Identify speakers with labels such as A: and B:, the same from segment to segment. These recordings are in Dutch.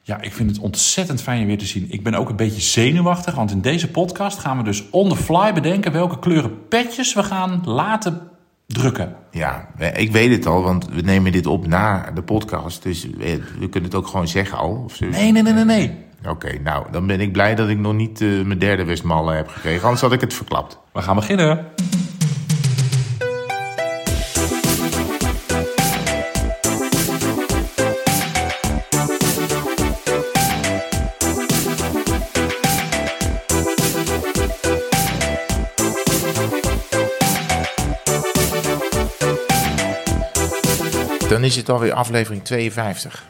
A: Ja, ik vind het ontzettend fijn je weer te zien. Ik ben ook een beetje zenuwachtig, want in deze podcast gaan we dus on the fly bedenken welke kleuren petjes we gaan laten drukken.
B: Ja, ik weet het al, want we nemen dit op na de podcast. Dus we we kunnen het ook gewoon zeggen al. Of zo.
A: Nee, nee, nee, nee, nee.
B: Oké, nou, dan ben ik blij dat ik nog niet eh, mijn derde Westmalle heb gekregen. Anders had ik het verklapt.
A: We gaan beginnen.
B: Dan is het alweer aflevering 52.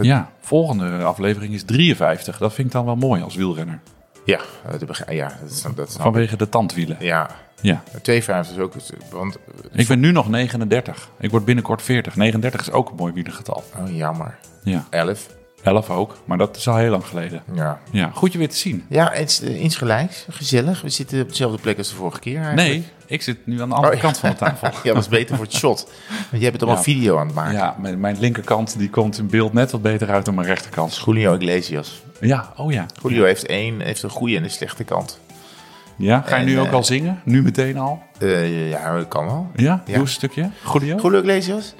A: Ja, volgende aflevering is 53. Dat vind ik dan wel mooi als wielrenner.
B: Ja, Oh, dat, beg- ja, dat, snap- dat snap ik.
A: Vanwege de tandwielen.
B: Ja,
A: Ja.
B: 52 is ook... het- Want,
A: Ik ben nu nog 39. Ik word binnenkort 40. 39 is ook een mooi wielergetal.
B: oh, jammer.
A: Ja.
B: 11.
A: 11 ook, maar dat is al heel lang geleden.
B: Ja.
A: Ja, goed je weer te zien.
B: Ja, het is eh, insgelijks. Gezellig. We zitten op dezelfde plek als de vorige keer eigenlijk.
A: Nee, ik zit nu aan de andere
B: Oh, ja.
A: kant van de tafel.
B: Ja, dat is beter voor het shot. Want jij bent allemaal
A: Ja.
B: video aan het maken.
A: Ja, mijn, mijn linkerkant die komt in beeld net wat beter uit dan mijn rechterkant.
B: Julio Iglesias.
A: Ja, oh ja.
B: Julio heeft, één, heeft een goede en een slechte kant.
A: Ja, ga je
B: En,
A: nu ook
B: eh,
A: al zingen? Nu meteen al?
B: Eh, ja, dat kan wel.
A: Ja?
B: Ja.
A: Doe een stukje. Julio?
B: Julio Iglesias.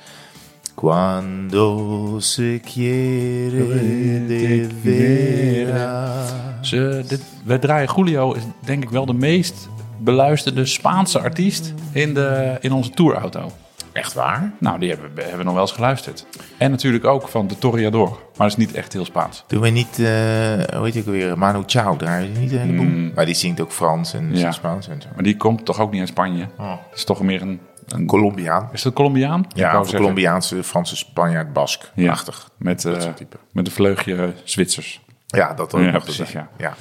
B: Cuando se quiere de vera.
A: Ze, dit, wij draaien Julio, is denk ik wel de meest beluisterde Spaanse artiest in, de, in onze tourauto.
B: Echt waar?
A: Nou, die hebben, we- hebben we nog wel eens geluisterd. En natuurlijk ook van de Torreador, maar dat is niet echt heel Spaans.
B: Doen we niet, eh hoe heet ik alweer, Manu Chao daar niet een heleboel. Maar die zingt ook Frans en
A: Mm. Ja.
B: Spaans en zo.
A: Maar die komt toch ook niet uit Spanje?
B: Oh.
A: Dat is toch meer een... een
B: Colombiaan.
A: is dat Colombiaan? Ik wou
B: Ja, of
A: zeggen,
B: Colombiaanse, Franse, Spanjaard, Bask.
A: Ja.
B: Prachtig.
A: Met, eh,
B: Dat soort type.
A: met een vleugje Zwitsers.
B: Ja, dat ook
A: Ja,
B: nog
A: precies,
B: erbij.
A: ja.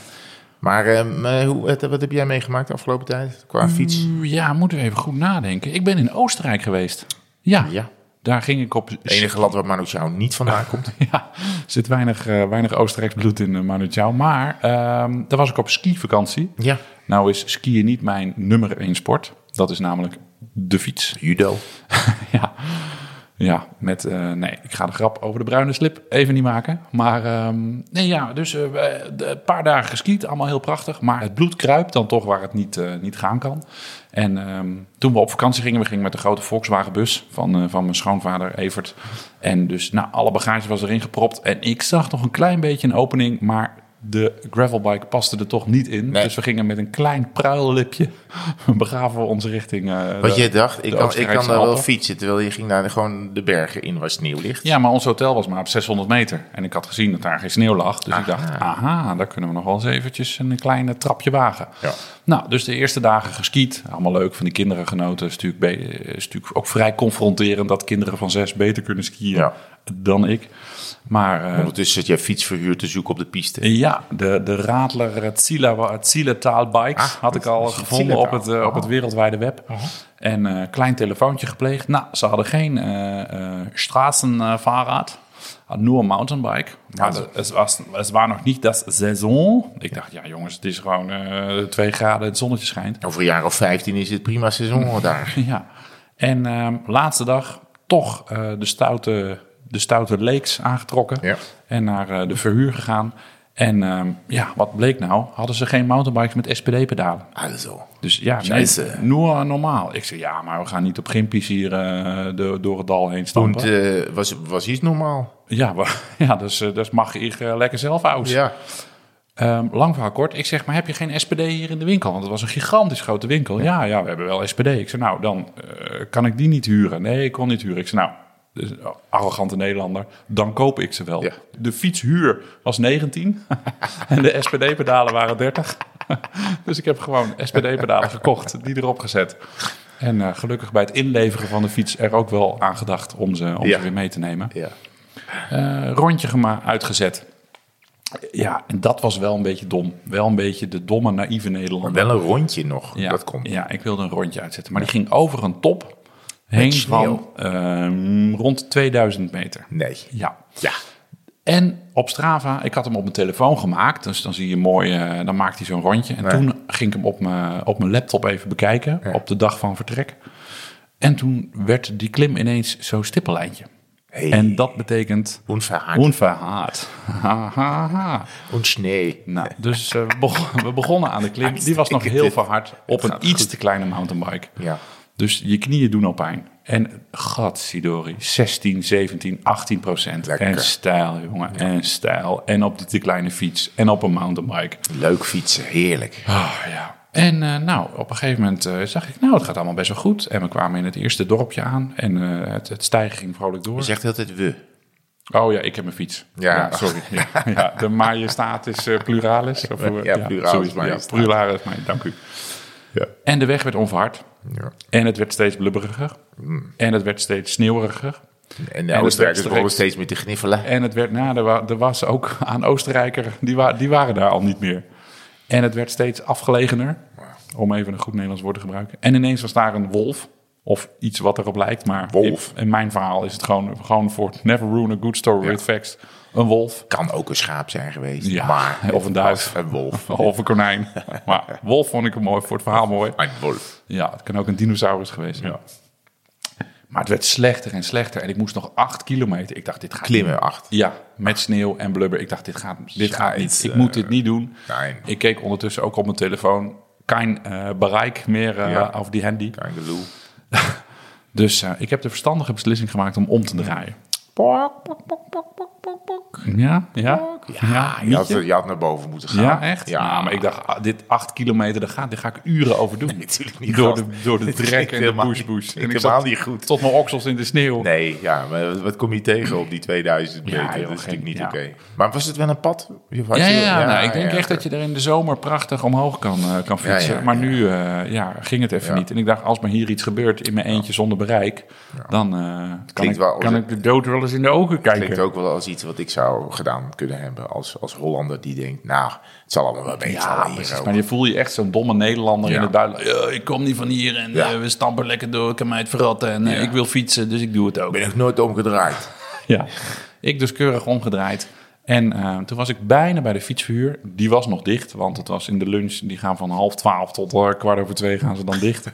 B: Maar ehm, eh, hoe, wat, wat heb jij meegemaakt de afgelopen tijd
A: Mm.
B: qua fiets?
A: Ja, moeten we even goed nadenken. Ik ben in Oostenrijk geweest. Ja,
B: Ja.
A: daar ging ik op...
B: Het enige land waar Manu Chao niet vandaan komt.
A: Ja, er zit weinig, eh, weinig Oostenrijks bloed in eh, Manu Chao. Maar ehm, daar was ik op skivakantie.
B: Ja.
A: Nou is skiën niet mijn nummer één sport. Dat is namelijk de fiets.
B: Judo.
A: ja. ja, met... eh, nee, ik ga de grap over de bruine slip even niet maken. Maar ehm, nee, ja, dus eh, we- de- een paar dagen geskiet. Allemaal heel prachtig. Maar het bloed kruipt dan toch waar het niet, eh, niet gaan kan. En ehm, toen we op vakantie gingen, we gingen met de grote Volkswagenbus van, eh, van mijn schoonvader Evert. En dus nou, alle bagage was erin gepropt. En ik zag nog een klein beetje een opening, maar de gravelbike paste er toch niet in.
B: Nee.
A: Dus we gingen met een klein pruillipje, begaven we ons richting... eh,
B: Wat
A: de-
B: jij dacht, ik
A: de
B: kan, ik kan
A: Oostenrijkse
B: daar wel
A: Alpen.
B: fietsen. Terwijl je ging daar de- gewoon de bergen in waar sneeuw ligt.
A: Ja, maar ons hotel was maar op 600 meter. En ik had gezien dat daar geen sneeuw lag. Dus ik dacht, aha, daar kunnen we nog wel eens eventjes een kleine trapje wagen.
B: Ja.
A: Nou, dus de eerste dagen geskiet. Allemaal leuk, van die kinderen genoten. Is natuurlijk, be- is natuurlijk ook vrij confronterend dat kinderen van zes beter kunnen skiën
B: Ja.
A: dan ik. Maar eh,
B: Ondertussen zit jij fiets verhuurd te zoeken op de piste.
A: ja, de, de Radler eh, Zila- eh, Zieletaal Bikes
B: Ah,
A: had ik al
B: dat is
A: gevonden
B: Zieletaal.
A: op het, eh, op het wereldwijde web. En eh klein telefoontje gepleegd. Nou, ze hadden geen eh eh straßenfahrrad. Had Nur een mountainbike. Maar
B: dat-
A: het- het, was, het was nog niet dat seizoen. Ik dacht, ja jongens, het is gewoon eh twee graden, het zonnetje schijnt.
B: Over een jaar of 15 is het prima seizoen daar.
A: Ja. En ehm, laatste dag toch eh, de, stoute, de stoute leeks aangetrokken.
B: Ja.
A: En naar eh, de verhuur gegaan. En ehm, ja, wat bleek nou? Hadden ze geen mountainbikes met SPD-pedalen.
B: Also.
A: Dus ja, nee,
B: Scheisse.
A: nur normaal. Ik zei, ja, maar we gaan niet op Greenpeace hier eh, do- door het dal heen
B: En
A: stampen.
B: eh, was, was iets normaal.
A: Ja, maar, ja, dus, eh, dus mag je hier eh, lekker zelf uit.
B: Ja.
A: Ehm, lang verhaal kort. Ik zeg, maar heb je geen SPD hier in de winkel? Want het was een gigantisch grote winkel. Ja, ja, we hebben wel SPD. Ik zeg, nou, dan eh, kan ik die niet huren. Nee, ik kon niet huren. Ik zeg, nou, dus, oh, arrogante Nederlander, dan koop ik ze wel.
B: Ja.
A: De fietshuur was 19 en de SPD-pedalen waren 30. dus ik heb gewoon SPD-pedalen gekocht, die erop gezet. En eh, gelukkig bij het inleveren van de fiets er ook wel aan gedacht om ze, om
B: Ja.
A: ze weer mee te nemen
B: ja.
A: eh, rondje gema- uitgezet. Ja, en dat was wel een beetje dom. Wel een beetje de domme, naïeve Nederlander.
B: Wel een rondje nog.
A: ja,
B: Dat komt.
A: Ja, ik wilde een rondje uitzetten. Maar die ging over een top heen van
B: sneeuw.
A: ehm, rond 2000 meter.
B: Nee.
A: Ja.
B: Ja.
A: En op Strava, ik had hem op mijn telefoon gemaakt. Dus dan zie je mooi, eh, dan maakt hij zo'n rondje. En
B: Ja.
A: toen ging ik hem op mijn, op mijn laptop even bekijken. Op de dag van vertrek. En toen werd die klim ineens zo'n stippellijntje.
B: Hey.
A: En dat betekent
B: Unverhaart.
A: onverhaard. Ha, ha, ha.
B: Und Schnee.
A: Nou, dus eh, we begon- we begonnen aan de klim. Die was nog heel verhard op een
B: gaat
A: iets
B: goed.
A: te kleine mountainbike.
B: Ja.
A: Dus je knieën doen al pijn. En gatsidori, 16, 17, 18 procent.
B: Lekker.
A: En stijl, jongen. En stijl. En op die te kleine fiets. En op een mountainbike.
B: Leuk fietsen, heerlijk.
A: Ah, ja. En eh, nou, op een gegeven moment eh, zag ik, nou, het gaat allemaal best wel goed. En we kwamen in het eerste dorpje aan. En eh, het, het stijgen ging vrolijk door.
B: Je zegt altijd we.
A: Oh ja, ik heb mijn fiets.
B: Ja.
A: sorry. Ja, ja, de majestatis eh, pluralis. Of, hoe-
B: Ja, pluralis
A: zoiets.
B: majestatis.
A: Ja, pluralis, maar, dank u.
B: Ja.
A: En de weg werd onverhard.
B: Ja.
A: En het werd steeds blubberiger.
B: Hmm.
A: En het werd steeds sneeuweriger.
B: En de
A: het
B: Oostenrijkers
A: werd
B: begonnen
A: direct-
B: steeds meer te gniffelen.
A: En het werd, nou, er, wa- er was ook aan Oostenrijker, die, wa- die waren daar al niet meer. En het werd steeds afgelegener, om even een goed Nederlands woord te gebruiken. En ineens was daar een wolf, of iets wat erop lijkt, maar
B: Wolf.
A: In, in mijn verhaal is het gewoon, gewoon voor het never ruin a good story with facts, een wolf.
B: Kan ook een schaap zijn geweest.
A: Ja,
B: maar,
A: of een duif.
B: Een wolf.
A: Of een konijn. Maar wolf vond ik hem mooi, voor het verhaal mooi.
B: Een wolf.
A: Ja, het kan ook een dinosaurus geweest zijn. Maar het werd slechter en slechter. En ik moest nog acht kilometer. Ik dacht, dit gaat
B: Klimmen acht.
A: Ja, met sneeuw en blubber. Ik dacht, dit gaat, dit gaat niet.
B: Schijt,
A: Ik
B: eh,
A: moet dit niet doen.
B: nein.
A: Ik keek ondertussen ook op mijn telefoon. Kein eh, bereik meer eh,
B: Ja.
A: op die handy.
B: Kangaloo.
A: Dus eh, ik heb de verstandige beslissing gemaakt om om te draaien.
B: Pok, pok, pok, pok, pok, pok, pok.
A: Ja, ja.
B: Ja, je had,
A: mietje.
B: eh, je had naar boven moeten gaan.
A: Ja, echt?
B: Ja,
A: Nou, maar ik dacht, ah, dit acht kilometer, daar ga, dit ga ik uren over doen.
B: natuurlijk niet,
A: Door
B: gast.
A: de, door de
B: Dit
A: drek
B: klinkt
A: en de
B: helemaal
A: bush
B: niet-
A: bush.
B: klinkt
A: En ik
B: helemaal
A: zat
B: niet goed.
A: Tot mijn oksels in de sneeuw.
B: Nee, ja, maar wat kom je tegen op die 2000 meter?
A: Ja, joh,
B: dat is
A: geen-
B: natuurlijk niet
A: ja.
B: oké. Maar was het wel een pad? Of had
A: Ja,
B: je-
A: ja, ja, nou, ik denk
B: ja,
A: echt dat je er in de zomer prachtig omhoog kan, eh, kan
B: Ja, ja,
A: fietsen.
B: ja.
A: maar nu eh, ja, ging het even
B: Ja.
A: niet. En ik dacht, als me hier iets gebeurt in mijn eentje zonder bereik, dan eh, kan,
B: Klinkt
A: ik,
B: wel als
A: kan
B: een-
A: ik de dood wel eens in de ogen
B: Klinkt
A: kijken.
B: ook wel als iets wat ik zou gedaan kunnen hebben als, als Hollander die denkt, nou, het zal allemaal wel beter
A: Ja,
B: zijn hier
A: precies.
B: ook.
A: Maar je voel je echt zo'n domme Nederlander
B: Ja.
A: in het Duitsland. Ja, ik kom niet van hier en
B: Ja.
A: eh, we stampen lekker door. Ik kan mij het verratten en eh,
B: Ja.
A: ik wil fietsen, dus ik doe het ook.
B: Ik ben nog nooit
A: Oh,
B: omgedraaid.
A: Ja, ik dus keurig omgedraaid. En eh, toen was ik bijna bij de fietsverhuur. Die was nog dicht, want het was in de lunch. Die gaan van half twaalf tot eh, kwart over twee gaan ze dan dicht.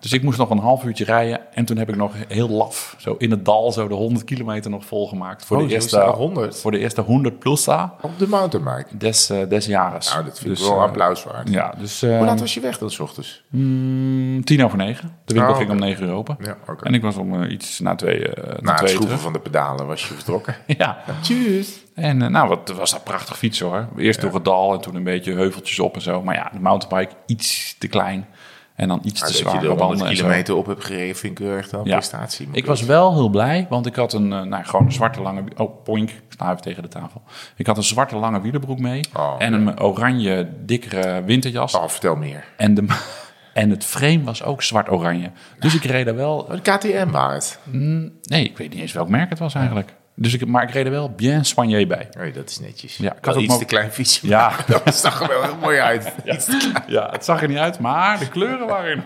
A: dus ik moest nog een half uurtje rijden. En toen heb ik nog heel laf, zo in het dal, zo de 100 kilometer nog volgemaakt. Voor,
B: Oh,
A: de,
B: zo is
A: eerste,
B: het al 100.
A: voor de eerste 100 plussa
B: Op de mountainbike.
A: des, eh, des jaren.
B: Nou, dat vind
A: Dus,
B: ik wel
A: eh,
B: applaus waard.
A: Ja, dus
B: Hoe
A: eh,
B: laat was je weg dan, s ochtends?
A: mm, tien over negen. De winkel
B: Oh,
A: ging
B: oké.
A: om negen uur open.
B: Ja, oké.
A: En ik was om eh, iets na twee, eh, na
B: Na het
A: twee
B: schroeven
A: terug.
B: van de pedalen was je vertrokken.
A: Ja,
B: Tjus.
A: En eh, nou, wat was dat prachtig fietsen hoor. Eerst door het dal en toen een beetje heuveltjes op en zo. Maar ja, de mountainbike iets te klein en dan iets te
B: Dat je
A: zwaar
B: er
A: op
B: 100
A: banden en zo.
B: kilometer op hebt gereden, vind ik wel echt wel een
A: Ja.
B: prestatie. moet
A: Ik was wel heel blij, want ik had een, eh, nou, gewoon een zwarte lange... Oh, poink, ik sta even tegen de tafel. Ik had een zwarte lange wielerbroek mee
B: Oh,
A: en een oranje dikkere winterjas.
B: zeggen. Oh, vertel meer.
A: En, de, en het frame was ook zwart-oranje. Dus ik reed er wel...
B: Een KTM waar het.
A: Nee, ik weet niet eens welk merk het was eigenlijk. Dus ik, maar ik reed er wel bien soigné bij.
B: Nee, dat is netjes.
A: Ja, ik had
B: Wel
A: ook
B: iets
A: mo-
B: te klein fietsje.
A: Ja.
B: maar Dat zag er wel heel mooi uit. Iets te klein.
A: Ja, het zag er niet uit, maar de kleuren waren...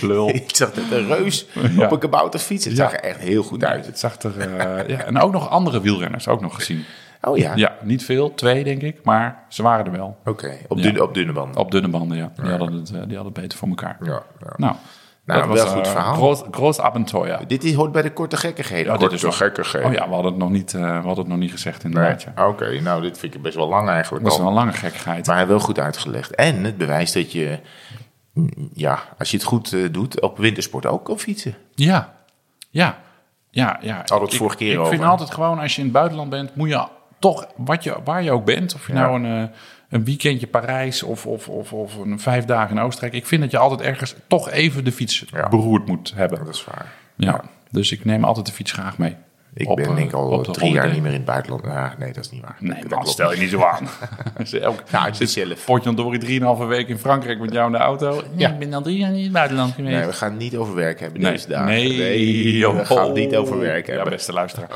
A: Lul.
B: Ik zag dat een reus
A: Ja.
B: op een kabouterfiets. Het
A: Ja.
B: zag er echt heel goed uit.
A: Het zag er. eh, ja. En ook nog andere wielrenners, ook nog gezien.
B: Oh ja.
A: Ja, niet veel, twee denk ik, maar ze waren er wel.
B: Oké, op, dunne, op dunne banden.
A: Op dunne banden, ja. Die hadden het, eh, die hadden het beter voor elkaar.
B: Ja, ja.
A: Nou,
B: Nou, wel
A: eh,
B: goed verhaal.
A: Groot, groot avontuur.
B: Dit is, hoort bij de korte gekkigheden.
A: Ja, dit is
B: korte
A: wel-
B: gekkigheden.
A: Oh ja, we hadden het nog niet, eh, we hadden het nog niet gezegd inderdaad. Ja.
B: Oké, nou dit vind ik best wel lang eigenlijk
A: Dat is
B: al.
A: wel een lange gekkigheid.
B: Maar wel goed uitgelegd. En het bewijst dat je, mm, ja, als je het goed eh, doet, op wintersport ook kan fietsen.
A: Ja, ja, ja. ja.
B: Hadden we het
A: Ik-
B: vorige keer
A: Ik vind
B: over.
A: altijd gewoon, als je in het buitenland bent, moet je toch, wat je, waar je ook bent, of je
B: Ja.
A: nou een, eh, een weekendje Parijs of, of, of, of een vijf dagen in Oostenrijk. Ik vind dat je altijd ergens toch even de fiets
B: Ja.
A: beroerd moet hebben.
B: Dat is waar.
A: Ja. Dus ik neem altijd de fiets graag mee.
B: Ik
A: Op,
B: ben
A: eh,
B: denk ik al
A: op de
B: drie jaar
A: holiday.
B: niet meer in het buitenland. Ah, nee, dat is niet waar.
A: Nee,
B: dat
A: man,
B: klopt.
A: stel je niet zo aan. Elke
B: Nou, als je het zelf.
A: potjandori drieënhalve week in Frankrijk met jou in de auto. Ja, ik ben al drie jaar niet in het buitenland geweest.
B: Nee, we gaan het niet over werk hebben
A: Nee,
B: deze dagen.
A: nee,
B: we
A: joh. Oh.
B: gaan het niet over werk
A: Ja,
B: hebben.
A: beste luisteraar.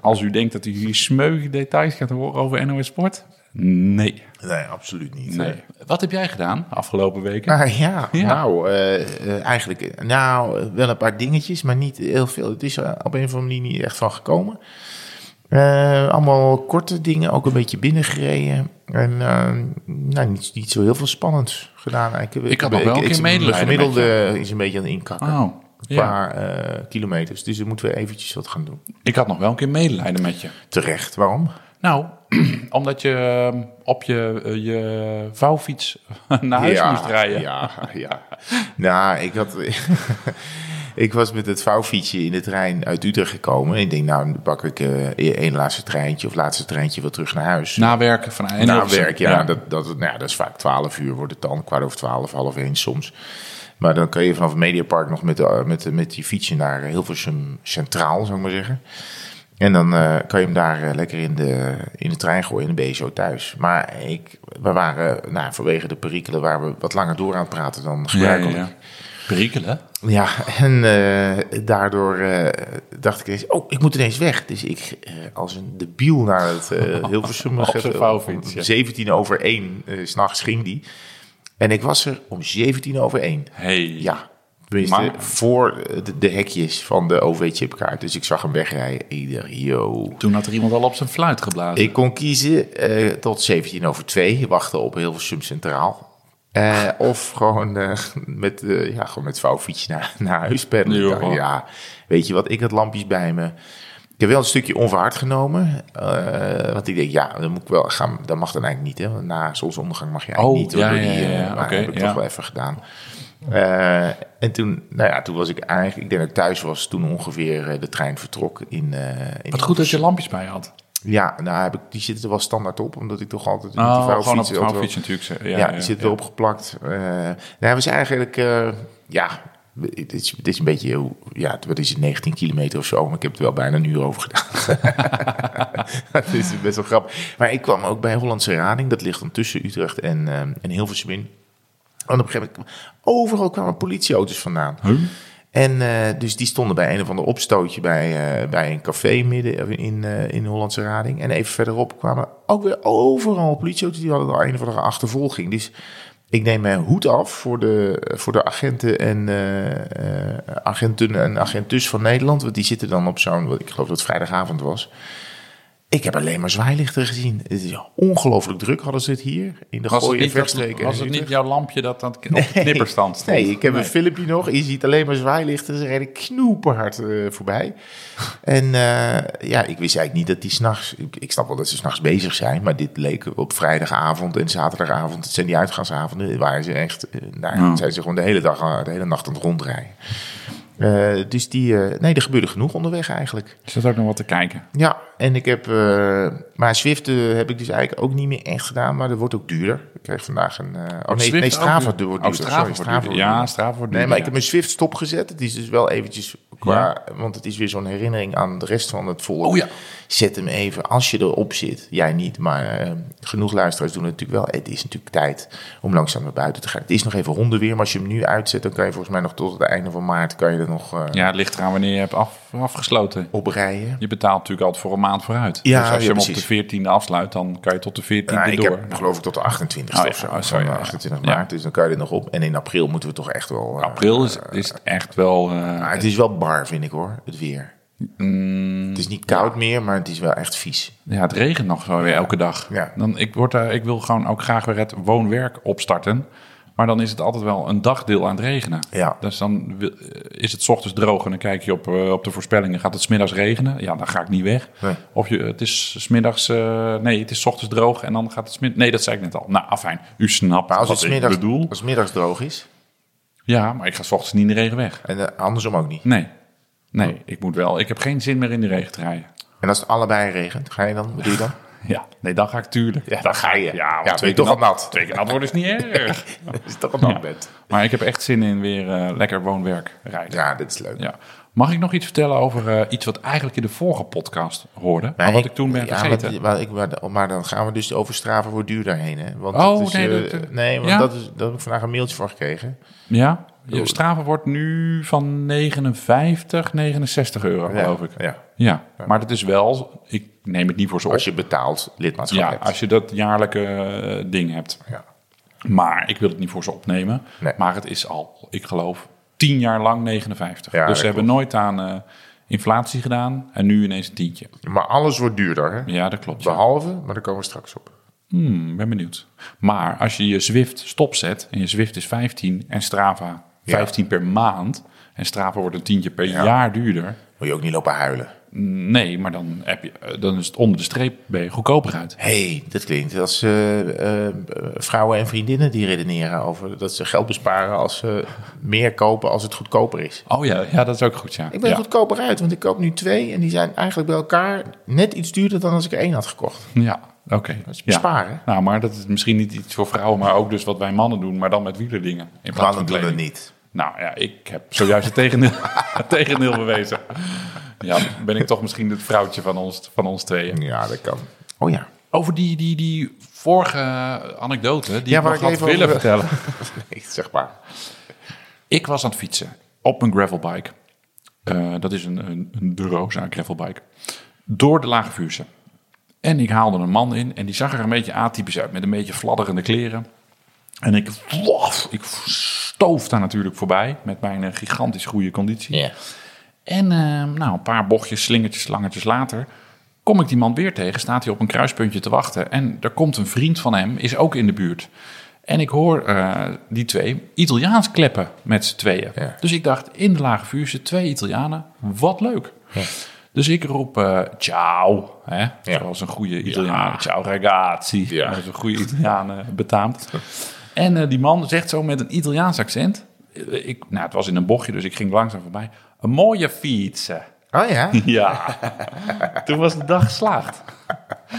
A: Als u denkt dat u hier smeuïge details gaat horen over NOS Sport, nee.
B: Nee, absoluut niet.
A: nee. Wat heb jij gedaan afgelopen weken?
B: Ah, ja.
A: Ja.
B: nou, eh, eh, eigenlijk eh, nou, eh, wel een paar dingetjes, maar niet heel veel. Het is er op een of andere manier niet echt van gekomen. Eh, allemaal korte dingen, ook een beetje binnengereden. En eh, nou, niet, niet zo heel veel spannends gedaan. eigenlijk.
A: Ik had nog wel een keer
B: Mijn
A: medelijden met
B: gemiddelde is een beetje aan het inkakken.
A: Oh,
B: qua eh, kilometers. Dus daar moeten we eventjes wat gaan doen.
A: Ik had nog wel een keer medelijden met je.
B: Terecht, waarom?
A: Nou, omdat je ehm, op je, eh, je vouwfiets naar huis moest rijden.
B: Ja, ja. nou, ik had... ik was met het vouwfietsje in de trein uit Utrecht gekomen. En ik denk, nou, dan pak ik eh, één laatste treintje of laatste treintje wel terug naar huis.
A: Na werken Dus van en
B: na werk, ja, Dat, dat, nou ja, dat is vaak 12 uur wordt het dan, kwart over 12, half één soms. Maar dan kan je vanaf het Mediapark nog met, de, met, de- met die fietsje naar Hilversum Centraal, zou ik maar zeggen. En dan eh, kan je hem daar eh, lekker in de, in de trein gooien en dan ben je zo thuis. Maar ik, we waren, nou, vanwege de perikelen, waren we wat langer door aan het praten dan
A: ja,
B: gebruikelijk.
A: ja. Perikelen?
B: Ja, en eh, daardoor eh, dacht ik eens, oh, ik moet ineens weg. Dus ik eh, als een debiel naar het eh Hilversum.
A: Op zijn
B: ge-
A: vouwfiets,
B: om
A: ja.
B: 17 over 1 s s'nachts ging die. En ik was er om 17 over 1.
A: Hey.
B: Ja, tenminste,
A: Maar-
B: voor eh, de, de hekjes van de OV-chipkaart. Dus ik zag hem wegrijden. Ik dacht, yo.
A: Toen had er iemand al op zijn fluit geblazen.
B: Ik kon kiezen eh, tot 17 over 2, wachten op Hilversum Centraal. Eh, of gewoon, eh, met, eh, ja, gewoon met vouwfietsje naar, naar huis peddelen.
A: Joh.
B: Ik dacht, Ja, weet je wat, ik had lampjes bij me. Ik heb wel een stukje onverhard genomen. eh, want ik denk, ja, dan moet ik wel gaan. Dat mag dan eigenlijk niet, hè? Want na zonsondergang mag je eigenlijk
A: Oh,
B: niet.
A: ja,
B: hoor, door die,
A: ja, ja,
B: eh,
A: ja,
B: maar
A: oké,
B: dat heb ik
A: ja.
B: toch wel even gedaan. Eh, en toen, nou ja, toen was ik eigenlijk, ik denk dat ik thuis was toen ongeveer eh, de trein vertrok. In, eh in
A: Wat goed dat je lampjes bij had.
B: ja, nou heb ik, die zitten er wel standaard op, omdat ik toch altijd met die
A: Oh,
B: vouwfiets
A: gewoon op het
B: altijd
A: vouwfiets natuurlijk. ze-
B: wel-
A: Ja,
B: Ja,
A: ja,
B: die zitten
A: ja.
B: erop geplakt. Eh, nou, we zijn eigenlijk, eh, ja, dit is, dit is een beetje, hoe- ja, wat is het, 19 kilometer of zo, maar ik heb het wel bijna een uur over gedaan. dat is best wel grappig. Maar ik kwam ook bij Hollandse Rading, dat ligt dan tussen Utrecht en, eh, en Hilversum in. En op een gegeven moment, overal kwamen politieauto's vandaan.
A: Huh?
B: En eh, dus die stonden bij een of ander opstootje bij, eh, bij een café midden in, eh in Hollandse Rading. En even verderop kwamen ook weer overal politieauto's. Die hadden al een of andere achtervolging. Dus ik neem mijn hoed af voor de, voor de agenten en eh, eh, agenten en agentes van Nederland. Want die zitten dan op zo'n, wat ik geloof dat het vrijdagavond was. Ik heb alleen maar zwaailichten gezien. Het is ongelooflijk druk hadden ze het hier. In de
A: Was, het
B: gooien en
A: niet, dat-
B: verstreken.
A: was
B: en
A: het
B: Utrecht.
A: niet jouw lampje dat aan het op de knipperstand stond?
B: Nee, ik heb een filmpje nog. Je ziet alleen maar zwaailichten. Ze reden knoeperhard eh, voorbij. En eh, ja, ik wist eigenlijk niet dat die s'nachts... Ik, ik snap wel dat ze s'nachts bezig zijn. Maar dit leek op vrijdagavond en zaterdagavond. Het zijn die uitgaansavonden. Waar ze echt... eh, nou,
A: Ja.
B: zijn ze gewoon de hele dag, eh, de hele nacht aan het rondrijden. Eh, dus die... eh, nee, er gebeurde genoeg onderweg eigenlijk.
A: Er zat ook nog wat te kijken.
B: Ja, en ik heb. eh, maar Zwift eh, heb ik dus eigenlijk ook niet meer echt gedaan, maar dat wordt ook duurder. Ik kreeg vandaag een. eh oh, nee,
A: Zwift
B: nee,
A: ook
B: Strava
A: duur-
B: wordt duurder.
A: Oh, Strava
B: sorry,
A: wordt
B: Strava
A: duurder.
B: wordt
A: Ja,
B: duurder.
A: Strava wordt
B: Nee, maar ik heb
A: duurder,
B: mijn Zwift stopgezet. Het is dus wel eventjes qua. Want het is weer zo'n herinnering aan de rest van het volk.
A: Oh ja.
B: Zet hem even als je erop zit. Jij niet, maar eh, genoeg luisteraars doen het natuurlijk wel. Het is natuurlijk tijd om langzaam naar buiten te gaan. Het is nog even ronde weer, maar als je hem nu uitzet, dan kan je volgens mij nog tot het einde van maart kan je er nog eh
A: ja. Ja, het ligt eraan wanneer je hebt af, afgesloten.
B: oprijden.
A: Je betaalt natuurlijk altijd voor een maand vooruit.
B: Ja,
A: dus als je
B: ja,
A: hem
B: precies.
A: op de 14e afsluit, dan kan je tot de 14e
B: Nou, ik
A: door.
B: heb geloof ik tot de 28
A: Oh ja,
B: of zo.
A: oh, sorry,
B: Van,
A: ja,
B: eh, 28
A: ja.
B: maart, dus dan kan je er nog op. En in april moeten we toch echt wel... eh,
A: April is, is het echt wel... eh,
B: maar het is wel bar, vind ik hoor, het weer.
A: Mm,
B: het is niet koud meer, maar het is wel echt vies.
A: ja, het regent nog zo weer elke dag.
B: Ja.
A: Dan, ik, word daar, ik wil gewoon ook graag weer het woon-werk opstarten. Maar dan is het altijd wel een dagdeel aan het regenen.
B: Ja.
A: Dus dan wil- is het 's ochtends droog en dan kijk je op, eh, op de voorspellingen. Gaat het 's middags regenen? Ja, dan ga ik niet weg.
B: Nee.
A: Of je, het is 's middags... eh, nee, het is 's ochtends droog en dan gaat het... 's mid- Nee, dat zei ik net al. Nou, afijn. U snapt
B: Maar Nou, als
A: wat
B: het 's middags,
A: ik bedoel.
B: als het 's middags droog is,
A: Ja, maar ik ga 's ochtends niet in de regen weg.
B: en eh, andersom ook niet.
A: Nee. Nee, ik moet wel. Ik heb geen zin meer in de regen te rijden.
B: En als het allebei regent, ga je dan, wat doe je dan?
A: Ja, nee, dan ga ik tuurlijk.
B: Ja, dan ga je.
A: Ja, want
B: ben je
A: twee
B: toch
A: keer
B: al nat.
A: Twee keer nat worden is niet erg.
B: Is toch een nat
A: Ja.
B: bent.
A: Maar ik heb echt zin in weer eh, lekker woon-werk rijden. Ja.
B: Ja, dit is leuk.
A: Mag ik nog iets vertellen over eh, iets wat eigenlijk in de vorige podcast hoorde? Maar, wat ik toen ben
B: ja,
A: vergeten.
B: maar- maar, ik, maar, maar dan gaan we dus over Strava voor duur daarheen. Hè? Want
A: Oh,
B: dat is,
A: nee,
B: eh,
A: dat-
B: nee, want
A: ja.
B: dat, is, dat heb ik vandaag een mailtje voor gekregen.
A: ja? Je straven wordt nu van 59, 69 euro, geloof ik.
B: Ja.
A: Ja, maar dat is wel... Ik neem het niet voor zo op.
B: Als je betaald lidmaatschap
A: ja,
B: hebt.
A: als je dat jaarlijke eh, ding hebt.
B: Ja.
A: Maar ik wil het niet voor ze opnemen.
B: Nee.
A: Maar het is al, ik geloof, tien jaar lang 59.
B: Ja,
A: dus
B: dat
A: ze hebben nooit aan eh, inflatie gedaan. En nu ineens een tientje.
B: Maar alles wordt duurder, hè?
A: Ja, dat klopt. ja.
B: Behalve, maar daar komen we straks op.
A: Hmm, ben benieuwd. Maar als je je Zwift stopzet en je Zwift is 15 en Strava
B: Ja.
A: 15 per maand. En straven wordt een tientje per jaar duurder.
B: Moet je ook niet lopen huilen.
A: Nee, maar dan, heb je, eh, dan is het onder de streep ben je goedkoper uit.
B: hey, dat klinkt als eh, eh, vrouwen en vriendinnen die redeneren over dat ze geld besparen als ze meer kopen als het goedkoper is.
A: Oh ja, ja dat is ook goed. Ja.
B: Ik ben
A: ja.
B: goedkoper uit, want ik koop nu twee en die zijn eigenlijk bij elkaar net iets duurder dan als ik er één had gekocht.
A: Ja, oké.
B: Dat is
A: Ja.
B: besparen.
A: Nou, maar dat is misschien niet iets voor vrouwen, maar ook dus wat wij mannen doen, maar dan met wielerdingen. In plaats van
B: Mannen doen
A: kleding.
B: het niet.
A: Nou ja, ik heb zojuist het tegendeel, het tegendeel bewezen. Ja, ben ik toch misschien het vrouwtje van ons, van ons tweeën.
B: Ja, dat kan. Oh ja.
A: Over die, die, die vorige anekdote, die
B: Ja,
A: ik
B: waar
A: nog
B: ik
A: had
B: even
A: willen
B: over-
A: vertellen.
B: Nee, zeg maar.
A: Ik was aan het fietsen op een gravelbike. Eh, dat is een, een, een De Rosa gravelbike. Door de Lage Vuurse. En ik haalde een man in en die zag er een beetje atypisch uit. Met een beetje fladderende kleren. En ik, wof, ik stoof daar natuurlijk voorbij. Met mijn eh, gigantisch goede conditie.
B: Ja.
A: En eh, nou, een paar bochtjes, slingertjes, slangetjes later... kom ik die man weer tegen. Staat hij op een kruispuntje te wachten. En er komt een vriend van hem, is ook in de buurt. En ik hoor eh, die twee Italiaans kleppen met z'n tweeën.
B: Ja.
A: Dus ik dacht, in de lage vuurse twee Italianen. Wat leuk. Dus ik roep eh, ciao, hè?
B: Ja.
A: zoals een goede Italiaan. Ciao ragazzi,
B: Ja.
A: dat is een goede Italiaan eh, betaamt. En eh, die man zegt zo met een Italiaans accent. eh, Ik, nou, het was in een bochtje, dus ik ging langzaam voorbij. Een mooie fietsen.
B: Oh ja.
A: Ja, toen was de dag geslaagd.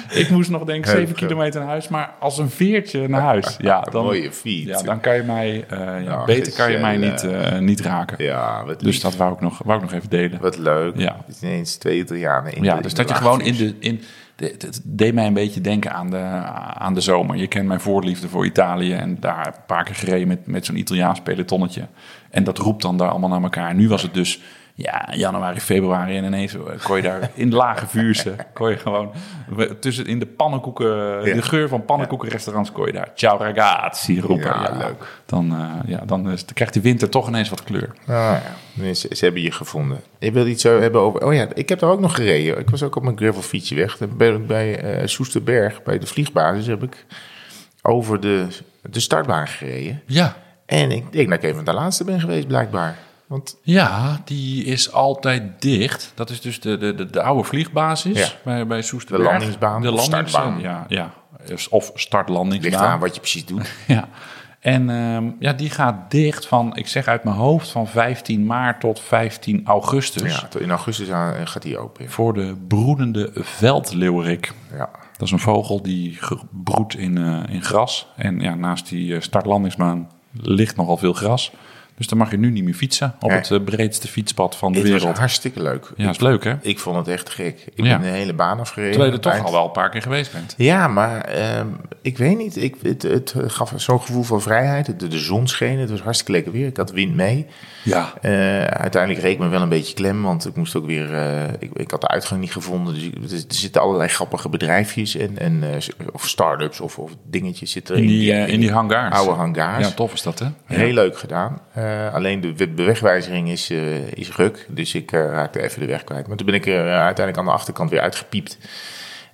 A: Ik moest nog denk ik
B: Heel
A: 7
B: goed.
A: kilometer naar huis, maar als een veertje naar huis. Ja, dan,
B: Mooie fiets.
A: Ja, dan kan je mij, eh, ja,
B: Nou,
A: beter kan je mij niet,
B: Giselle.
A: eh, niet raken.
B: Ja, wat,
A: Dus
B: lief.
A: dat wou ik nog, wou ik nog even delen.
B: wat leuk.
A: Ja.
B: Het is ineens twee Italianen in
A: Ja,
B: de-
A: dus
B: in
A: dat
B: de
A: je gewoon in
B: laagvuurs.
A: de. In, de- het deed mij een beetje denken aan de, aan de zomer. Je kent mijn voorliefde voor Italië en daar een paar keer gereden met, met zo'n Italiaans pelotonnetje. En dat roept dan daar allemaal naar elkaar. Nu was het dus ja, januari, februari en ineens eh, kon je daar in de lage vuurse, kon je gewoon we- tussen in de pannenkoeken,
B: Ja.
A: de geur van pannenkoekenrestaurants kon je daar ciao ragazzi roepen.
B: Ja, leuk.
A: Dan, eh, ja, dan, is- dan krijgt de winter toch ineens wat kleur.
B: Ah, ja. Nee, Ze, ze hebben je gevonden. Ik wil iets zo hebben over. Oh ja, ik heb daar ook nog gereden. Ik was ook op mijn gravelfietsje weg. Dan ben ik bij eh, Soesterberg, bij de vliegbasis, heb ik over de, de startbaan gereden.
A: Ja,
B: En ik denk dat ik even de laatste ben geweest, blijkbaar. Want
A: Ja, die is altijd dicht. Dat is dus de, de, de, de oude vliegbasis
B: Ja.
A: bij, bij Soesterberg.
B: De landingsbaan
A: De
B: of
A: landingsbaan.
B: startbaan.
A: Ja, ja. Dus Of
B: het ligt aan
A: startlandingsbaan.
B: wat je precies doet.
A: Ja. En ehm, ja, die gaat dicht van, ik zeg uit mijn hoofd, van 15 maart tot 15 augustus.
B: Ja, tot in augustus aan, eh, gaat die open.
A: Voor de broedende veldleeuwerik.
B: Ja.
A: Dat is een vogel die ge- broedt in, eh, in gras. En ja, naast die eh, startlandingsbaan ligt nogal veel gras. Dus dan mag je nu niet meer fietsen op
B: Nee.
A: het eh, breedste fietspad van de
B: Het was
A: wereld.
B: hartstikke leuk.
A: Ja, is leuk hè?
B: Ik vond het echt gek. Ik
A: Ja.
B: ben de hele baan afgereden.
A: Terwijl je er toch
B: Eind-
A: al wel een paar keer geweest bent.
B: Ja, maar ehm, ik weet niet. Ik, het, het gaf zo'n gevoel van vrijheid. De, de zon scheen, het was hartstikke lekker weer. Ik had wind mee.
A: Ja.
B: Eh, uiteindelijk reek me wel een beetje klem, want ik moest ook weer. eh, ik, ik had de uitgang niet gevonden. Dus ik- er zitten allerlei grappige bedrijfjes en, en eh, of start-ups of, of dingetjes zitten
A: In
B: erin.
A: die, eh, in die hangars.
B: oude hangars.
A: Ja, tof is dat, hè?
B: Heel leuk gedaan. Eh, alleen de we- bewegwijzering is, eh, is ruk. Dus ik eh, raakte even de weg kwijt. Maar toen ben ik er eh, uiteindelijk aan de achterkant weer uitgepiept.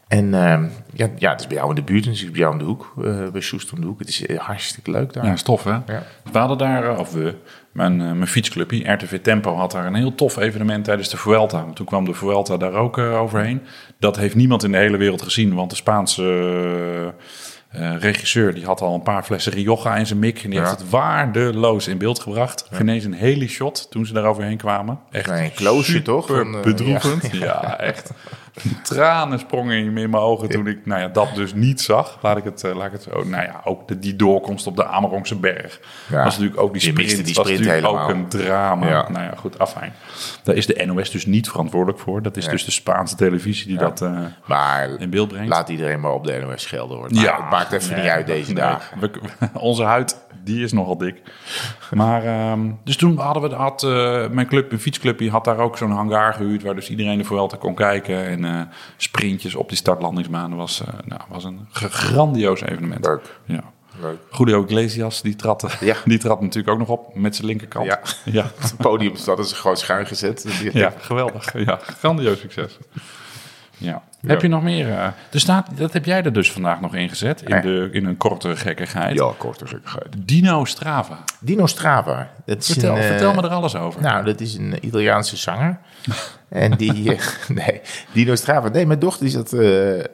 B: En ehm, ja, ja, het is bij jou in de buurt. Dus ik bij jou om de hoek. eh, bij Soest om de hoek. Het is eh, hartstikke leuk daar.
A: Ja, is tof, hè?
B: Ja.
A: We hadden daar, eh, of we, mijn, eh, mijn fietsclubje, RTV Tempo, had daar een heel tof evenement tijdens de Vuelta. Want toen kwam de Vuelta daar ook eh, overheen. Dat heeft niemand in de hele wereld gezien, want de Spaanse eh, eh, regisseur die had al een paar flessen Rioja in zijn mik. En die
B: Ja.
A: heeft het waardeloos in beeld gebracht. Geen eens een hele shot toen ze daar overheen kwamen. Echt
B: Nee, een kloosje, toch?
A: super
B: Van, eh,
A: bedroevend. Ja, echt. Tranen sprongen in mijn ogen toen ik nou ja, dat dus niet zag. Laat ik het, eh, laat ik het zo. Nou ja, ook de, die doorkomst op de Amerongse berg.
B: Ja.
A: was natuurlijk ook die
B: Je miste
A: sprint.
B: die
A: was
B: sprint
A: natuurlijk ook
B: helemaal.
A: een drama.
B: Ja.
A: Nou ja, goed, afijn. Daar is de NOS dus niet verantwoordelijk voor. Dat is dus de Spaanse televisie die dat eh,
B: Maar
A: in beeld brengt.
B: laat iedereen maar op de NOS schelden hoor. Maar het maakt even
A: nee,
B: niet uit deze
A: nee.
B: dagen.
A: We, onze huid, die is nogal dik. Maar, ehm, dus toen hadden we, had, eh, mijn club, mijn fietsclub, die had daar ook zo'n hangar gehuurd... waar dus iedereen de Vuelta kon kijken. En eh, sprintjes op die startlandingsbaan. Dat was, eh, nou, was een g- grandioos evenement.
B: Leuk.
A: Ja.
B: Leuk.
A: Julio Iglesias, die trad, eh,
B: Ja.
A: die trad natuurlijk ook nog op met zijn linkerkant.
B: Ja.
A: ja.
B: Het podium dat is gewoon schuin gezet.
A: Ja, geweldig. Ja, grandioos succes. Ja. Heb je nog meer? eh, er staat, dat heb jij er dus vandaag nog ingezet. In,
B: Ja.
A: de, in een korte gekkigheid.
B: Ja, korte gekkigheid.
A: Dino Strava.
B: Dino Strava. Dat is
A: Vertel,
B: een, eh,
A: vertel me er alles over.
B: Nou, dat is een Italiaanse zanger. en die, eh, nee, Dino Strava. Nee, mijn dochter die zat, eh, eh,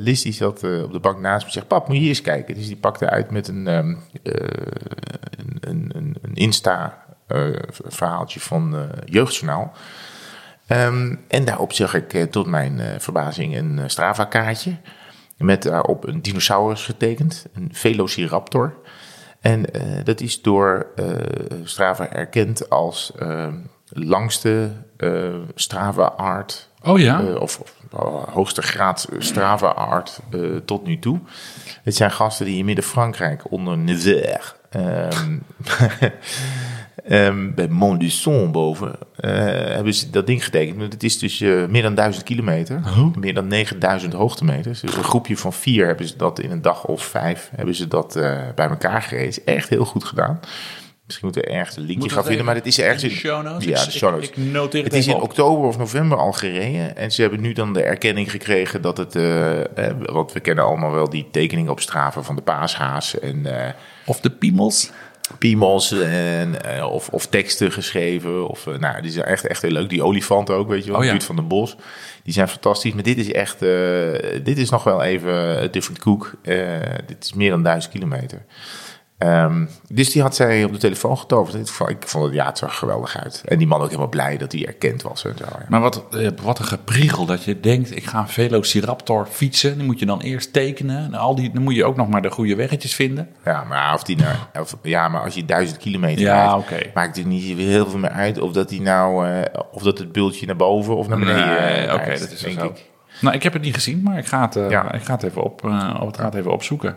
B: Liz die zat eh, op de bank naast me. Zegt, pap, moet je hier eens kijken. Dus die pakte uit met een, ehm, eh, een, een, een- een Insta eh, verhaaltje van eh, Jeugdjournaal. Ehm, en daarop zag ik eh, tot mijn eh, verbazing een eh, Strava-kaartje. Met daarop een dinosaurus getekend, een Velociraptor. En eh, dat is door eh, Strava erkend als eh, langste eh, Strava-art.
A: oh ja?
B: eh, of of, eh, hoogste graad Strava-art eh, tot nu toe. Het zijn gasten die in Midden-Frankrijk onder Nevers... ehm, Ehm, bij Mont du Son boven eh, hebben ze dat ding getekend. Maar Het is dus eh, meer dan 1000 kilometer,
A: Oh.
B: meer dan 9000 hoogtemeters. Dus een groepje van vier hebben ze dat in een dag of vijf hebben ze dat eh, bij elkaar gereden. Is echt heel goed gedaan. Misschien moeten we ergens een linkje
A: Moet
B: gaan
A: dat
B: vinden, maar
A: even
B: het is ergens
A: in de show notes?
B: Ja,
A: Ik-
B: de show notes.
A: ik- ik noteer het
B: is in
A: even op.
B: oktober of november al gereden. En ze hebben nu dan de erkenning gekregen dat het... eh, eh, want we kennen allemaal wel die tekeningen op straven van de paashaas en... eh,
A: Of de piemels?
B: piemels en, eh, of, of teksten geschreven. Of, eh, nou, die zijn echt, echt heel leuk. Die olifant ook, weet je wel.
A: Oh ja.
B: Buurt van de Bos. Die zijn fantastisch. Maar dit is echt, eh, dit is nog wel even een different koek. Eh, dit is meer dan duizend kilometer. Ehm, dus die had zij op de telefoon getoverd. Ik vond, ik vond het, ja, het zag er geweldig uit. En die man ook helemaal blij dat hij erkend was. En zo, ja.
A: Maar wat, eh, wat een gepriegel dat je denkt, ik ga een Velociraptor fietsen. Die moet je dan eerst tekenen. En al die, dan moet je ook nog maar de goede weggetjes vinden.
B: Ja, maar, of die nou, of- ja, maar als je duizend kilometer
A: Ja,
B: rijdt,
A: oké.
B: maakt het niet heel veel meer uit of dat, die nou, eh, of dat het bultje naar boven of naar beneden eh,
A: oké,
B: rijdt,
A: dat is
B: denk
A: denk
B: ik.
A: Nou, ik heb het niet gezien, maar ik ga het, eh,
B: Ja.
A: ik ga het, even, op, eh, ik ga het even opzoeken.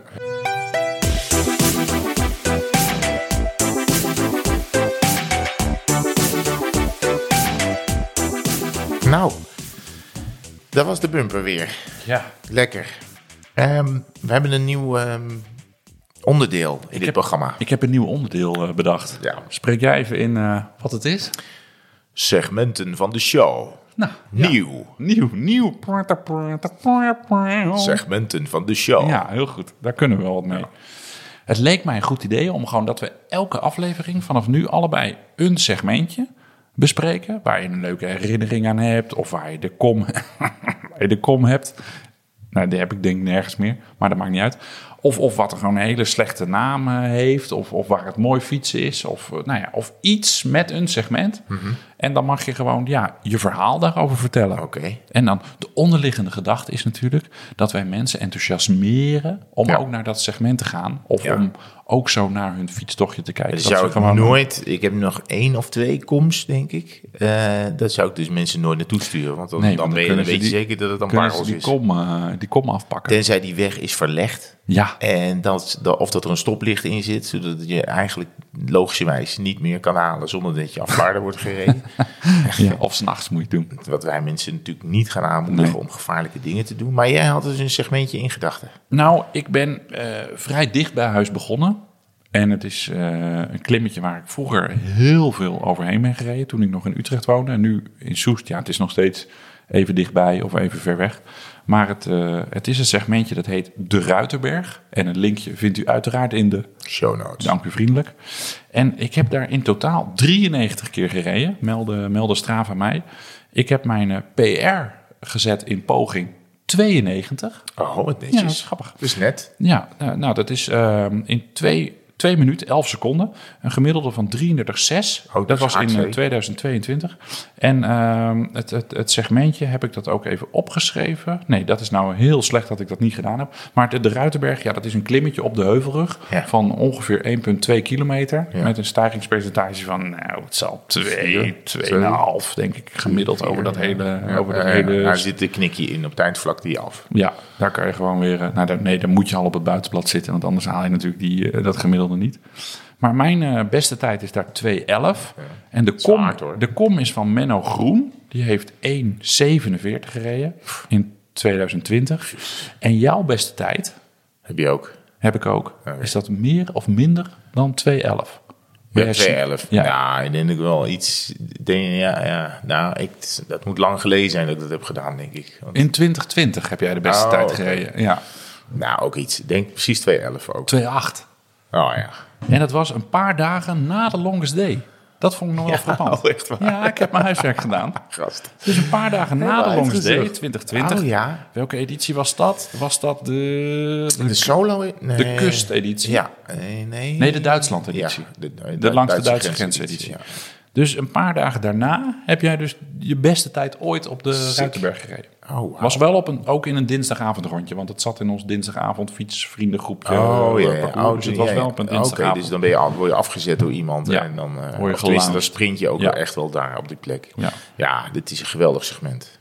B: Nou, dat was de bumper weer.
A: Ja,
B: Lekker. Ehm, we hebben een nieuw ehm, onderdeel in dit
A: heb-
B: programma.
A: ik heb een nieuw onderdeel eh, bedacht.
B: Ja.
A: Spreek jij even in eh, wat het is?
B: Segmenten van de show.
A: Nou,
B: Nieuw.
A: nieuw, nieuw.
B: Segmenten van de show.
A: Ja, heel goed. Daar kunnen we wel wat mee. Het leek mij een goed idee om gewoon dat we elke aflevering vanaf nu allebei een segmentje bespreken. Waar je een leuke herinnering aan hebt. Of waar je de kom, waar je de kom hebt. Nou, die heb ik denk ik nergens meer. Maar dat maakt niet uit. Of, of wat er gewoon een hele slechte naam eh, heeft. Of, of waar het mooi fietsen is. Of, eh, nou ja, of iets met een segment. En dan mag je gewoon ja, je verhaal daarover vertellen.
B: Oké.
A: En dan de onderliggende gedachte is natuurlijk dat wij mensen enthousiasmeren om
B: Ja.
A: ook naar dat segment te gaan. Of
B: Ja. Dus
A: om ook zo naar hun fietstochtje te kijken.
B: Dat
A: ze
B: zou ik
A: gewoon-
B: nooit... Ik heb nog één of twee komst, denk ik. Eh dat zou ik dus mensen nooit naartoe sturen. Want dan,
A: Nee,
B: dan,
A: want dan
B: weet- dan
A: kunnen
B: weet
A: ze
B: je
A: die-
B: zeker dat het een
A: kunnen ze
B: parels
A: die
B: is.
A: kom, eh, die kom afpakken.
B: Tenzij die weg is verlegd.
A: Ja,
B: En dat, dat- of dat er een stoplicht in zit, zodat je eigenlijk logischerwijs niet meer kan halen zonder dat je afvaarder wordt gereden.
A: ja. of s'nachts moet je het doen.
B: Wat wij mensen natuurlijk niet gaan aanmoedigen
A: Nee.
B: om gevaarlijke dingen te doen. Maar jij had dus een segmentje in gedachten.
A: Nou, ik ben eh, vrij dicht bij huis begonnen. En het is eh, een klimmetje waar ik vroeger heel veel overheen ben gereden. Toen ik nog in Utrecht woonde. En nu in Soest. Ja, het is nog steeds even dichtbij of even ver weg. Maar het, eh, het is een segmentje dat heet De Ruiterberg. En het linkje vindt u uiteraard in de
B: Show notes.
A: Dank u vriendelijk. En ik heb daar in totaal 93 keer gereden, meldde, meldde Strava mij. Ik heb mijn eh, PR gezet in poging 92.
B: Oh, wat
A: Ja, dat is
B: netjes.
A: grappig.
B: dus net.
A: Ja, nou, nou, dat is ehm, in 2, 2 minuten 11 seconden. Een gemiddelde van 33,6.
B: Oh, dat
A: dat
B: is
A: was in
B: hard,
A: eh,
B: hè?
A: 2022. En ehm, het, het, het segmentje heb ik dat ook even opgeschreven. Nee, dat is nou heel slecht dat ik dat niet gedaan heb. Maar de, de Ruitenberg, ja, dat is een klimmetje op de heuvelrug.
B: Ja.
A: Van ongeveer 1,2 kilometer.
B: Ja.
A: Met een stijgingspercentage van, nou, het zal 2,
B: Vier, twee.
A: 2,5 denk ik gemiddeld over dat hele, over dat
B: Eh,
A: hele
B: Daar zit een knikje in op het eind die af.
A: ja, daar kan je gewoon weer. eh, Nou, daar- nee, dan moet je al op het buitenblad zitten, want anders haal je natuurlijk die, eh, dat gemiddelde niet. Maar mijn eh, beste tijd is daar 2.11. En de kom,
B: hard, hoor.
A: de kom is van Menno Groen. Die heeft 1.47 gereden in 2020. En jouw beste tijd
B: Heb je ook.
A: heb ik ook. Is dat meer of minder dan 2.11? Ben
B: Ja,
A: jij ziek?
B: 2011.
A: Ja.
B: Ja. ik denk ik wel iets. Denk, ja, ja. Nou, ik, dat moet lang geleden zijn dat ik dat heb gedaan, denk ik. Want-
A: In 2020 heb jij de beste
B: Oh,
A: tijd
B: oké.
A: gereden. Ja,
B: nou, ook iets. Denk precies 211 ook.
A: 2,8.
B: Oh ja.
A: En dat was een paar dagen na de longest day. Dat vond ik nog wel frappant.
B: oh, echt waar?
A: Ja, ik heb mijn huiswerk gedaan.
B: Gast.
A: Dus een paar dagen na de
B: Helemaal
A: longest day,
B: uitgezocht.
A: 2020.
B: Oh ja.
A: Welke editie was dat? Was dat de... de-
B: De solo... Nee.
A: De kusteditie.
B: Ja. Nee. Nee,
A: nee, de Duitsland-editie.
B: Ja, de, de,
A: de langste Duitse
B: grenseditie,
A: grenseditie. Dus een paar dagen daarna heb jij dus je beste tijd ooit op de
B: Sick.
A: Ruitenberg gereden.
B: ja. Oh,
A: Was wel op een, ook in een dinsdagavondrondje, want het zat in ons dinsdagavond fietsvriendengroepje.
B: Oh
A: eh,
B: ja, ja.
A: parcours.
B: Oh,
A: dus het was
B: ja, ja.
A: wel op een
B: Oké,
A: dinsdagavond.
B: dus dan ben je, al- word je afgezet door iemand
A: Ja.
B: en dan eh,
A: Word je
B: of tenminste,
A: gelaan.
B: dan sprint je ook
A: Ja.
B: wel echt wel daar op die plek.
A: Ja.
B: dit is een geweldig segment.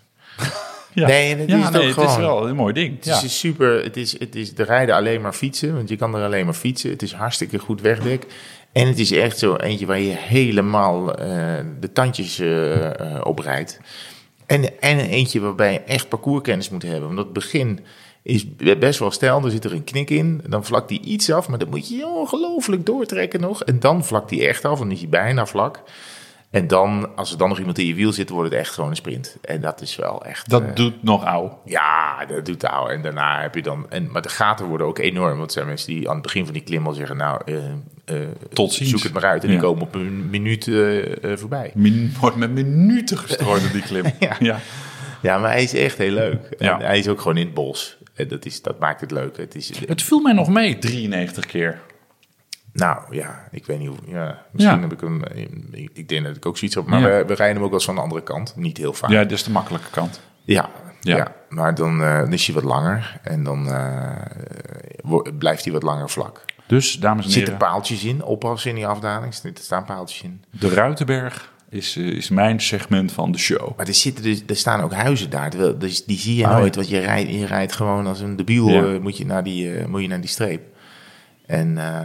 A: ja.
B: Nee, dat
A: Ja,
B: is het
A: nee,
B: ook
A: het
B: gewoon.
A: is wel een mooi ding.
B: Het
A: Ja.
B: is super, het is, het is de rijden alleen maar fietsen, want je kan er alleen maar fietsen. Het is hartstikke goed wegdek. En het is echt zo eentje waar je helemaal eh, de tandjes eh, eh, op rijdt. En, en eentje waarbij je echt parcourskennis moet hebben. Want het begin is be- best wel stijl, er zit er een knik in. Dan vlakt die iets af, maar dan moet je ongelooflijk doortrekken nog. En dan vlakt die echt af, en dan is hij bijna vlak. En dan, als er dan nog iemand in je wiel zit, wordt het echt gewoon een sprint. En dat is wel echt...
A: Dat
B: eh,
A: doet nog ouw.
B: ja, dat doet de oude. En daarna heb je dan. En, maar de gaten worden ook enorm. Want er zijn mensen die aan het begin van die klim al zeggen: Nou, eh, eh,
A: Tot ziens.
B: zoek het maar uit. En die
A: Ja.
B: komen op een minuut eh, eh, voorbij.
A: Min, wordt met minuten gestrooid op die klim.
B: Ja.
A: ja.
B: Ja, maar hij is echt heel leuk. En
A: Ja.
B: hij is ook gewoon in het bos. En dat, is, dat maakt het leuk. Het is,
A: Het viel mij nog mee, 93 keer.
B: nou ja, ik weet niet hoe. Ja, misschien
A: Ja.
B: heb ik hem. eh, Ik, ik denk dat ik ook zoiets heb. Maar
A: Ja.
B: we, we rijden hem ook wel eens van de andere kant. Niet heel vaak.
A: Ja, dat is de makkelijke kant.
B: Ja,
A: Ja.
B: ja. maar dan, eh, dan is hij wat langer. En dan eh, wo- blijft hij wat langer vlak.
A: Dus, dames en
B: Er zitten
A: heren,
B: paaltjes in, oppassen in die afdaling. Er staan paaltjes in.
A: de Ruitenberg is, eh, is mijn segment van de show.
B: Maar er, zitten dus, er staan ook huizen daar. terwijl- Dus die zie je
A: Oh,
B: nooit, want je rijdt, je rijdt gewoon als een debiel.
A: Ja.
B: eh, moet, je naar die, eh, moet je naar die streep. En eh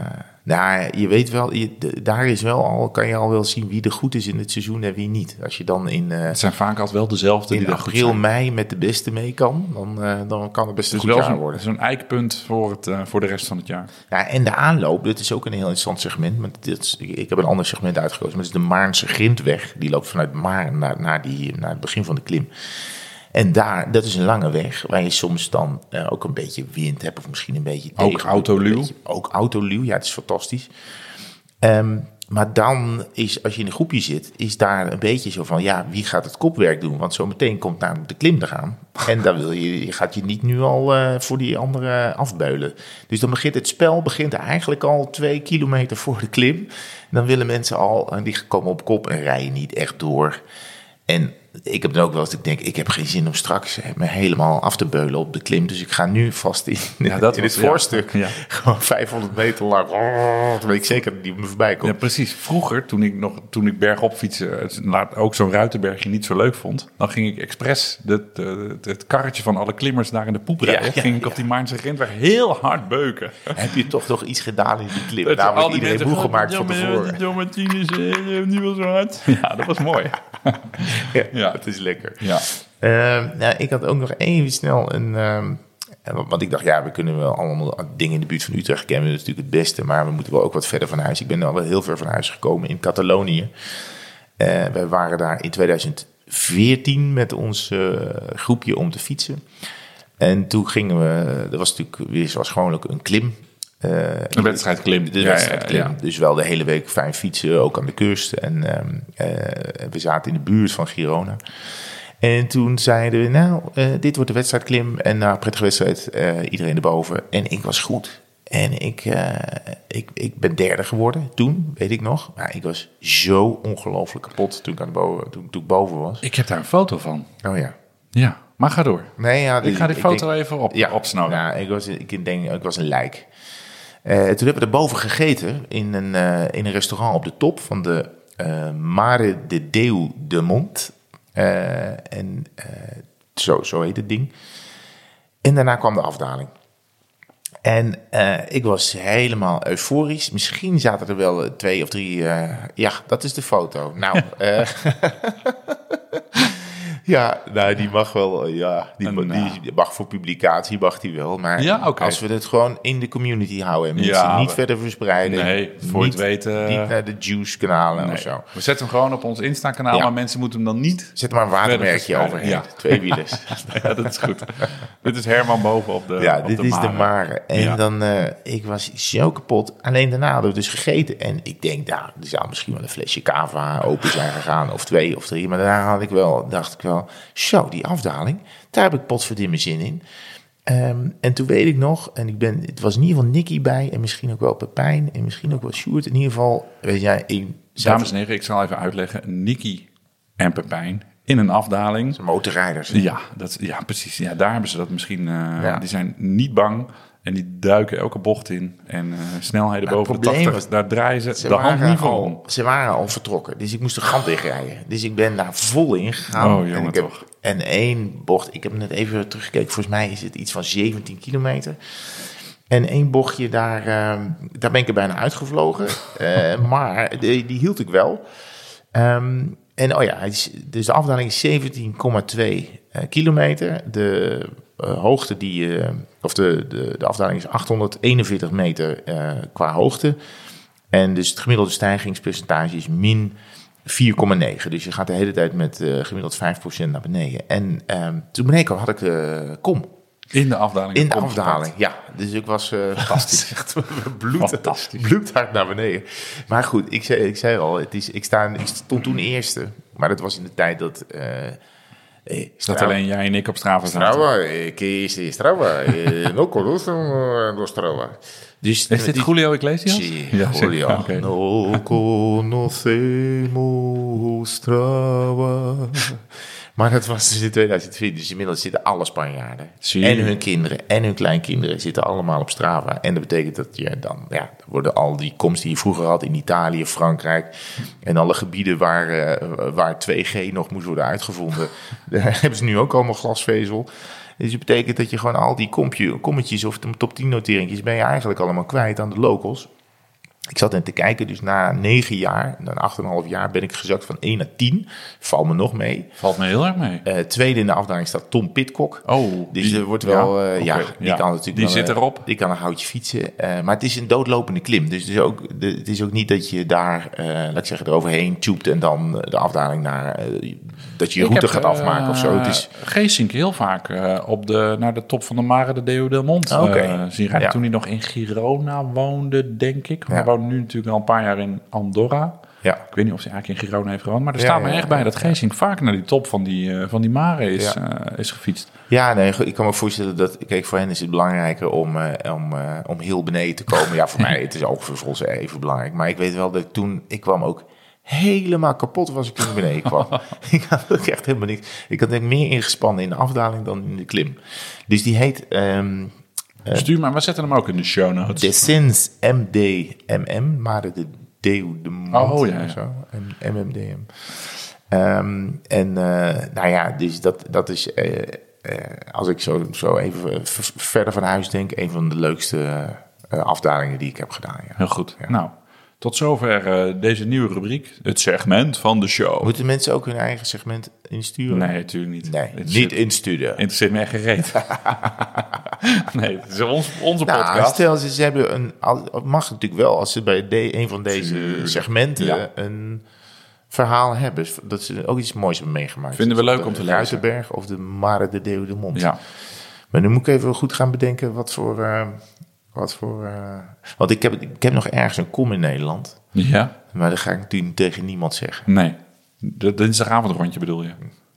B: daar, je weet wel, je, de- daar is wel al, kan je al wel zien wie er goed is in het seizoen en wie niet. Als je dan in, eh,
A: Het zijn vaak altijd wel dezelfde
B: in
A: die daar goed
B: april,
A: zijn.
B: mei met de beste mee kan, dan, eh, dan kan het best een
A: Het is wel
B: goed jaar
A: zo'n-
B: worden.
A: zo'n eikpunt voor, het, eh, voor de rest van het jaar.
B: Ja, en de aanloop, dat is ook een heel interessant segment. Want dit is- ik ik heb een ander segment uitgekozen. Maar het is de Maarnse Grindweg. Die loopt vanuit Maarn naar, naar, die, naar het begin van de klim. En daar, dat is een lange weg waar je soms dan eh, ook een beetje wind hebt. Of misschien een beetje
A: Ook
B: tegen.
A: autoluw.
B: Een beetje- Ook autoluw, ja, het is fantastisch. Ehm, maar dan is, als je in een groepje zit, is daar een beetje zo van... ja, wie gaat het kopwerk doen? Want zometeen komt namelijk de klim eraan. En dan wil je, je gaat je niet nu al eh, voor die andere afbeulen. Dus dan begint het spel begint eigenlijk al twee kilometer voor de klim. Dan willen mensen al, en die komen op kop en rijden niet echt door. En ik heb dan ook wel eens, dat ik denk, ik heb geen zin om straks eh, me helemaal af te beulen op de klim. Dus ik ga nu vast in,
A: dat
B: in
A: was-
B: het
A: ja.
B: voorstuk.
A: Ja.
B: Gewoon 500 meter lang. Dat weet ik zeker dat die me voorbij komt.
A: Ja, precies. Vroeger, toen ik, nog, toen ik bergop fietsen, het- laat ook zo'n Ruitenbergje niet zo leuk vond, dan ging ik expres de, de- het karretje van alle klimmers daar in de poep rijden.
B: Ja, ja,
A: ging ik op die Maarnse Grindweg heel hard beuken.
B: Heb je toch nog iets gedaan in die klim?
A: Dat
B: Daar
A: al
B: wordt
A: die
B: iedereen
A: mensen
B: moe gemaakt van
A: "Ja, maar,
B: tevoren.
A: Die Don Martinez, eh, die was zo hard. Ja, dat was mooi. Ja.
B: Ja, het is lekker.
A: Ja.
B: Ehm, nou, ik had ook nog even snel een. ehm, want want ik dacht, ja, we kunnen wel allemaal dingen in de buurt van Utrecht kennen. Dat is natuurlijk het beste. Maar we moeten wel ook wat verder van huis. Ik ben al wel heel ver van huis gekomen in Catalonië. Eh wij waren daar in 2014 met ons eh, groepje om te fietsen. En toen gingen we. Er was natuurlijk weer zoals gewoonlijk een klim. eh,
A: De wedstrijd klim.
B: de wedstrijd klim. Dus wel de hele week fijn fietsen, ook aan de kust. En ehm, eh, we zaten in de buurt van Girona. En toen zeiden we, nou, eh, dit wordt de wedstrijdklim. En na een prettige wedstrijd, eh, iedereen erboven. En ik was goed. En ik, eh, ik, ik ben derde geworden toen, weet ik nog. Maar ik was zo ongelooflijk kapot toen ik, aan de boven, toen, toen ik boven was.
A: Ik heb daar een foto van.
B: Oh ja.
A: Ja, maar ga door.
B: Nee, ja,
A: Ik ga die
B: denk-
A: foto even op, opsnauwen.
B: nou, ik, was, ik denk, ik was een lijk. Eh, toen hebben we erboven gegeten in een, eh, in een restaurant op de top van de eh, Mare de Déu de Mont. Eh, en eh, zo, zo heet het ding. En daarna kwam de afdaling. En eh, ik was helemaal euforisch. Misschien zaten er wel eh, twee of drie. eh, ja, dat is de foto. Nou, eh, Ja, nou, die mag wel, ja, die,
A: Een, eh,
B: ma- die, mag voor publicatie, mag die wel. Maar
A: Ja, oké.
B: als we het gewoon in de community houden en mensen
A: Ja,
B: niet
A: we-
B: verder verspreiden.
A: Nee, voor
B: niet,
A: het weten, eh,
B: Niet naar de juice kanalen
A: Nee.
B: of zo.
A: We zetten hem gewoon op ons Insta-kanaal,
B: Ja.
A: maar mensen moeten hem dan niet.
B: Zet er maar een watermerkje
A: verspreiden,
B: overheen.
A: ja.
B: Twee wielers.
A: ja, dat is goed. dit is Herman boven op de.
B: ja,
A: eh, op
B: dit is de
A: mare.
B: mare. En
A: Ja.
B: dan, eh, ik was zo kapot. Alleen daarna hadden we dus gegeten. En ik denk, nou, er zou misschien wel een flesje cava open zijn gegaan. Of twee of drie. Maar daarna had ik wel, dacht ik wel, zo, die afdaling. Daar heb ik potverdimme zin in. Ehm, en toen weet ik nog, en ik ben, het was in ieder geval Nicky bij. En misschien ook wel Pepijn. En misschien ook wel Sjoerd. In ieder geval, weet jij, ik zat-
A: Dames en heren, ik zal even uitleggen. Nicky en Pepijn in een afdaling.
B: motorrijders.
A: Ja, dat, ja precies. Ja, daar hebben ze dat misschien. eh,
B: Ja.
A: Die zijn niet bang. En die duiken elke bocht in. En eh, snelheden
B: Maar Nou, het
A: boven de
B: probleem
A: 80.
B: was-
A: daar draaien ze,
B: Ze
A: de hand
B: waren
A: niet voor om.
B: al, Ze waren al vertrokken, dus ik moest de gat dichtrijden. Dus ik ben daar vol in gegaan.
A: Oh, jongen,
B: en, ik heb,
A: toch.
B: en één bocht, ik heb net even teruggekeken, volgens mij is het iets van 17 kilometer. En één bochtje, daar, ehm, daar ben ik er bijna uitgevlogen. Eh, maar die, die hield ik wel. Ehm, en oh ja, hij is- dus de afdaling is 17,2 eh, kilometer. De eh, hoogte die, eh, of de, de, de afdaling is 841 meter eh, qua hoogte. En dus het gemiddelde stijgingspercentage is min 4,9. Dus je gaat de hele tijd met eh, gemiddeld 5% naar beneden. En ehm, toen beneden kwam, had ik de kom.
A: In de afdaling.
B: In de
A: komt het.
B: afdaling, ja. Dus ik was eh fantastisch. Echt bloed,
A: Fantastisch.
B: bloed hard naar beneden. Maar goed, ik zei, ik zei al, het is, ik, sta, ik stond toen eerste. Maar dat was in de tijd dat... eh, eh,
A: Dat
B: Strava-
A: alleen jij en ik op Strava zaten.
B: Strava, eh, que es Strava, eh, no conozco eh, los Strava. Dus,
A: Is dit
B: die-
A: Julio Iglesias?
B: Sí,
A: zeker. Ah,
B: Julio.
A: Oké.
B: No conocemos Trava. Maar dat was dus in 2004. Dus inmiddels zitten alle Spanjaarden.
A: Zie je.
B: En hun kinderen en hun kleinkinderen zitten allemaal op Strava. En dat betekent dat je dan, ja, dan worden al die komsten die je vroeger had in Italië, Frankrijk. en alle gebieden waar, eh, waar 2G nog moest worden uitgevonden. daar hebben ze nu ook allemaal glasvezel. Dus dat betekent dat je gewoon al die kompje, kommetjes of top 10 noteringjes. ben je eigenlijk allemaal kwijt aan de locals. Ik zat net te kijken, dus na negen jaar, na 8,5 jaar ben ik gezakt van 1 naar 10. Val me nog mee.
A: Valt me heel erg mee.
B: Eh, tweede in de afdaling staat Tom Pitcock.
A: Oh,
B: dus
A: die-
B: er wordt wel,
A: ja,
B: eh, ja,
A: oké,
B: die
A: ja.
B: kan natuurlijk
A: Die
B: wel,
A: zit
B: eh,
A: erop.
B: Die kan een houtje fietsen. eh, maar het is een doodlopende klim. Dus het is ook, de, het is ook niet dat je daar, eh, laat ik zeggen, eroverheen tubet en dan eh, de afdaling naar, eh, dat je je
A: Ik
B: route
A: heb,
B: gaat afmaken of zo. Het
A: eh,
B: is,
A: Geesink heel vaak eh, op de, naar de top van de Mare de Deo del Mont
B: Ah, oké.
A: eh, zien rijden.
B: Ja.
A: Toen hij nog in Girona woonde, denk ik. Maar
B: Ja.
A: Hij woont nu natuurlijk al een paar jaar in Andorra.
B: ja.
A: Ik weet niet of hij eigenlijk in Girona heeft gewoond. Maar er
B: Ja,
A: staat me
B: ja,
A: echt
B: ja,
A: bij dat Geesink vaak naar die top van die, eh, van die Mare is, eh, is gefietst.
B: Ja, nee, goed, ik kan me voorstellen dat, kijk, voor hen is het belangrijker om, eh, om, eh, om heel beneden te komen. Ja, voor mij, het is ook voor ons even belangrijk. Maar ik weet wel dat ik toen, ik kwam ook helemaal kapot was ik toen ik beneden kwam. ik had ook echt helemaal niks. Ik had denk ik meer ingespannen in de afdaling dan in de klim. Dus die heet ehm
A: Stuur Dus maar, we zetten hem ook in de show notes.
B: Descens MDMM, maar de Deo de Mont
A: Oh, ja, ja.
B: of zo. M- MMDM. Ehm, en eh, nou ja, dus dat, dat is, eh, eh, als ik zo, zo even v- verder van huis denk, een van de leukste eh, afdalingen die ik heb gedaan. Ja.
A: Heel goed. Nou, tot zover eh, deze nieuwe rubriek. Het segment van de show.
B: Moeten mensen ook hun eigen segment insturen?
A: Nee, natuurlijk niet.
B: Nee,
A: Het
B: niet
A: zit-
B: insturen.
A: Interesseert me echt gereed. nee, het is ons, onze
B: Nou,
A: podcast.
B: stel ze, ze hebben een. al- Mag natuurlijk wel als ze bij de, een van deze segmenten
A: Ja.
B: een verhaal hebben. Dat ze ook iets moois hebben meegemaakt.
A: Vinden we leuk om te
B: De
A: lezen.
B: Ruitenberg of de Mare de Deu de Mont.
A: Ja,
B: Maar nu moet ik even goed gaan bedenken wat voor. eh, wat voor eh, want ik heb, ik heb nog ergens een kom in Nederland.
A: ja,
B: Maar dat ga ik natuurlijk tegen niemand zeggen.
A: nee. De dinsdagavondrondje bedoel je?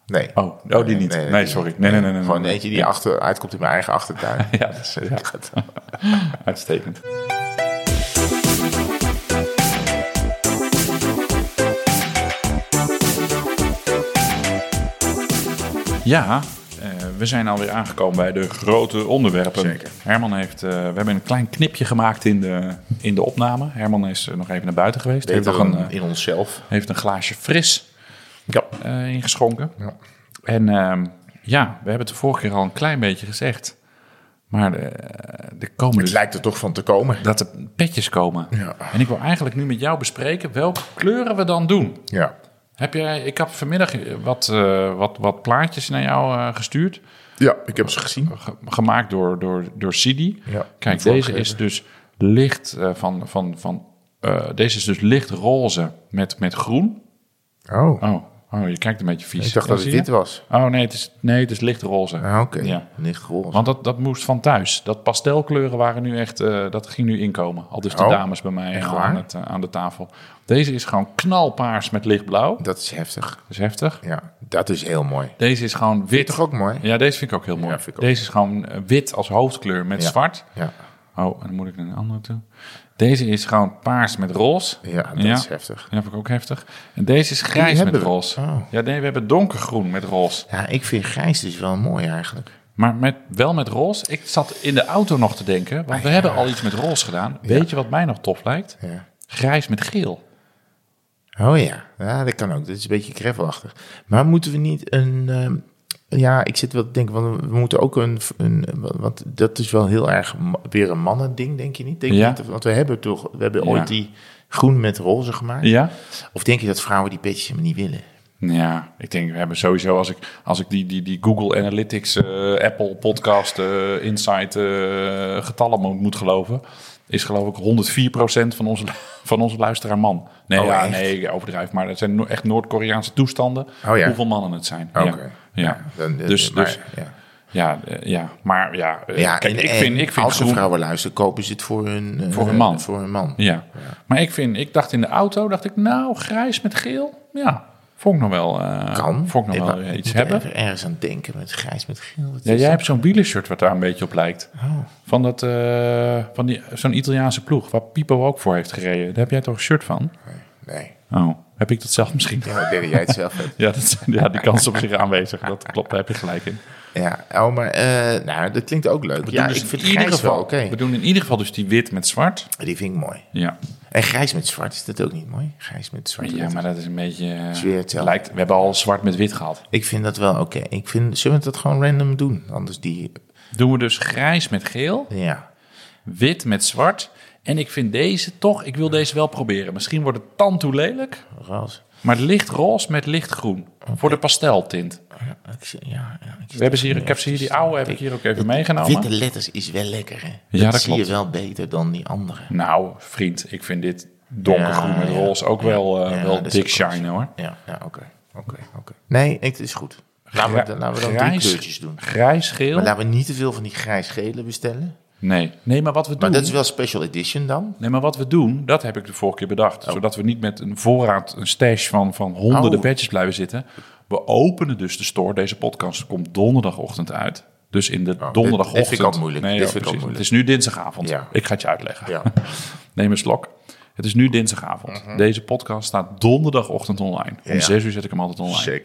B: Nee.
A: Oh, oh die niet. Nee,
B: die niet.
A: sorry. Nee, nee, nee. nee,
B: Gewoon
A: nee.
B: eentje die achter, uitkomt in mijn eigen achtertuin.
A: Ja, dat is- ja. Uitstekend. Ja, eh, we zijn alweer aangekomen bij de grote onderwerpen.
B: Zeker.
A: Herman heeft, eh, we hebben een klein knipje gemaakt in de, in de opname. Herman is eh, nog even naar buiten geweest. Heeft nog
B: Beter
A: een,
B: dan
A: eh,
B: in onszelf.
A: heeft een glaasje fris
B: Ja.
A: eh, ingeschonken.
B: Ja.
A: En ehm, ja, we hebben het de vorige keer al een klein beetje gezegd. Maar eh, de, de komende
B: Het lijkt er toch van te komen.
A: dat er petjes komen.
B: Ja.
A: En ik wil eigenlijk nu met jou bespreken welke kleuren we dan doen.
B: Ja.
A: Heb jij, ik heb vanmiddag wat, eh, wat, wat plaatjes naar jou eh, gestuurd.
B: Ja, ik heb ze gezien.
A: Ge- gemaakt door, door, door Sidi.
B: Ja,
A: Kijk, deze
B: vormgever.
A: is dus licht eh, van. van, van eh, deze is dus licht roze met, met groen.
B: Oh,
A: Oh, oh, je kijkt een beetje vies.
B: ik dacht dat
A: Ja, zie
B: het
A: je?
B: dit was.
A: Oh nee, het is, nee, het is licht roze.
B: Ah, Oké,
A: Ja.
B: licht roze.
A: Want dat, dat moest van thuis. Dat pastelkleuren waren nu echt, eh, dat ging nu inkomen. Al dus de
B: Oh,
A: dames bij mij
B: echt
A: aan,
B: waar?
A: het, eh, aan de tafel. Deze is gewoon knalpaars met lichtblauw. Dat
B: Dat is heftig.
A: is heftig.
B: Ja, dat is heel mooi.
A: Deze is gewoon wit.
B: Toch ook mooi?
A: Ja, deze vind ik ook heel mooi.
B: vind ik ook.
A: Deze is gewoon eh, wit als hoofdkleur met
B: Ja.
A: zwart.
B: Ja,
A: Oh, en dan moet ik naar een andere toe. Deze is gewoon paars met roze.
B: ja dat
A: Ja.
B: is heftig.
A: Die heb ik ook heftig. En deze is grijs met
B: hebben we.
A: roze.
B: Oh.
A: Ja, nee, we hebben donkergroen met roze.
B: Ja, ik vind grijs dus wel mooi eigenlijk.
A: Maar met, wel met roze. Ik zat in de auto nog te denken,
B: Ah
A: want we hebben al iets met roze gedaan. Weet je wat mij nog tof lijkt?
B: Ja.
A: Grijs met geel.
B: Oh ja. ja, dat kan ook. Dat is een beetje crevelachtig. Maar moeten we niet een... ehm, ja, ik zit wel te denken, want we moeten ook een... een want dat is wel heel erg ma- weer een mannending, denk je niet? Denk je
A: Ja.
B: niet? Want we hebben toch... We hebben
A: Ja.
B: ooit die groen met roze gemaakt.
A: Ja?
B: Of denk je dat vrouwen die petjes helemaal niet willen?
A: Ja, ik denk, we hebben sowieso, als ik, als ik die, die, die Google Analytics, eh, Apple Podcast, eh, Insight eh, getallen mo- moet geloven, is geloof ik 104% van onze, van onze luisteraar man. Nee,
B: Oh,
A: ja,
B: echt?
A: nee, ik overdrijf, maar dat zijn no- echt Noord-Koreaanse toestanden,
B: Oh, ja.
A: hoeveel mannen het zijn.
B: Oké.
A: Ja, ja.
B: Dan, eh,
A: dus,
B: maar,
A: dus
B: ja.
A: ja, eh, ja, maar ja, eh,
B: Ja,
A: kijk,
B: en-
A: ik
B: en
A: vind, ik vind
B: als de
A: groen-
B: vrouwen luisteren, kopen ze het voor hun, eh,
A: Voor hun man.
B: Voor hun man.
A: Ja. maar ik vind, ik dacht in de auto, dacht ik, nou, grijs met geel, ja, vond ik nog wel, eh,
B: Kan.
A: vond ik nog
B: maar
A: wel
B: ik
A: iets
B: moet
A: hebben.
B: even ergens aan denken met grijs, met geel. Wat
A: Ja,
B: is
A: jij
B: dat?
A: hebt zo'n wielershirt wat daar een beetje op lijkt.
B: Oh.
A: Van, dat, eh, van die, zo'n Italiaanse ploeg, waar Pipo ook voor heeft gereden. Daar heb jij toch een shirt van?
B: Nee.
A: Oh, heb ik dat zelf misschien?
B: Ja, ik denk dat jij het zelf hebt.
A: Ja, dat, zijn- ja die kans is op zich aanwezig. Dat klopt, daar heb je gelijk in.
B: Ja, oh, maar eh, nou, dat klinkt ook leuk. Ja,
A: Dus
B: ik vind grijs
A: geval,
B: wel oké.
A: We doen in ieder geval dus die wit met zwart.
B: Die vind ik mooi.
A: Ja,
B: En grijs met zwart, is dat ook niet mooi? Grijs met zwart.
A: ja maar dat is een beetje... eh,
B: Is weer hetzelfde.
A: lijkt, we hebben al zwart met wit gehad.
B: Ik vind dat wel oké. Ik vind, zullen we dat gewoon random doen? Anders die,
A: Doen we dus grijs met geel,
B: ja.
A: wit met zwart. En ik vind deze toch, ik wil deze wel proberen. Misschien wordt het tantoe lelijk,
B: Roze.
A: Maar licht roze met licht groen. Voor de pasteltint.
B: Ja, ik, zie- ja, ja, ik zie
A: We hebben ze
B: dat
A: hier, ik heb ze hier, die oude heb ik hier ook even meegenomen.
B: Witte letters is wel lekker, hè?
A: Ja, dat
B: zie
A: klopt.
B: je wel beter dan die andere.
A: Nou, vriend, ik vind dit donkergroen
B: Ja,
A: met
B: ja.
A: roze ook wel, eh,
B: Ja,
A: wel
B: dat is
A: dik
B: ook wel
A: shine hoor.
B: Ja, ja oké. oké, oké. Nee, het is goed. Laten we,
A: Gra-
B: laten we dan drie
A: grijs-
B: kleurtjes doen.
A: Grijs,
B: Maar
A: geel?
B: laten we niet te veel van die grijs-gele bestellen.
A: Nee. Nee, maar wat we
B: Maar
A: doen...
B: dat is wel special edition dan.
A: Nee, maar wat we doen, dat heb ik de vorige keer bedacht. Zodat we niet met een voorraad, een stash van, van honderden
B: Oh.
A: badges blijven zitten. We openen dus de store. Deze podcast komt donderdagochtend uit. Dus in de
B: Oh, dit-
A: donderdagochtend...
B: dit vind ik ook moeilijk.
A: Nee,
B: Dit
A: ja,
B: vind ik ook
A: precies. Het is
B: moeilijk.
A: nu dinsdagavond.
B: Ja.
A: Ik ga het je uitleggen.
B: Ja. Mhm.
A: Neem een slok. Het is nu dinsdagavond. Deze podcast staat donderdagochtend online. Om
B: Ja.
A: 6 uur zet ik hem altijd online.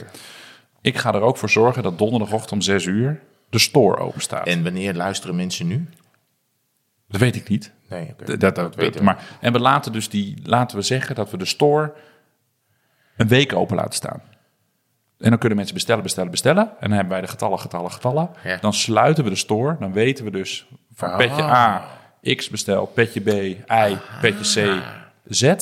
A: Ik ga er ook voor zorgen dat donderdagochtend om 6 uur de store open staat.
B: En wanneer luisteren mensen nu?
A: Dat weet ik niet.
B: Nee, oké.
A: Dat, dat,
B: weten we.
A: maar, en we laten dus die, laten we zeggen dat we de store een week open laten staan. En dan kunnen mensen bestellen, bestellen, bestellen. En dan hebben wij de getallen, getallen, getallen.
B: Ja.
A: Dan sluiten we de store. Dan weten we dus van
B: Ah.
A: petje A, X besteld, petje B, Y, petje C,
B: Ah.
A: Z.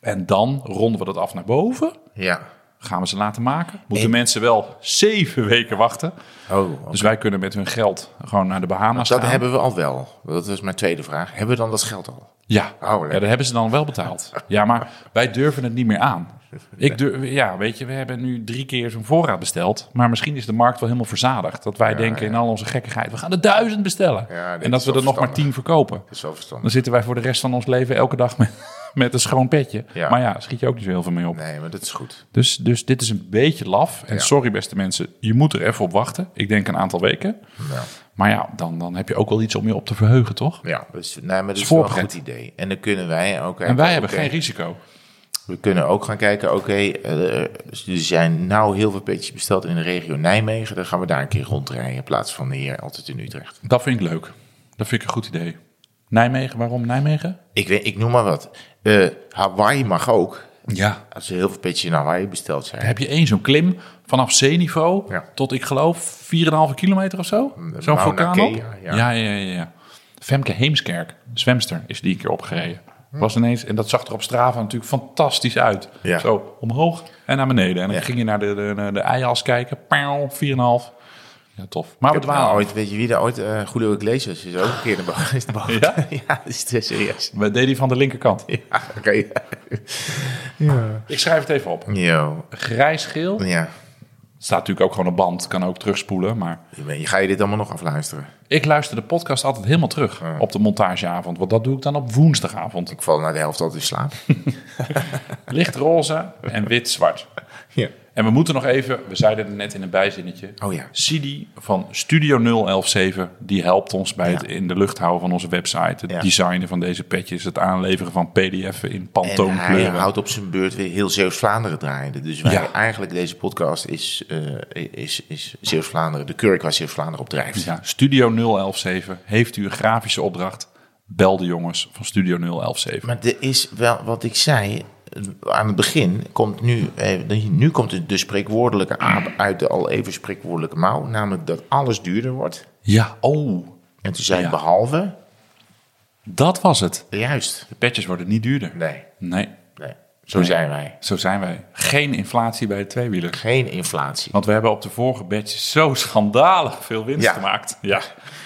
A: En dan ronden we dat af naar boven.
B: Ja.
A: Gaan we ze laten maken. Moeten mensen wel zeven weken wachten.
B: Oh, oké.
A: Dus wij kunnen met hun geld gewoon naar de Bahama's
B: Dus dat
A: gaan.
B: hebben we al wel. Dat is mijn tweede vraag. Hebben we dan dat geld al?
A: Ja.
B: Oh, leuk.
A: ja, dat hebben ze dan wel betaald. Ja, maar wij durven het niet meer aan. Ik durf, ja, weet je, we hebben nu drie keer zo'n voorraad besteld. Maar misschien is de markt wel helemaal verzadigd. Dat wij denken in al onze gekkigheid, we gaan er duizend bestellen.
B: Ja, dit
A: en dat
B: is
A: we er
B: wel
A: nog maar
B: verstandig.
A: tien verkopen.
B: Dat is wel verstandig.
A: Dan zitten wij voor de rest van ons leven elke dag met, met een schoon petje.
B: Ja.
A: Maar ja, schiet je ook niet zo heel veel mee op.
B: Nee, maar dat is goed.
A: Dus, dus dit is een beetje laf. En sorry beste mensen, je moet er even op wachten. Ik denk een aantal weken.
B: Ja.
A: Maar ja, dan, dan heb je ook wel iets om je op te verheugen, toch?
B: Ja, dus, nee, maar dat is wel een
A: Voorpret.
B: goed idee. En dan kunnen wij ook...
A: En wij hebben
B: oké,
A: geen risico.
B: We kunnen ook gaan kijken, oké, eh, er zijn nou heel veel petjes besteld in de regio Nijmegen. Dan gaan we daar een keer rondrijden in plaats van hier altijd in Utrecht.
A: Dat vind ik leuk. Dat vind ik een goed idee. Nijmegen, waarom Nijmegen?
B: Ik, weet, ik noem maar wat. Eh Hawaii mag ook.
A: Ja.
B: Als er heel veel petjes in Hawaii besteld zijn.
A: Heb je één zo'n klim vanaf zeeniveau
B: Ja.
A: tot, ik geloof, 4,5 kilometer of zo? Zo'n
B: Mauna
A: vulkaan op?
B: Kea, ja.
A: ja, ja, ja. ja. Femke Heemskerk, zwemster, is die een keer opgereden.
B: Hm.
A: Was ineens, en dat zag er op Strava natuurlijk fantastisch uit.
B: Ja.
A: Zo omhoog en naar beneden. En dan
B: Ja.
A: ging je naar de, de, de, de ijas kijken. Pauw, 4,5. Ja, tof. Maar we
B: Ik heb nou
A: dwalen.
B: ooit, weet je wie daar ooit, eh Julio Iglesias is ook een keer naar boven. Is naar boven.
A: Ja?
B: ja, dat is te serieus.
A: We deden die van de linkerkant.
B: Ja, oké. Ja.
A: Ik schrijf het even op.
B: Yo.
A: Grijs-geel.
B: Ja,
A: Staat natuurlijk ook gewoon op band. Kan ook terugspoelen. Maar
B: je weet- ga je dit allemaal nog afluisteren?
A: ik luister de podcast altijd helemaal terug. Op de montageavond. Want dat doe ik dan op woensdagavond.
B: Ik val naar de helft altijd in slaap.
A: Lichtroze en wit-zwart.
B: Ja.
A: En we moeten nog even, we zeiden het net in een bijzinnetje.
B: Oh ja.
A: Sidi van Studio 0117, die helpt ons bij
B: Ja.
A: het in de lucht houden van onze website. Het
B: Ja.
A: designen van deze petjes, het aanleveren van pdf'en in
B: En hij
A: pantoonkleuren.
B: houdt op zijn beurt weer heel Zeeuws-Vlaanderen draaiende. Dus wij,
A: Ja.
B: eigenlijk deze podcast is, eh, is, is Zeeuws-Vlaanderen, de kurk waar Zeeuws-Vlaanderen op drijft.
A: Ja, Studio 0117, heeft u een grafische opdracht? Bel de jongens van Studio 0117.
B: Maar er is wel wat ik zei eh, aan het begin. Komt nu, eh, nu komt de- de spreekwoordelijke aap uit de al even spreekwoordelijke mouw. Namelijk dat alles duurder wordt.
A: Ja, oh,
B: En toen zei ik
A: Ja.
B: behalve,
A: dat was het.
B: juist.
A: De petjes worden niet duurder.
B: Nee,
A: Nee,
B: nee. zo
A: Nee.
B: zijn wij.
A: zo zijn wij. Geen inflatie bij de tweewieler.
B: Geen inflatie.
A: Want we hebben op de vorige badges zo schandalig veel winst
B: Ja.
A: gemaakt. Ja.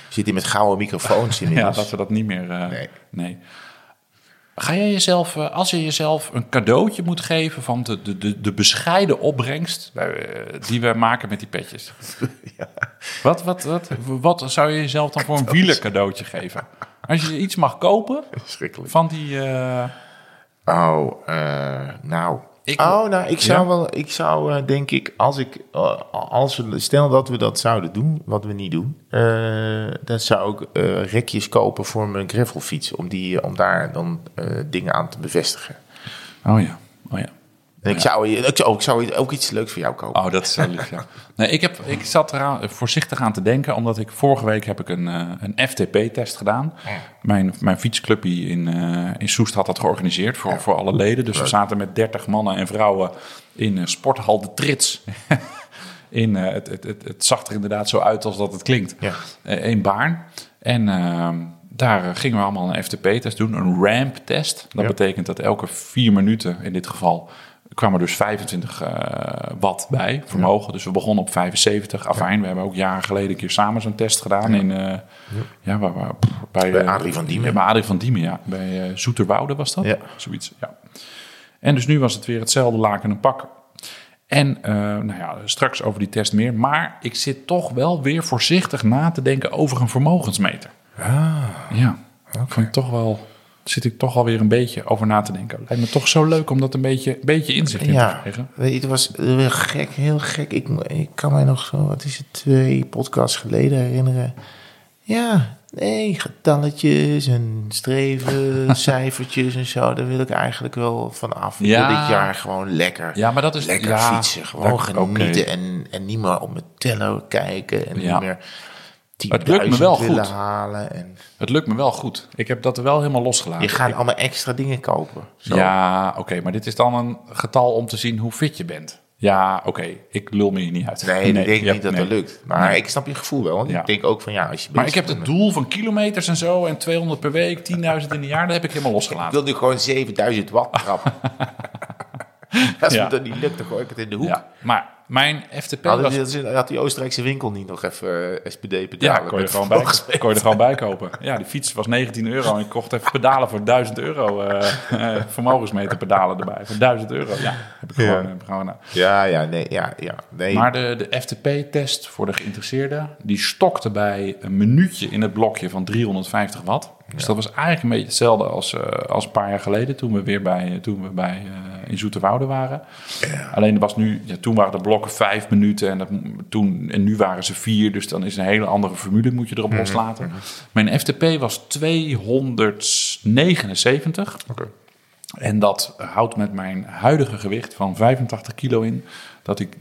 B: Zit hier met gouden microfoons
A: ja,
B: inmiddels.
A: dat we dat niet meer... eh,
B: Nee.
A: nee. Ga jij jezelf, eh, als je jezelf een cadeautje moet geven van de, de, de, de bescheiden opbrengst eh, die we maken met die petjes. Wat, wat, wat, wat zou je jezelf dan voor een wielercadeautje geven? Als je iets mag kopen
B: Schrikkelijk.
A: van die... eh,
B: Oh, eh, nou.
A: Ik-
B: oh, nou, ik zou
A: Ja?
B: wel, ik zou eh, denk ik, als ik, eh, als we, stel dat we dat zouden doen, wat we niet doen, eh, dan zou ik eh, rekjes kopen voor mijn gravelfiets, om, die, om daar dan eh, dingen aan te bevestigen.
A: Oh ja, oh ja.
B: En ik, zou, ik, zou, ik zou ook iets leuks voor jou kopen.
A: Oh, dat is zo lief, ja. Nee, ik, heb, ik zat er aan- voorzichtig aan te denken, omdat ik vorige week heb ik een, eh, een FTP-test gedaan. Mijn, mijn fietsclubje in, eh, in Soest had dat georganiseerd voor, voor alle leden. Dus we zaten met 30 mannen en vrouwen in eh, sporthal de Trits. in, eh, het, het, het, het zag er inderdaad zo uit als dat het klinkt.
B: Ja.
A: Eh, in Baarn. En ehm, daar eh, gingen we allemaal een FTP-test doen, een ramp-test. Dat
B: Ja.
A: betekent dat elke vier minuten in dit geval kwam er dus 25 eh, watt bij, vermogen. Dus we begonnen op 75. Afijn, we hebben ook jaren geleden een keer samen zo'n test gedaan in... eh, ja. waar, waar- pff, bij,
B: Bij
A: eh,
B: Adrie van Diemen.
A: Ja, bij Adrie van Diemen, ja. Bij eh, Zoeterwoude was dat?
B: Ja.
A: Zoiets, ja. En dus nu was het weer hetzelfde laken en pak. En eh, nou ja, straks over die test meer. Maar ik zit toch wel weer voorzichtig na te denken over een vermogensmeter.
B: Ah.
A: Ja, vond ik toch wel. Zit ik toch alweer een beetje over na te denken. Lijkt me toch zo leuk om dat een beetje, beetje inzicht in te
B: Ja,
A: krijgen.
B: weet je, het was heel gek, heel gek. Ik, ik kan mij nog, zo, wat is het, twee podcasts geleden herinneren. Ja, nee, getalletjes en streven, cijfertjes en zo. Daar wil ik eigenlijk wel van af. Ik
A: Ja.
B: wil dit jaar gewoon lekker,
A: Ja, maar dat is-
B: lekker
A: ja,
B: fietsen. Gewoon
A: dat- oké.
B: genieten en, en niet meer op mijn teller kijken. En
A: Ja.
B: niet meer
A: Het lukt me wel
B: 10.000 willen
A: goed.
B: halen. En
A: Het lukt me wel goed. Ik heb dat er wel helemaal losgelaten.
B: je gaat allemaal extra dingen kopen. Zo.
A: Ah, Ja, oké, maar dit is dan een getal om te zien hoe fit je bent. Ja, oké, ik lul me hier niet uit.
B: Nee, ik denk
A: ja,
B: niet dat
A: nee.
B: dat lukt. Maar
A: Nee.
B: ik snap je gevoel wel. Want
A: Ja.
B: ik denk ook van ja, als je
A: Maar ik
B: bezig
A: heb
B: bent
A: het
B: met-
A: doel van kilometers en zo en 200 per week, 10.000 in een jaar, dat heb ik helemaal
B: Ik
A: losgelaten.
B: wil nu gewoon 7000 watt trappen. Als
A: Ja.
B: me dat niet lukt, dan gooi ik het in de hoek.
A: Ja, maar mijn FTP
B: Hadden
A: was...
B: die- dat is- had die Oostenrijkse winkel niet nog even eh, SPD
A: Ja,
B: pedalen?
A: kon je, er
B: met
A: gewoon bij,
B: volgens-
A: kon je er gewoon bij kopen. Ja, die fiets was 19 euro en ik kocht even pedalen voor 1000 euro. eh, eh, vermogensmeter pedalen erbij voor 1000 euro. Ja, heb ik
B: Ja.
A: gewoon. heb ik gewoon, eh.
B: Ja, ja, nee, ja, ja, nee.
A: Maar de, de FTP-test voor de geïnteresseerden, die stokte bij een minuutje in het blokje van 350 watt. Dus dat was eigenlijk een beetje hetzelfde als, eh, als een paar jaar geleden toen we weer bij, toen we bij eh, in Zoeterwoude waren. Alleen er was nu, ja, toen waren de blokken vijf minuten en, dat, toen, en nu waren ze vier. Dus dan is een hele andere formule, moet je erop loslaten. Mijn FTP was 279. En dat houdt met mijn huidige gewicht van 85 kilo in dat ik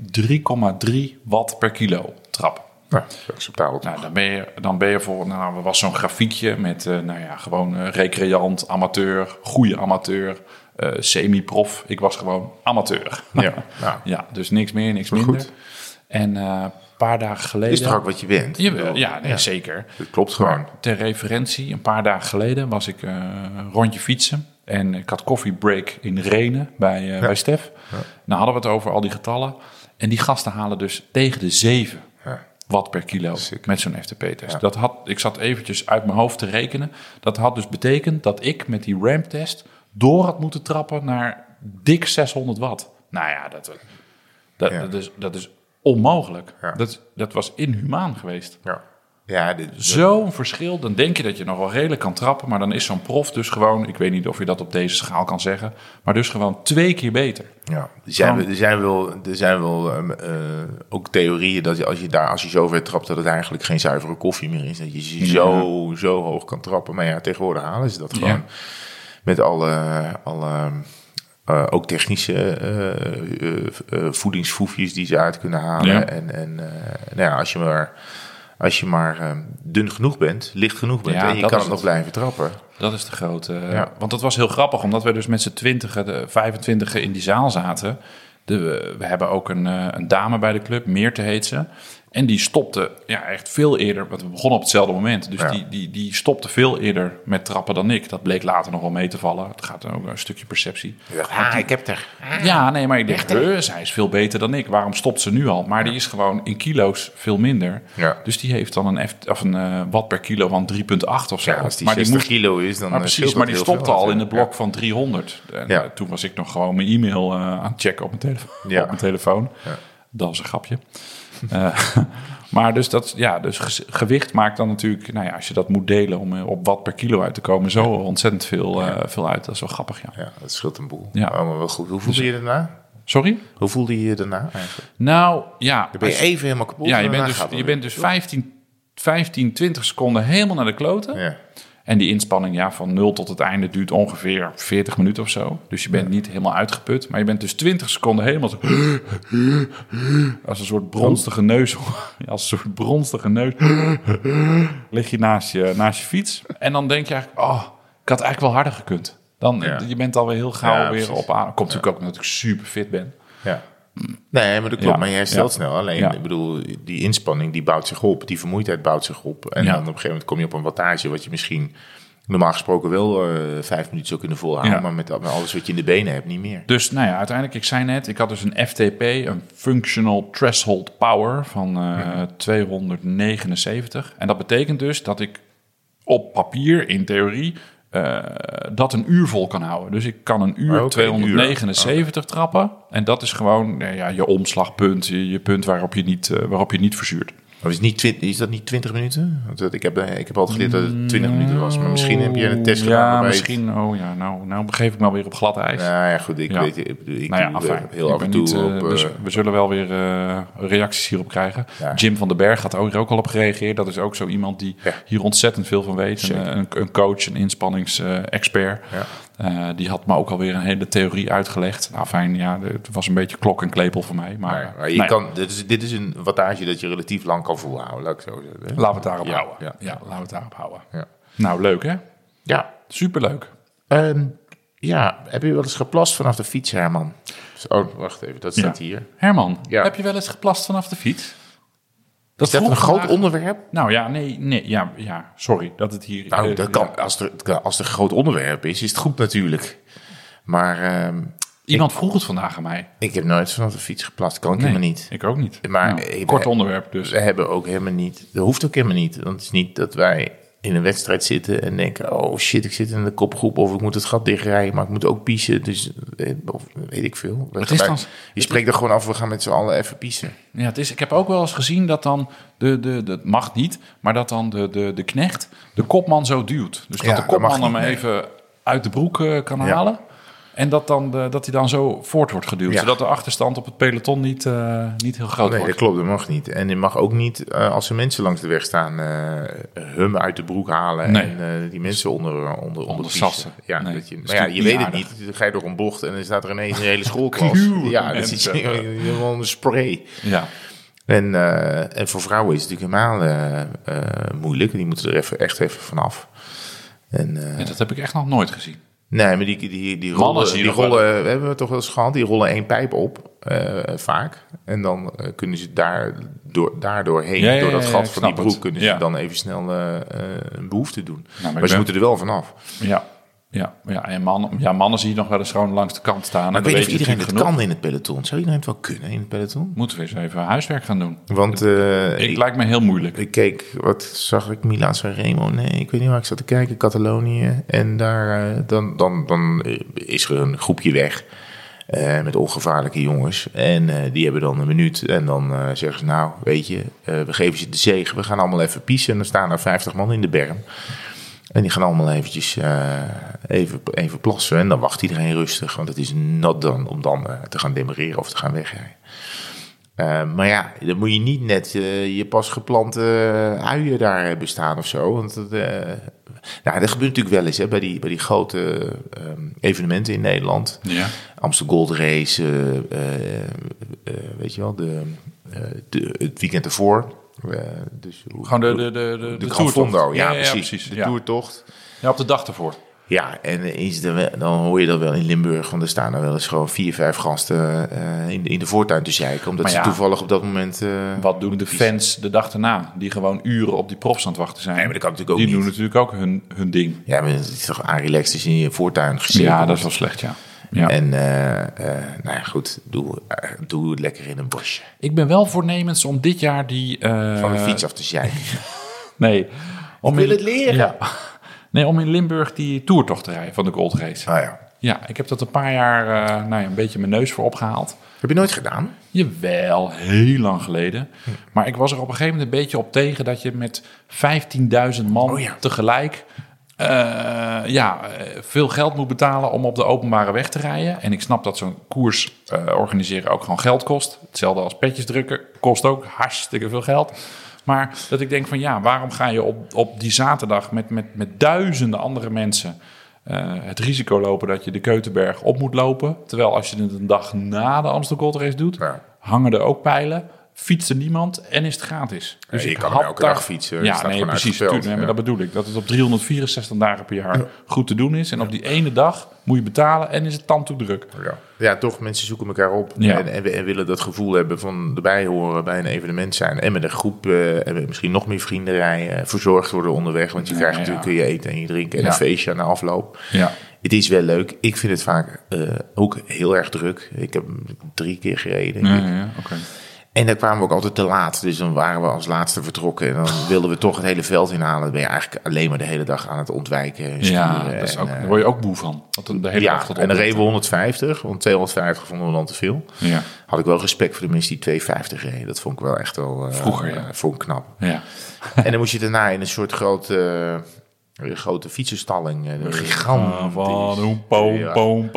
A: 3,3 watt per kilo trap.
B: Nou, dat is acceptabel.
A: Nou, dan ben je, dan ben je voor, nou, er was zo'n grafiekje met, eh, nou ja, gewoon eh, recreant, amateur, goede amateur, eh, semi-prof. Ik was gewoon amateur.
B: Ja, nou,
A: ja, dus niks meer, niks
B: Maar
A: minder.
B: goed.
A: En eh, een paar dagen geleden...
B: is toch ook wat je bent?
A: Jawel, ja, nee, zeker.
B: Dat klopt gewoon.
A: Ter referentie, een paar dagen geleden was ik eh, een rondje fietsen. En ik had koffiebreak in Renen bij, eh, bij Stef. Nou hadden we het over al die getallen. En die gasten halen dus tegen de 7
B: Ja.
A: watt per kilo
B: Sick.
A: met zo'n FTP-test. Dat had, ik zat eventjes uit mijn hoofd te rekenen. Dat had dus betekend dat ik met die ramp-test door had moeten trappen naar dik 600 watt. Nou ja, dat, dat,
B: Ja.
A: dat, is, dat is onmogelijk.
B: Ja.
A: Dat, dat was inhumaan geweest.
B: Ja, ja dit,
A: Zo'n verschil, dan denk je dat je nog wel redelijk kan trappen, maar dan is zo'n prof dus gewoon, ik weet niet of je dat op deze schaal kan zeggen, maar dus gewoon twee keer beter.
B: Ja, er zijn,
A: Kan.
B: er zijn wel, er zijn wel ehm, eh, ook theorieën dat je als je daar als je zo ver trapt dat het eigenlijk geen zuivere koffie meer is. Dat je ze zo, zo hoog kan trappen. Maar ja, tegenwoordig halen ze dat gewoon.
A: Ja.
B: Met alle, alle eh, ook technische eh eh, eh, voedingsfoefjes die ze uit kunnen halen.
A: Ja.
B: En, en eh, nou ja, als je maar, als je maar ehm, dun genoeg bent, licht genoeg bent
A: Ja,
B: en je
A: dat
B: kan
A: is
B: het nog blijven trappen.
A: Dat is de grote. eh,
B: Ja.
A: Want dat was heel grappig, omdat we dus met z'n twintigen, de 25 in die zaal zaten. De, we hebben ook een, eh, een dame bij de club, Meerte heet ze. En die stopte ja, echt veel eerder, want we begonnen op hetzelfde moment. Dus
B: Ja.
A: die, die, die stopte veel eerder met trappen dan ik. Dat bleek later nog wel mee te vallen. Het gaat ook een stukje perceptie.
B: Ah, ik heb het er. Ah.
A: Ja, nee, maar ik dacht, "Huh, zij is veel beter dan ik. Waarom stopt ze nu al? Maar die is gewoon in kilo's veel minder.
B: Ja.
A: Dus die heeft dan een, F, of een eh, watt per kilo van 3,8 of zo.
B: Ja, als die
A: maar
B: 60
A: die moest
B: kilo is, dan
A: maar
B: eh,
A: precies,
B: scheelt
A: maar
B: dat
A: die
B: heel
A: stopte
B: veel
A: al in
B: natuurlijk.
A: het blok van 300. En
B: Ja.
A: eh, toen was ik nog gewoon mijn e-mail eh, aan het checken op mijn, telefoon.
B: Ja.
A: op mijn telefoon. Dat is een grapje. Eh, maar dus, dat, ja, dus ge- gewicht maakt dan natuurlijk, nou ja, als je dat moet delen om eh, op wat per kilo uit te komen, zo ontzettend veel, eh, veel uit. Dat is wel grappig, ja.
B: Ja, dat scheelt een boel.
A: Ja.
B: Oh, maar wel goed. Hoe voelde je je daarna?
A: Sorry?
B: Hoe voelde je je daarna eigenlijk?
A: Nou, ja.
B: Ben je even helemaal kapot?
A: Ja,
B: en
A: je bent
B: daarna
A: dus,
B: gaat het
A: je
B: weer.
A: bent dus 15, 15, 20 seconden helemaal naar de kloten.
B: Ja.
A: En die inspanning ja, van 0 tot het einde duurt ongeveer 40 minuten of zo. Dus je bent niet helemaal uitgeput. Maar je bent dus 20 seconden helemaal zo... Als een soort bronstige neus. Ja, Als een soort bronstige neus. Lig je naast je, naast je fiets. En dan denk je eigenlijk... Oh, ik had eigenlijk wel harder gekund. Dan,
B: Ja.
A: Je bent alweer heel gauw
B: Ja,
A: weer
B: precies.
A: op aan. Komt natuurlijk ook omdat ik super fit ben.
B: ja. Nee, maar dat klopt.
A: Mm. Ja.
B: Maar je herstelt
A: Ja.
B: snel. Alleen,
A: Ja.
B: ik bedoel, die inspanning die bouwt zich op. Die vermoeidheid bouwt zich op. En
A: Ja.
B: dan op een gegeven moment kom je op een wattage... wat je misschien normaal gesproken wel eh, vijf minuten zou kunnen volhouden...
A: Ja.
B: maar met, met alles wat je in de benen hebt niet meer.
A: Dus nou ja, uiteindelijk, ik zei net, ik had dus een FTP, een Functional Threshold Power van eh,
B: Mhm.
A: 279. En dat betekent dus dat ik op papier, in theorie, eh, dat een uur vol kan houden. Dus ik kan een uur
B: Oh, oké, een uur. Ah,
A: 279 trappen. En dat is gewoon nou ja, je omslagpunt, je, je punt waarop je niet, eh, waarop je niet verzuurt.
B: Maar is, niet twint- is dat niet 20 minuten? Want dat- ik, heb, eh, ik heb altijd geleerd dat het 20 minuten was. Maar misschien heb je een test gedaan
A: Mm, Ja,
B: waarbij het-
A: misschien. Oh ja, nou, nou begeef ik me alweer op glad ijs.
B: Nou ja, goed. Ik
A: Ja.
B: weet ik bedoel, ik
A: nou ja,
B: doe, eh,
A: afijn.
B: heel
A: Ik
B: af en
A: ben
B: toe
A: niet, eh,
B: op... eh,
A: we, z- we zullen wel weer eh, reacties hierop krijgen.
B: Ja.
A: Jim van den Berg had ook, er ook al op gereageerd. Dat is ook zo iemand die
B: Ja.
A: hier ontzettend veel van weet. Een, een, een coach, een inspanningsexpert.
B: Ja.
A: Eh, die had me ook alweer een hele theorie uitgelegd. Nou, fijn, ja, het was een beetje klok en klepel voor mij. Maar,
B: Maar, maar je
A: nou ja,
B: kan, dit, is, dit is een wattage dat je relatief lang kan volhouden, laat ik zo zeggen.
A: laten we het daarop
B: Ja,
A: houden. Ja.
B: ja.
A: laten we het daarop houden.
B: Ja.
A: Nou, leuk hè?
B: Ja,
A: Superleuk.
B: ehm, ja, heb je wel eens geplast vanaf de fiets, Herman? Oh, wacht even, dat staat
A: Ja.
B: hier.
A: Herman,
B: Ja.
A: heb je wel eens geplast vanaf de fiets?
B: Is dat
A: vroeg
B: een groot
A: vandaag-
B: onderwerp?
A: Nou ja, nee, nee ja, ja, sorry dat het hier...
B: Nou,
A: eh,
B: dat kan, als, er, het kan- als er een groot onderwerp is, is het goed natuurlijk. Maar ehm,
A: Iemand vroeg het vandaag aan mij.
B: ik heb nooit vanaf de fiets geplast, kan ik
A: Nee,
B: helemaal niet.
A: Ik ook niet.
B: Maar,
A: Nou,
B: eh,
A: kort
B: eh,
A: onderwerp dus.
B: We hebben ook helemaal niet, dat hoeft ook helemaal niet. Want het is niet dat wij in een wedstrijd zitten en denken: oh shit, ik zit in de kopgroep of ik moet het gat dichtrijden, maar ik moet ook piezen. Dus eh, of, weet ik veel. We
A: Het is dan-
B: je spreekt er gewoon af, we gaan met z'n allen even piezen.
A: Ja, het is, ik heb ook wel eens gezien dat dan, de, de, dat mag niet, maar dat dan de, de, de knecht de kopman zo duwt. Dus dat
B: Ja,
A: de
B: dat
A: kopman
B: mag niet,
A: hem
B: nee.
A: even uit de broek eh, kan
B: Ja.
A: halen. En dat, dan de, dat hij dan zo voort wordt geduwd.
B: Ja.
A: Zodat de achterstand op het peloton niet, eh, niet heel groot
B: Nee, dat
A: wordt.
B: klopt, dat mag niet. En je mag ook niet, eh, als er mensen langs de weg staan, eh hum uit de broek halen
A: Nee.
B: en eh, die mensen onder, onder, onder, piezen.
A: sassen.
B: Ja,
A: Nee,
B: dat je,
A: dat is
B: maar ja, je
A: natuurlijk
B: weet
A: niet
B: het
A: aardig.
B: niet. Dan ga je door een bocht en dan staat er ineens een hele schoolklas.
A: Kluwen
B: ja, dat is
A: mensen.
B: helemaal een spray.
A: Ja.
B: En, eh, en voor vrouwen is het natuurlijk helemaal eh, eh, moeilijk. Die moeten er even, echt even vanaf. En, eh,
A: En dat heb ik echt nog nooit gezien.
B: nee, maar die, die, die
A: Mannen
B: rollen,
A: zie je
B: die
A: nog wel.
B: rollen we hebben we toch wel eens gehad, die rollen één pijp op, eh, vaak. En dan eh, kunnen ze daar, door, daardoor heen,
A: Ja, ja,
B: door dat
A: ja, ja,
B: gat
A: ik
B: van die
A: snap
B: broek,
A: het.
B: kunnen ze
A: Ja. Nou,
B: dan even snel eh, eh, een behoefte doen. maar
A: ik
B: ze
A: ben-
B: moeten er wel vanaf.
A: Ja. Ja, ja, en mannen, ja, mannen zie je nog wel eens gewoon langs de kant staan. en
B: Maar ik
A: dan
B: weet niet
A: je
B: of iedereen
A: het
B: het
A: genoeg.
B: kan in het peloton. Zou iedereen het wel kunnen in het peloton?
A: Moeten we eens even huiswerk gaan doen.
B: Want eh,
A: Ik,
B: ik,
A: lijkt me heel moeilijk.
B: ik keek, wat zag ik? Milaan Sanremo? Nee, ik weet niet waar ik zat te kijken. Catalonië. En daar, eh, dan, dan, dan eh, is er een groepje weg. eh, met ongevaarlijke jongens. En eh, die hebben dan een minuut. En dan eh, zeggen ze, nou, weet je, eh, we geven ze de zegen. We gaan allemaal even piezen. En dan staan er 50 man in de berm. En die gaan allemaal eventjes eh, even, even plassen. En dan wacht iedereen rustig. Want het is nat dan om dan eh, te gaan demereren of te gaan wegrijden. Eh, maar ja, dan moet je niet net eh, je pas geplante eh, uien daar hebben staan of zo. Want dat, eh, nou, dat gebeurt natuurlijk wel eens hè, bij, die, bij die grote ehm, evenementen in Nederland.
A: Ja.
B: Amsterdam Gold Race, eh, eh, eh, weet je wel, de, eh, de, het weekend ervoor. Eh, dus, hoe-
A: Gewoon de, de, de, de,
B: de,
A: de
B: Gran
A: toertocht.
B: Fondo, ja,
A: ja,
B: precies. De
A: ja.
B: toertocht.
A: Ja, op de dag ervoor.
B: Ja, en is er wel- dan hoor je dat wel in Limburg, want er staan er wel eens gewoon vier, vijf gasten eh, in, de- in de voortuin te zeiken. Omdat
A: Maar ja,
B: ze toevallig op dat moment... eh,
A: Wat doen de
B: die-
A: fans de dag erna? Die gewoon uren op die profs aan het wachten zijn.
B: Nee, maar dat kan natuurlijk ook
A: die
B: niet.
A: doen natuurlijk ook hun, hun ding.
B: Ja, maar het is toch relaxed als je in je voortuin gezeten
A: ja, dat
B: wordt.
A: is wel slecht, ja. ja.
B: En eh, eh, nou ja, goed, doe, eh, doe het lekker in een bosje.
A: ik ben wel voornemens om dit jaar die... eh,
B: Van de fiets af te zeiken.
A: Nee. Om
B: wil het leren.
A: Ja. Nee, om in Limburg die toertocht te rijden van de Gold Race.
B: Ah, ja.
A: Ja, ik heb dat een paar jaar eh, nou ja, een beetje mijn neus voor opgehaald.
B: Heb je nooit gedaan?
A: Jawel, heel lang geleden. Maar ik was er op een gegeven moment een beetje op tegen dat je met 15.000 man
B: Oh ja.
A: tegelijk eh, ja, eh, veel geld moet betalen om op de openbare weg te rijden. En ik snap dat zo'n koers eh, organiseren ook gewoon geld kost. Hetzelfde als petjes drukken, kost ook hartstikke veel geld. Maar dat ik denk van ja, waarom ga je op, op die zaterdag met, met, met duizenden andere mensen eh, het risico lopen dat je de Keutenberg op moet lopen. Terwijl als je het een dag na de Amsterdam Gold Race doet,
B: Ja.
A: hangen er ook pijlen, fietst er niemand en is het gratis. Dus
B: Ja, je
A: ik
B: kan
A: had
B: elke dag fietsen, dat
A: Ja,
B: staat
A: nee,
B: gewoon
A: precies.
B: uitgesteld,
A: tuurlijk, nee, maar
B: ja.
A: dat bedoel ik. Dat het op 364 dagen per jaar goed te doen is. En op die ene dag moet je betalen en is het tand toe druk.
B: Ja. ja, toch, mensen zoeken elkaar op
A: Ja.
B: en, en, en willen dat gevoel hebben van erbij horen bij een evenement zijn. En met een groep eh, en met misschien nog meer vrienden rijden, eh, verzorgd worden onderweg. Want je
A: Ja,
B: krijgt
A: ja.
B: natuurlijk kun je eten en je drinken en
A: Ja.
B: een feestje aan de afloop.
A: Ja.
B: Het is wel leuk. Ik vind het vaak eh, ook heel erg druk. Ik heb drie keer gereden. denk ik.
A: oké.
B: En dan kwamen we ook altijd te laat. Dus dan waren we als laatste vertrokken. En dan wilden we toch het hele veld inhalen. Dan ben je eigenlijk alleen maar de hele dag aan het ontwijken. en
A: Ja,
B: sturen
A: dat is
B: en,
A: ook,
B: eh,
A: daar word je ook moe van. Dat de hele dag
B: ja,
A: tot
B: en dan
A: op-
B: reden we 150, want 250 vonden we dan te veel.
A: Ja.
B: Had ik wel respect voor de mensen die 250 reden. Dat vond ik wel echt wel eh,
A: Vroeger, ja.
B: eh, vond ik knap.
A: Ja.
B: en dan moest je daarna in een soort grote, eh, grote fietsenstalling. eh, een gigantisch.
A: Van Ah, een poom,
B: Ja.
A: poom,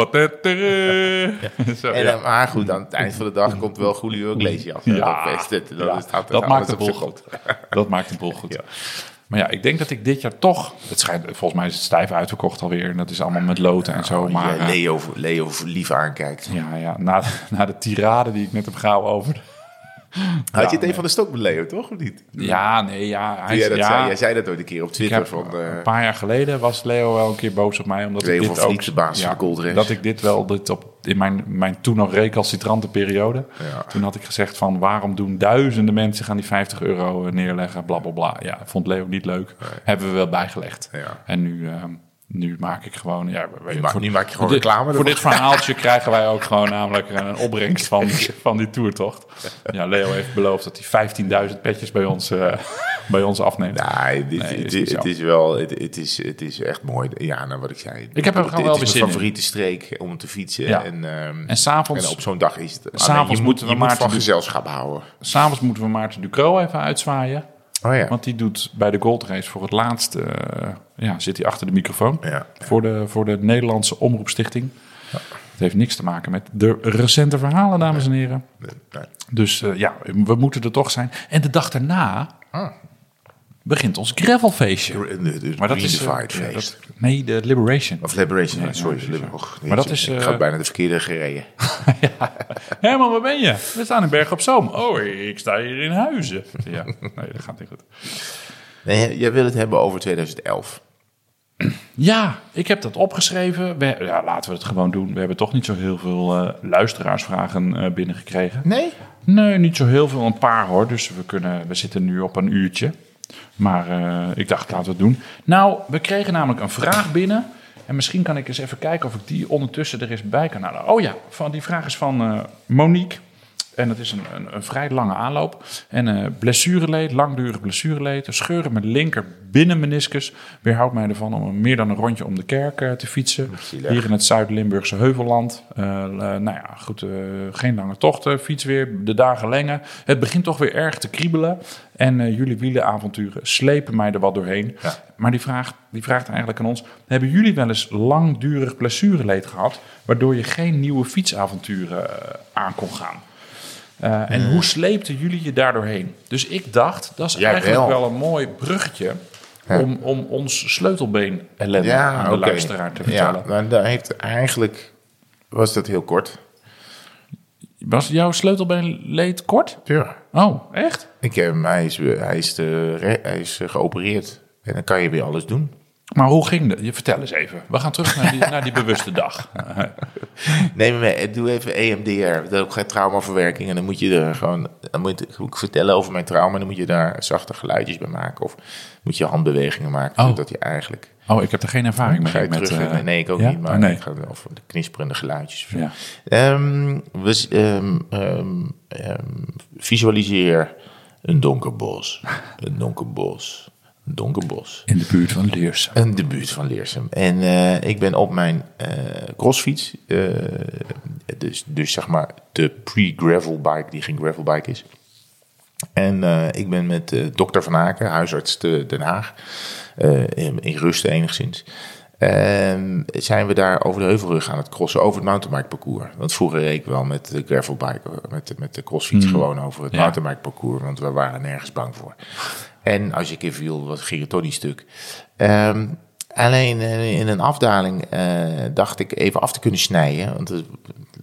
A: patetere. Zo,
B: En,
A: ja.
B: dan- maar goed, aan het eind van de dag komt wel Julio Iglesias. hè,
A: Ja,
B: dat, best, dat,
A: ja,
B: is- staat-
A: dat
B: alles
A: maakt de
B: op
A: boel
B: zijn
A: goed. Dat maakt de boel goed.
B: Ja.
A: Maar ja, ik denk dat ik dit jaar toch... Het schijnt, volgens mij is het stijf uitverkocht alweer. En dat is allemaal met loten en zo. Maar
B: Ja,
A: eh,
B: Leo, Leo lief aankijkt.
A: ja, ja, na, na de tirade die ik net heb gehouden over... de-
B: Had je het
A: nee.
B: een van de stok met Leo, toch? Of niet?
A: Ja, nee, ja. Hij,
B: Jij, dat
A: ja,
B: zei, jij zei dat ooit een keer op
A: ik
B: Twitter.
A: heb,
B: van, eh,
A: een paar jaar geleden was Leo wel een keer boos op mij. Omdat
B: Leo
A: ik
B: van
A: dit ook,
B: Vliet, de baas van de Gold Race.
A: Dat ik dit wel dit op, in mijn, mijn toen nog recalcitrante periode.
B: Ja.
A: Toen had ik gezegd van waarom doen duizenden mensen gaan die 50 euro eh, neerleggen. Bla bla bla. Ja, vond Leo niet leuk. Hebben we wel bijgelegd.
B: Ja.
A: En nu, ehm, nu maak ik gewoon... Ja, we- we-
B: maak- nu maak je gewoon
A: dit-
B: reclame
A: Voor
B: ervan.
A: dit verhaaltje krijgen wij ook gewoon namelijk eh, een opbrengst van, van die toertocht. Ja, Leo heeft beloofd dat hij 15.000 petjes bij ons, eh, bij ons afneemt.
B: Nee, dit,
A: Nee, is
B: het,
A: niet
B: is
A: zo.
B: het is wel, het, het, is, het is echt mooi. Ja, nou wat ik zei.
A: Ik heb er
B: Het-
A: gewoon wel
B: Het is
A: weer
B: mijn
A: zin
B: favoriete streek om te fietsen.
A: Ja.
B: En, ehm,
A: En s'avonds
B: en op zo'n dag is het. alleen,
A: s'avonds
B: je moet,
A: moeten we
B: je moet
A: Maarten
B: van
A: doen.
B: gezelschap houden.
A: S'avonds moeten we Maarten Ducro even uitzwaaien.
B: Oh ja.
A: Want die doet bij de Gold Race voor het laatst... eh, ja, zit hij achter de microfoon.
B: Ja.
A: Voor, de, voor de Nederlandse Omroepstichting. Het heeft niks te maken met de recente verhalen, dames en heren.
B: Nee, nee.
A: Dus eh, ja, we moeten er toch zijn. En de dag daarna
B: Ah.
A: begint ons gravelfeestje.
B: De- de- de
A: Maar dat is... eh,
B: Redefied
A: ja,
B: feest.
A: dat- nee, de Liberation.
B: Of Liberation,
A: Nee,
B: sorry.
A: precies,
B: Liber-
A: ja.
B: Och,
A: Maar dat
B: jeetje,
A: is,
B: Ik
A: eh,
B: had bijna de verkeerde gereden.
A: Herman, waar ben je? We staan in Berg op Zoom. Oh, ik sta hier in Huizen. Ja, nee, dat gaat niet goed.
B: Nee, jij wil het hebben over 2011.
A: Ja, ik heb dat opgeschreven. We, ja, laten we het gewoon doen. We hebben toch niet zo heel veel eh, luisteraarsvragen eh binnengekregen.
B: Nee?
A: Nee, niet zo heel veel. Een paar hoor. Dus we, kunnen, we zitten nu op een uurtje. Maar eh, ik dacht, laten we het doen. Nou, we kregen namelijk een vraag binnen. En En misschien kan ik eens even kijken of ik die ondertussen er eens bij kan halen. Oh ja, van, die vraag is van eh, Monique. En dat is een, een, een vrij lange aanloop. En eh, blessureleed, langdurig blessureleed, scheuren met linker binnenmeniscus. Weerhoudt mij ervan om meer dan een rondje om de kerk eh, te fietsen.
B: Zielig.
A: Hier in het Zuid-Limburgse Heuvelland. Eh, eh, nou ja, goed, eh, geen lange tochten, fiets weer, de dagen lengen. Het begint toch weer erg te kriebelen. En eh, jullie wielenavonturen slepen mij er wat doorheen.
B: Ja.
A: Maar die, vraag, die vraagt eigenlijk aan ons... hebben jullie wel eens langdurig blessureleed gehad... waardoor je geen nieuwe fietsavonturen eh, aan kon gaan? Eh, en hoe sleepten jullie je daar doorheen? Dus ik dacht, dat is
B: Jij
A: eigenlijk
B: wel.
A: wel een mooi bruggetje...
B: Ja.
A: Om, om ons sleutelbeen ellende aan de
B: oké.
A: luisteraar te vertellen.
B: Ja, maar daar heeft eigenlijk was dat heel kort.
A: Was jouw sleutelbeen leed kort?
B: Ja.
A: Oh, echt?
B: Ik heb hem, hij is, hij is, eh, re- hij is eh, geopereerd. En dan kan je weer alles doen.
A: Maar hoe ging dat? Je vertel eens even. We gaan terug naar die, naar die bewuste dag.
B: Neem me mee, doe even E EMDR. Dat is geen traumaverwerking. En dan moet je er gewoon. Dan moet je- moet ik vertellen over mijn trauma. En dan moet je daar zachte geluidjes bij maken. Of moet je handbewegingen maken.
A: Oh.
B: Dat je eigenlijk.
A: Oh, ik heb er geen ervaring
B: Ga
A: mee.
B: je
A: Met,
B: terug?
A: eh,
B: nee, ik ook
A: ja?
B: niet. Maar
A: Oh, nee.
B: het gaat over de knisperende geluidjes.
A: Ja.
B: Ehm, we z- ehm, ehm, ehm, visualiseer een donker bos. Een donker bos. Een donker bos.
A: In de buurt van Leersum.
B: Een de buurt van Leersum. En eh, ik ben op mijn eh, crossfiets, eh, dus, dus zeg maar de pre-gravel bike, die geen gravel bike is. En eh, ik ben met eh dokter Van Aken, huisarts te Den Haag, eh, in, in rust enigszins. Ehm, zijn we daar over de heuvelrug aan het crossen, over het mountainbike parcours. Want vroeger reed ik wel met de gravelbike, eh, met, de- met de crossfiets gewoon over het
A: Ja.
B: mountainbike parcours. Want we waren nergens bang voor. En als je een keer viel, was ging het toch niet stuk. Ehm, alleen eh, in een afdaling eh, dacht ik even af te kunnen snijden. Want het-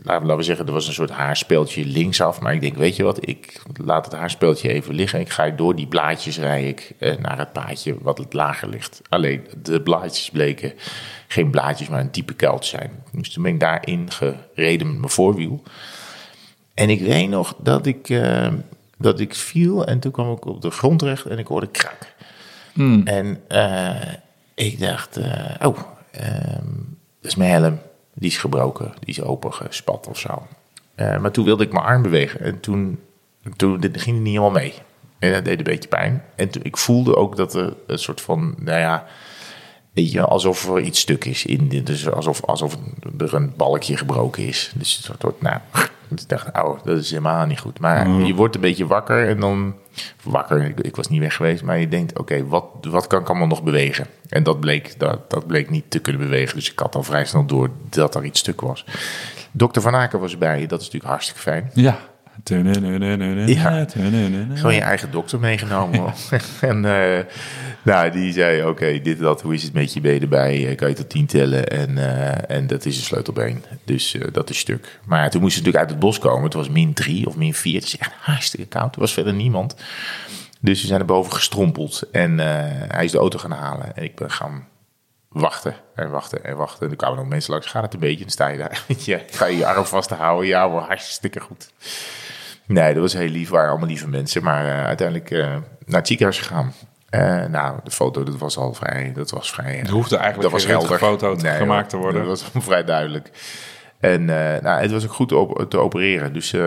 B: Nou, laten we- laten we zeggen, er was een soort haarspeeltje linksaf. Maar ik denk, weet je wat, ik laat het haarspeeltje even liggen. Ik ga door die blaadjes rij ik eh, naar het paadje wat het lager ligt. Alleen de blaadjes bleken geen blaadjes, maar een diepe kuil te zijn. Dus toen ben ik daarin gereden met mijn voorwiel. En ik weet nog dat ik, eh, dat ik viel en toen kwam ik op de grond terecht en ik hoorde krak. En eh, ik dacht, eh, oh, ehm, dat is mijn helm. Die is gebroken, die is opengespat of zo. Eh, maar toen wilde ik mijn arm bewegen en toen, toen dit ging het niet helemaal mee. En dat deed een beetje pijn. En toen, ik voelde ook dat er een soort van, nou ja, Weet je, alsof er iets stuk is. In, dit. dus alsof, alsof er een balkje gebroken is. Dus het soort, wordt, nou, ik dacht, oh, dat is helemaal niet goed. Maar je wordt een beetje wakker en dan... Wakker, ik, ik was niet weg geweest. Maar je denkt, oké, wat, wat kan ik allemaal nog bewegen? En dat bleek, dat, dat bleek niet te kunnen bewegen. Dus ik had al vrij snel door dat er iets stuk was. Dokter Van Aken was erbij. Dat is natuurlijk hartstikke fijn.
A: Ja.
B: Ja. Gewoon je eigen dokter meegenomen. hoor. en eh, nou, die zei: Oké, dit en dat, hoe is het met je benen erbij? Eh, Kan je tot tien tellen? En, eh, en dat is een sleutelbeen. Dus eh, dat is stuk. Maar ja, toen moest ze natuurlijk uit het bos komen. Het was min drie of min vier. Het is echt hartstikke koud. Er was verder niemand. Dus we zijn naar boven gestrompeld. En eh, hij is de auto gaan halen. En ik ben gaan wachten en wachten en wachten. En toen kwamen nog mensen langs. Gaat het een beetje? En dan sta je daar. ja, ga je je arm vasthouden. Ja, hoor, hartstikke goed. Nee, dat was heel lief. waren allemaal lieve mensen. Maar eh, uiteindelijk eh, naar het ziekenhuis gegaan. Eh, nou, de foto, dat was al vrij... Dat was vrij... eh,
A: Er hoefde eigenlijk geen röntgenfoto te-
B: Nee,
A: gemaakt te
B: hoor,
A: worden.
B: Dat was vrij duidelijk. En eh, nou, het was ook goed te, op- te opereren. Dus eh,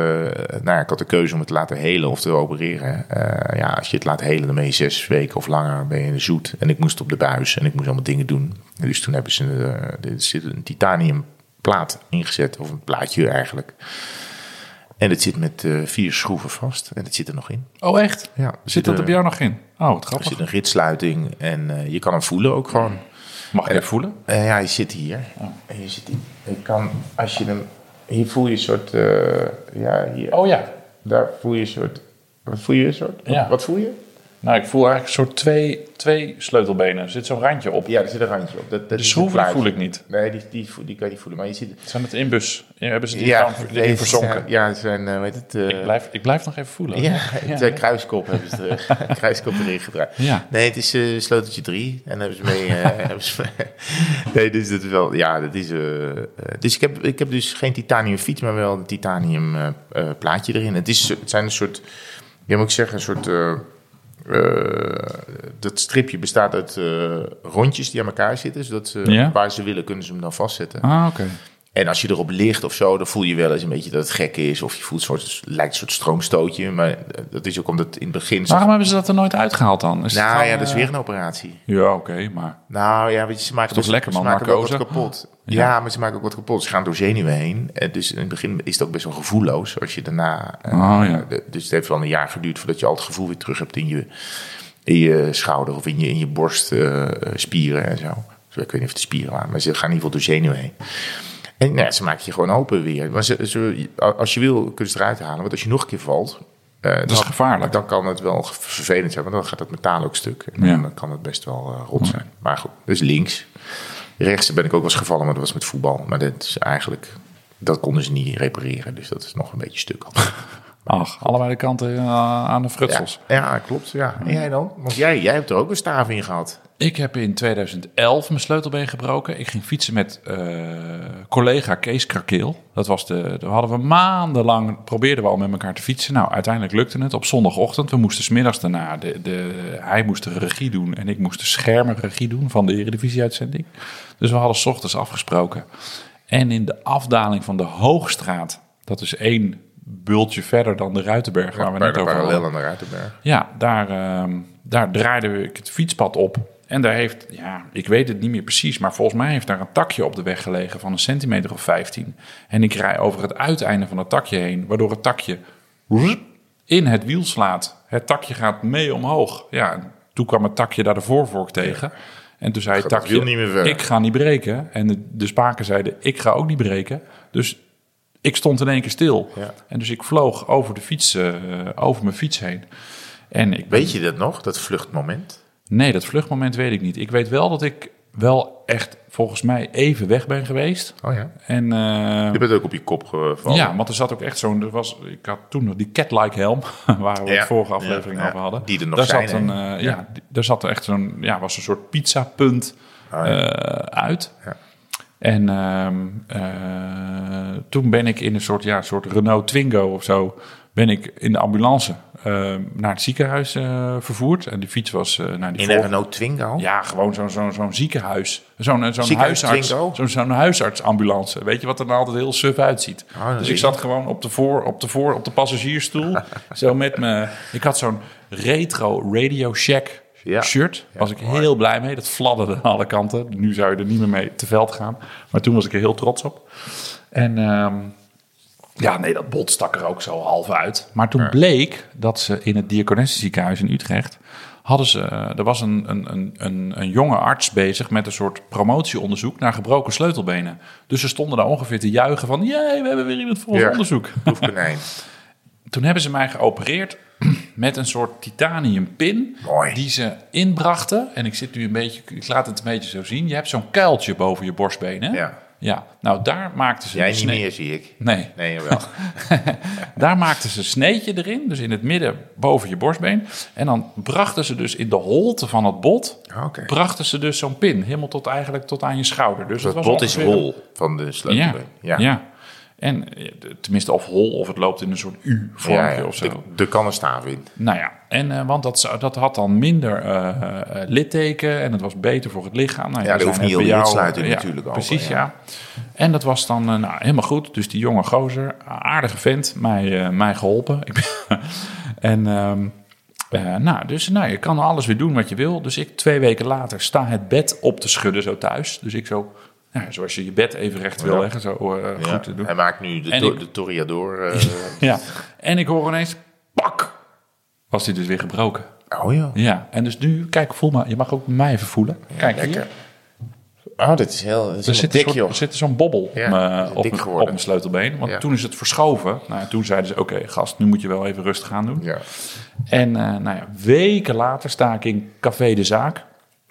B: nou, ja, ik had de keuze om het te laten helen of te opereren. Eh, ja, als je het laat helen, dan ben je zes weken of langer ben je in de zoet. En ik moest op de buis en ik moest allemaal dingen doen. En Dus toen hebben ze eh, er zit een titaniumplaat ingezet, of een plaatje eigenlijk. En het zit met eh, vier schroeven vast en het zit er nog in.
A: Oh, echt?
B: Ja, er
A: Zit dat er
B: een-
A: bij jou nog in? Oh, wat
B: Er
A: grappig.
B: zit een ritsluiting en eh, je kan hem voelen ook gewoon.
A: Mag je het voelen?
B: Eh, ja, je zit hier. En je zit hier. Je kan, als je hem... Hier voel je een soort... eh, ja, hier.
A: Oh ja.
B: Daar voel je een soort... Wat voel je een soort?
A: Ja.
B: Wat voel je?
A: Nou, ik voel eigenlijk een soort twee, twee sleutelbenen. Er zit zo'n randje op.
B: Ja, er zit een randje op. Dat, dat
A: De
B: is
A: schroeven
B: een
A: die
B: plaatje.
A: voel ik niet.
B: Nee, die, die, voel- die kan je niet voelen. Maar je ziet...
A: Zijn het inbus? Ja, hebben ze die gewoon erin
B: deze-
A: verzonken?
B: Ja, het zijn... eh, weet het... eh,
A: Ik blijf, ik blijf nog even voelen.
B: Ja, het eh, kruiskop hebben ze er, kruiskop erin gedraaid.
A: Ja.
B: Nee, het is eh, sleuteltje 3. En daar hebben ze mee. eh, hebben ze mee- nee, dus dat is wel. Ja, dat is. eh, eh, dus ik heb, ik heb dus geen titanium fiets, maar wel een titanium eh, eh, plaatje erin. Het, is, het zijn een soort. Je moet ik zeggen, een soort. eh, eh, dat stripje bestaat uit eh, rondjes die aan elkaar zitten. Zodat ze,
A: Ja.
B: waar ze willen, kunnen ze hem dan vastzetten.
A: Ah, oké.
B: En als je erop ligt of zo, dan voel je wel eens een beetje dat het gek is. Of je voelt een soort, lijkt een soort stroomstootje. Maar eh, dat is ook omdat in het begin...
A: Waarom hebben ze dat er nooit uitgehaald dan? Is het
B: nou
A: gewoon,
B: ja, dat is
A: eh,
B: weer een operatie.
A: Ja, oké, maar...
B: Nou ja, weet je, ze maken,
A: Toch
B: best-
A: lekker, man,
B: ze maken ook wat
A: narcose.
B: kapot.
A: Ja.
B: Ja. maar ze maken ook wat kapot. Ze gaan door zenuwen heen. Eh, Dus in het begin is het ook best wel gevoelloos. Als je daarna... eh,
A: Oh, ja.
B: de- dus het heeft wel een jaar geduurd voordat je al het gevoel weer terug hebt in je, in je schouder of in je, in je borstspieren en zo. Dus ik weet niet of de spieren waren, maar ze gaan in ieder geval door zenuwen heen. En nou ja, ze maken je gewoon open weer. Maar ze, ze- als je wil, kun je ze eruit halen. Want als je nog een keer valt... eh,
A: is
B: dan-
A: gevaarlijk.
B: Dan kan het wel ge- vervelend zijn, want dan gaat het metaal ook stuk. En
A: Ja.
B: dan kan het best wel eh, rot zijn. Maar goed, dus links. Rechts ben ik ook wel eens gevallen, maar dat was met voetbal. Maar dat is eigenlijk... Dat konden ze niet repareren, dus dat is nog een beetje stuk al.
A: Ach, allebei de kanten eh, aan de
B: Ja,
A: frutsels.
B: ja, klopt. Ja. En jij dan? Want jij, jij hebt er ook een staaf in gehad.
A: Ik heb in 2011 mijn sleutelbeen gebroken. Ik ging fietsen met eh, collega Kees Krakeel. Dat was de, daar hadden we maandenlang, probeerden we al met elkaar te fietsen. Nou, uiteindelijk lukte het op zondagochtend. We moesten smiddags daarna, de, de, hij moest de regie doen en ik moest de schermenregie doen van de Eredivisie-uitzending. Dus we hadden 's ochtends afgesproken. En in de afdaling van de Hoogstraat, dat is één bultje verder dan de Ruitenberg waar we net over hadden.
B: aan de Ruitenberg.
A: Ja, daar, ehm, daar draaide ik het fietspad op. En daar heeft, ja, ik weet het niet meer precies, maar volgens mij heeft daar een takje op de weg gelegen van een centimeter of 15. En ik rij over het uiteinde van dat takje heen, waardoor het takje woep in het wiel slaat. Het takje gaat mee omhoog. Ja, en toen kwam het takje daar de voorvork tegen. En toen zei het
B: Gaat het
A: takje,
B: wiel niet meer verder.
A: ik ga niet breken. En de, de spaken zeiden, ik ga ook niet breken. Dus ik stond in één keer stil.
B: Ja.
A: En dus ik vloog over, de fiets, eh, over mijn fiets heen. En ik
B: Weet je dat nog, dat vluchtmoment?
A: Nee, dat vluchtmoment weet ik niet. Ik weet wel dat ik wel echt volgens mij even weg ben geweest.
B: Oh ja.
A: En eh,
B: Je bent ook op je kop gevallen.
A: ja, want er zat ook echt zo'n. Er was, ik had toen nog die cat-like helm, waar we
B: Ja.
A: het vorige aflevering
B: Ja, ja.
A: over hadden.
B: Die er nog
A: daar
B: zijn,
A: Zat een,
B: hè?
A: eh, ja. die- daar zat echt zo'n. Ja, was een soort pizzapunt
B: Oh, ja.
A: eh, uit.
B: Ja.
A: En ehm, eh, toen ben ik in een soort, ja, soort Renault Twingo of zo. Ben ik in de ambulance eh, naar het ziekenhuis eh, vervoerd. En die fiets was eh, naar die
B: In
A: vorige-
B: een Renault Twingo?
A: ja, gewoon zo'n zo'n zo'n ziekenhuis. Zo'n zo'n
B: Ziekenhuis
A: huisarts.
B: Twingo?
A: Zo'n zo'n huisartsambulance. Weet je wat er nou altijd heel suf uitziet?
B: Ah, dat
A: dus
B: zie
A: ik
B: je.
A: zat gewoon op de, voor, op de, voor, op de passagiersstoel. zo met me. Ik had zo'n retro Radio Shack
B: Ja.
A: shirt. was ik heel blij mee. Dat fladderde aan alle kanten. Nu zou je er niet meer mee te veld gaan. Maar toen was ik er heel trots op. En ehm, ja, nee, dat bot stak er ook zo half uit. Maar toen bleek dat ze in het Diakonessenziekenhuis in Utrecht... Hadden ze, eh, er was een, een, een, een, een jonge arts bezig met een soort promotieonderzoek naar gebroken sleutelbenen. Dus ze stonden daar ongeveer te juichen van, jee, we hebben weer iemand voor ons
B: Ja.
A: onderzoek.
B: Proefkonijn.
A: Toen hebben ze mij geopereerd met een soort titaniumpin
B: Mooi.
A: die ze inbrachten. En ik zit nu een beetje, ik laat het een beetje zo zien. Je hebt zo'n kuiltje boven je borstbeen, hè?
B: Ja.
A: Ja, nou daar maakten ze
B: Jij
A: een
B: niet
A: snee-
B: meer, zie ik.
A: Nee,
B: Nee, jawel.
A: daar maakten ze een sneetje erin, dus in het midden boven je borstbeen. En dan brachten ze dus in de holte van het bot,
B: Ah, Oké.
A: brachten ze dus zo'n pin, helemaal tot eigenlijk tot aan je schouder. Dus
B: Dat
A: het was
B: bot is
A: ongeveer-
B: hol van de
A: Ja,
B: sleutelbeen.
A: ja. En eh, tenminste, of hol, of het loopt in een soort U-vormpje
B: Ja, ja.
A: of zo.
B: De- Er kan een staaf in.
A: Nou ja, en, eh, want dat, zou- dat had dan minder eh, eh, litteken en het was beter voor het lichaam. Nou,
B: Ja,
A: we
B: dat hoeft
A: zijn
B: niet
A: net
B: heel
A: bij
B: die
A: jou,
B: uitsluiting
A: eh, ja,
B: natuurlijk open,
A: Precies, ja.
B: ja.
A: En dat was dan eh, nou, helemaal goed. Dus die jonge gozer, aardige vent, mij, eh, mij geholpen. Ik ben- en ehm, eh, nou, dus nou, je kan alles weer doen wat je wil. Dus ik twee weken later sta het bed op te schudden zo thuis. Dus ik zo, nou, zoals je je bed even recht wil
B: Ja.
A: leggen, zo eh,
B: Ja.
A: goed te doen.
B: Hij maakt nu de,
A: En
B: to-
A: ik-
B: de Toriador. eh,
A: Ja. En ik hoor ineens, pak, was die dus weer gebroken.
B: oh ja.
A: Ja, en dus nu, kijk, voel maar. Je mag ook mij even voelen. Kijk, hier.
B: Lekker. Oh, dit is heel...
A: Er
B: Dat is een
A: zit, een
B: dik,
A: soort-
B: joh.
A: er zit zo'n bobbel op
B: Ja,
A: mijn-
B: het is
A: op,
B: dik
A: mijn, op
B: geworden.
A: mijn sleutelbeen. Want
B: Ja.
A: toen is het verschoven. Nou, toen zeiden ze, oké gast, nu moet je wel even rustig aan doen.
B: Ja,
A: En eh, nou ja, weken later sta ik in Café de Zaak.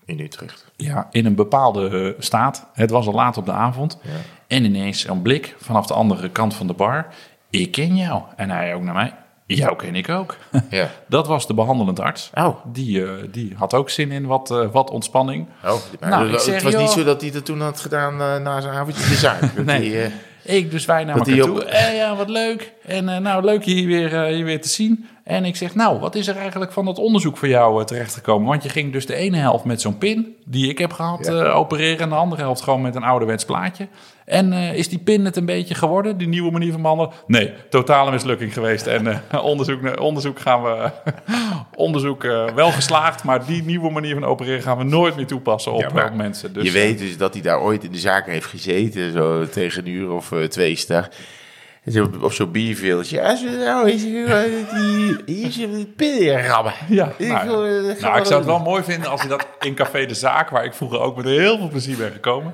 B: in Utrecht.
A: Ja, in een bepaalde eh, staat. Het was al laat op de avond. En ineens een blik vanaf de andere kant van de bar. Ik ken jou. En hij ook naar mij. Jou ken ik ook.
B: Ja.
A: Dat was de behandelend arts.
B: Oh.
A: Die, eh, die had ook zin in wat, eh, wat ontspanning.
B: Oh, maar
A: Nou,
B: het,
A: ik zeg,
B: het was
A: joh.
B: niet zo dat hij dat toen had gedaan eh, na zijn avondje de zaak. Dat
A: Nee.
B: hij, eh,
A: Ik dus wij naar
B: Dat
A: elkaar
B: die
A: toe.
B: ook-
A: Eh, ja, wat leuk. En eh, nou, leuk je hier weer, eh, je weer te zien. En ik zeg, nou, wat is er eigenlijk van dat onderzoek voor jou eh, terechtgekomen? Want je ging dus de ene helft met zo'n pin, die ik heb gehad,
B: Ja.
A: eh, opereren. En de andere helft gewoon met een ouderwets plaatje. En eh, is die pin het een beetje geworden, die nieuwe manier van behandelen? Nee, totale mislukking geweest. En eh, onderzoek, naar- onderzoek gaan we... onderzoek eh, wel geslaagd, maar die nieuwe manier van opereren gaan we nooit meer toepassen op,
B: Ja, maar
A: op mensen. Dus,
B: je weet dus dat hij daar ooit in de zaak heeft gezeten, zo tegen een uur of eh, twee ster. En zo Op, op zo'n bierveeltje. Ja, zo, nou, is er, eh, die- hier is een pil in rammen.
A: Ja,
B: Ik
A: nou,
B: wil, eh,
A: ja.
B: gaan
A: nou,
B: we
A: ik zou het wel
B: doen.
A: mooi vinden als je dat in Café de Zaak, waar ik vroeger ook met heel veel plezier ben gekomen,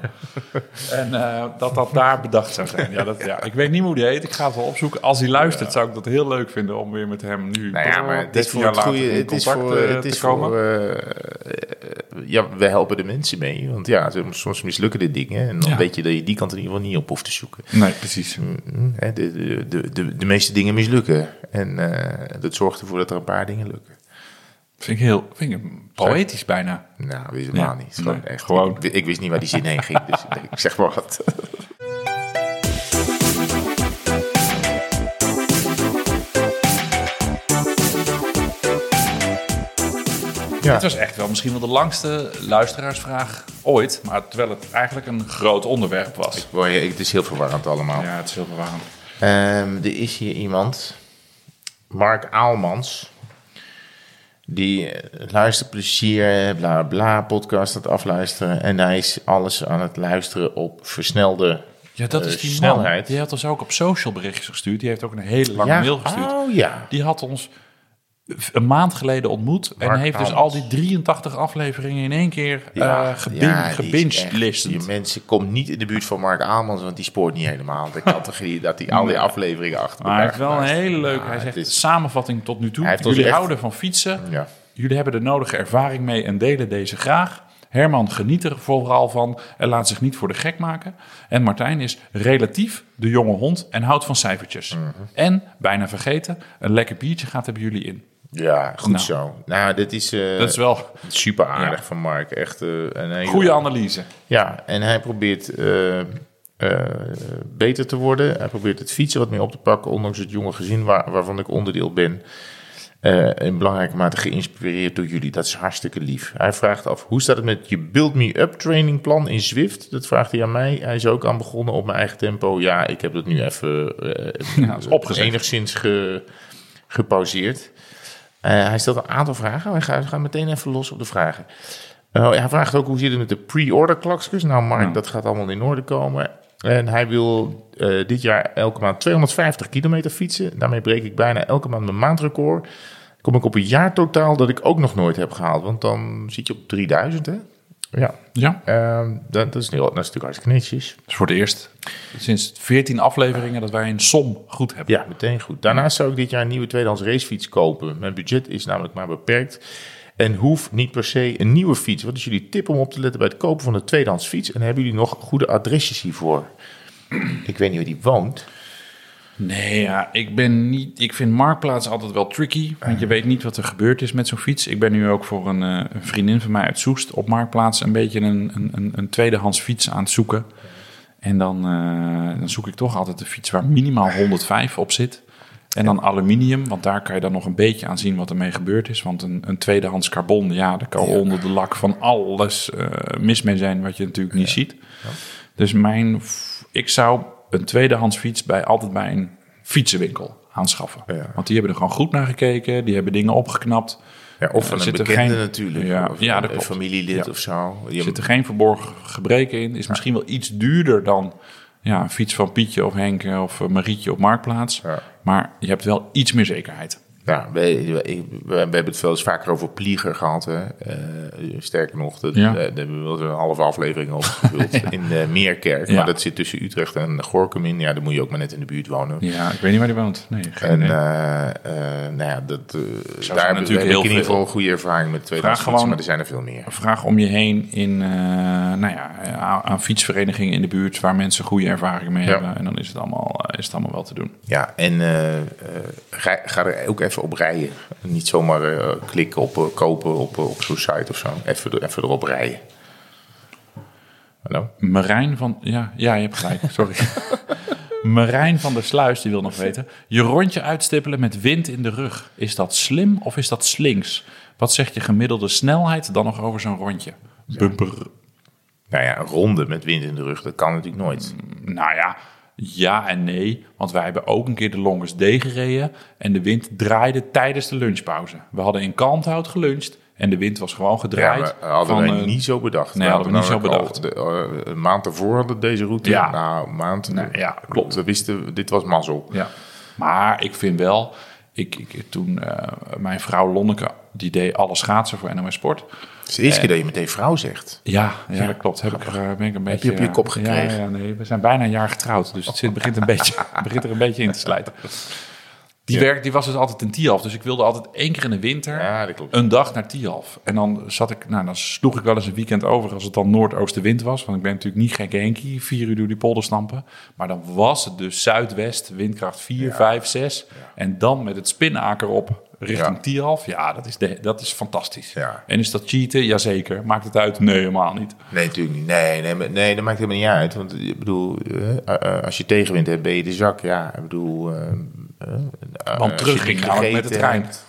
A: en eh, dat dat daar bedacht zou zijn. Ja, dat, ja. Ik weet niet hoe die heet, ik ga het wel opzoeken. Als hij luistert, zou ik dat heel leuk vinden om weer met hem nu
B: Nou ja, maar het is voor het goede. Het is voor.
A: eh,
B: Het is voor eh, eh, ja, we helpen de mensen mee. Want ja, soms mislukken de dingen. En dan
A: Ja.
B: weet je dat je die kant in ieder geval niet op hoeft te zoeken.
A: Nee, precies.
B: eh, Mm, hè, De, de, de, de, de meeste dingen mislukken. En eh, dat zorgt ervoor dat er een paar dingen lukken.
A: Vind ik heel vind ik poëtisch bijna.
B: Nou, wist helemaal
A: Ja,
B: niet. Het is Gewoon
A: nee,
B: echt,
A: gewoon.
B: Ik, ik wist niet waar die zin heen ging, dus ik zeg maar wat. Ja,
A: Het was echt wel misschien wel de langste luisteraarsvraag ooit, maar terwijl het eigenlijk een groot onderwerp was.
B: Boy, het is heel verwarrend allemaal.
A: Ja, het is heel verwarrend.
B: Ehm, er is hier iemand, Mark Aalmans, die eh, luistert plezier, bla bla, podcast aan het afluisteren. En hij is alles aan het luisteren op versnelde
A: Ja, dat
B: eh,
A: is die
B: snelheid.
A: man. Die had ons ook op social berichtjes gestuurd. Die heeft ook een hele lange
B: ja?
A: mail gestuurd.
B: Oh ja.
A: Die had ons een maand geleden ontmoet.
B: Mark
A: en heeft dus
B: Hamels.
A: al die 83 afleveringen in één keer eh,
B: Ja,
A: ja,
B: ja, die is echt-
A: gebinged
B: Die mensen komt niet in de buurt van Mark Aalmans, want die spoort niet helemaal. De categorie dat hij al die afleveringen achter
A: Maar hij heeft
B: elkaar
A: wel een
B: gemaakt.
A: hele leuke...
B: Ja,
A: hij zegt,
B: het is-
A: samenvatting tot nu toe.
B: Hij heeft ons
A: Jullie
B: echt-
A: houden van fietsen.
B: ja.
A: Jullie hebben de nodige ervaring mee en delen deze graag. Herman geniet er vooral van en laat zich niet voor de gek maken. En Martijn is relatief de jonge hond en houdt van cijfertjes. En, bijna vergeten, een lekker biertje gaat er bij jullie in.
B: ja, goed
A: Nou.
B: zo. Nou, dit is, eh,
A: Dat is wel
B: super aardig
A: Ja.
B: van Mark. Echt eh, een hele-
A: goede analyse.
B: Ja, en hij probeert eh, eh, beter te worden. Hij probeert het fietsen wat meer op te pakken, ondanks het jonge gezin waar, waarvan ik onderdeel ben. Eh, in belangrijke mate geïnspireerd door jullie. Dat is hartstikke lief. Hij vraagt af, hoe staat het met je Build Me Up training plan in Zwift? Dat vraagt hij aan mij. Hij is ook aan begonnen op mijn eigen tempo. Ja, ik heb dat nu even eh,
A: Ja, dat is opgezet.
B: enigszins ge- gepauzeerd. Eh, hij stelt een aantal vragen. Wij gaan, we gaan meteen even los op de vragen. Eh, hij vraagt ook hoe zit het met de pre-order klakskes. Nou, Mark,
A: Ja.
B: dat gaat allemaal in orde komen. En hij wil eh, dit jaar elke maand 250 kilometer fietsen. Daarmee breek ik bijna elke maand mijn maandrecord. Kom ik op een jaartotaal dat ik ook nog nooit heb gehaald. Want dan zit je op 3000, hè? Ja,
A: Ja,
B: ehm, dat, dat, is, heel, dat is natuurlijk hartstikke netjes.
A: dat is voor het eerst sinds 14 afleveringen dat wij een som goed hebben.
B: Ja, meteen goed. Daarnaast zou ik dit jaar een nieuwe tweedehands racefiets kopen. Mijn budget is namelijk maar beperkt. En hoef niet per se een nieuwe fiets. Wat is jullie tip om op te letten bij het kopen van een tweedehands fiets? En hebben jullie nog goede adresjes hiervoor? Ik weet niet waar die woont.
A: Nee, ja, ik, ben niet, ik vind Marktplaats altijd wel tricky. Want je weet niet wat er gebeurd is met zo'n fiets. Ik ben nu ook voor een, eh, een vriendin van mij uit Soest op Marktplaats een beetje een, een- een, een tweedehands fiets aan het zoeken. En dan, eh, dan zoek ik toch altijd een fiets waar minimaal 105 op zit. En dan aluminium, want daar kan je dan nog een beetje aan zien wat ermee gebeurd is. Want een, een tweedehands carbon, ja, daar kan onder de lak van alles eh, mis mee zijn wat je natuurlijk niet ziet. Dus mijn, f- ik zou een tweedehands fiets bij, altijd bij een fietsenwinkel aanschaffen.
B: Ja.
A: Want die hebben er gewoon goed naar gekeken, die hebben dingen opgeknapt.
B: Ja, of
A: Eh,
B: van een
A: zit er
B: bekende
A: geen-
B: natuurlijk.
A: Ja,
B: of
A: ja,
B: van
A: dat
B: een
A: klopt.
B: familielid of zo. Die
A: Er zitten geen verborgen gebreken in. Is misschien wel iets duurder dan ja, een fiets van Pietje of Henk of eh, Marietje op Marktplaats.
B: Ja.
A: Maar je hebt wel iets meer zekerheid.
B: Ja, we, we, we hebben het wel eens vaker over Plieger gehad. Hè? Eh, sterker nog, dat,
A: Ja.
B: eh, daar hebben we wel eens een halve aflevering over gevuld in eh, Meerkerk.
A: Ja.
B: Maar dat zit tussen Utrecht en Gorkum in. Ja, dan moet je ook maar net in de buurt wonen.
A: Ja, ik weet niet waar die woont. Nee, geen
B: En
A: idee.
B: eh, eh, nou ja, dat, eh, daar hebben we
A: natuurlijk
B: heb ik
A: heel
B: in ieder
A: veel.
B: geval een goede ervaring met twee fietsen,
A: gewoon-
B: maar er zijn er veel meer.
A: eh, Vraag om je heen in, eh, nou ja, aan, aan fietsverenigingen in de buurt waar mensen goede ervaringen mee
B: Ja.
A: hebben. En dan is het, allemaal, eh, is het allemaal wel te doen.
B: Ja, en eh, eh, ga, ga er ook even op rijden. Niet zomaar eh, klikken op eh, kopen op, eh, op zo'n site of zo. Even, er- even erop rijden. Hallo?
A: Marijn van. Ja, ja je hebt gelijk, sorry. Marijn van der Sluis die wil nog weten. Je rondje uitstippelen met wind in de rug. Is dat slim of is dat slinks? Wat zegt je gemiddelde snelheid dan nog over zo'n rondje? Bumper.
B: Nou ja, een ronde met wind in de rug, dat kan natuurlijk nooit.
A: Nou ja, ja en nee. Want wij hebben ook een keer de Longest D gereden. En de wind draaide tijdens de lunchpauze. We hadden in Kalmthout geluncht. En de wind was gewoon
B: Ja,
A: gedraaid.
B: maar hadden
A: van,
B: wij
A: eh,
B: niet zo bedacht.
A: nee, hadden we niet
B: namelijk
A: zo
B: al de- eh, een maand daarvoor hadden we deze route.
A: Ja.
B: Nou, een maand.
A: Nee, ja, klopt.
B: We wisten, dit was mazzel.
A: Ja. Maar ik vind wel, ik, ik, toen eh, mijn vrouw Lonneke, die deed alle schaatsen voor NOS Sport.
B: Het is de eerste keer
A: Eh.
B: dat je meteen vrouw zegt.
A: Ja, ja, dat klopt. Heb ik er, eh, ben ik een beetje,
B: je op je
A: eh,
B: kop gekregen?
A: Ja, ja, nee, we zijn bijna een jaar getrouwd, dus het zit, begint, een beetje, begint er een beetje in te slijten. Die,
B: Ja.
A: werk, die was dus altijd in Tialf, dus ik wilde altijd één keer in de winter
B: Ja, dat klopt.
A: een dag naar Tialf. En dan zat ik, nou, dan sloeg ik wel eens een weekend over als het dan noordoostenwind was, want ik ben natuurlijk niet gek Henkie, vier uur door die polder stampen. Maar dan was het dus zuidwest, windkracht 4, 5, 6 en dan met het spinaker op richting
B: Ja.
A: Tialf. Ja, dat is, de, dat is fantastisch.
B: Ja.
A: En is dat cheaten? Jazeker. Maakt het uit? Nee, helemaal niet.
B: Nee, natuurlijk niet. Nee, nee, maar- nee, dat maakt helemaal niet uit. Want ik bedoel, eh, eh, als je tegenwind hebt, ben je de zak. Ja, ik bedoel... eh, eh, eh, als
A: Want
B: je
A: terug ging
B: niet
A: namelijk met de
B: gegeten
A: trein.
B: hebt.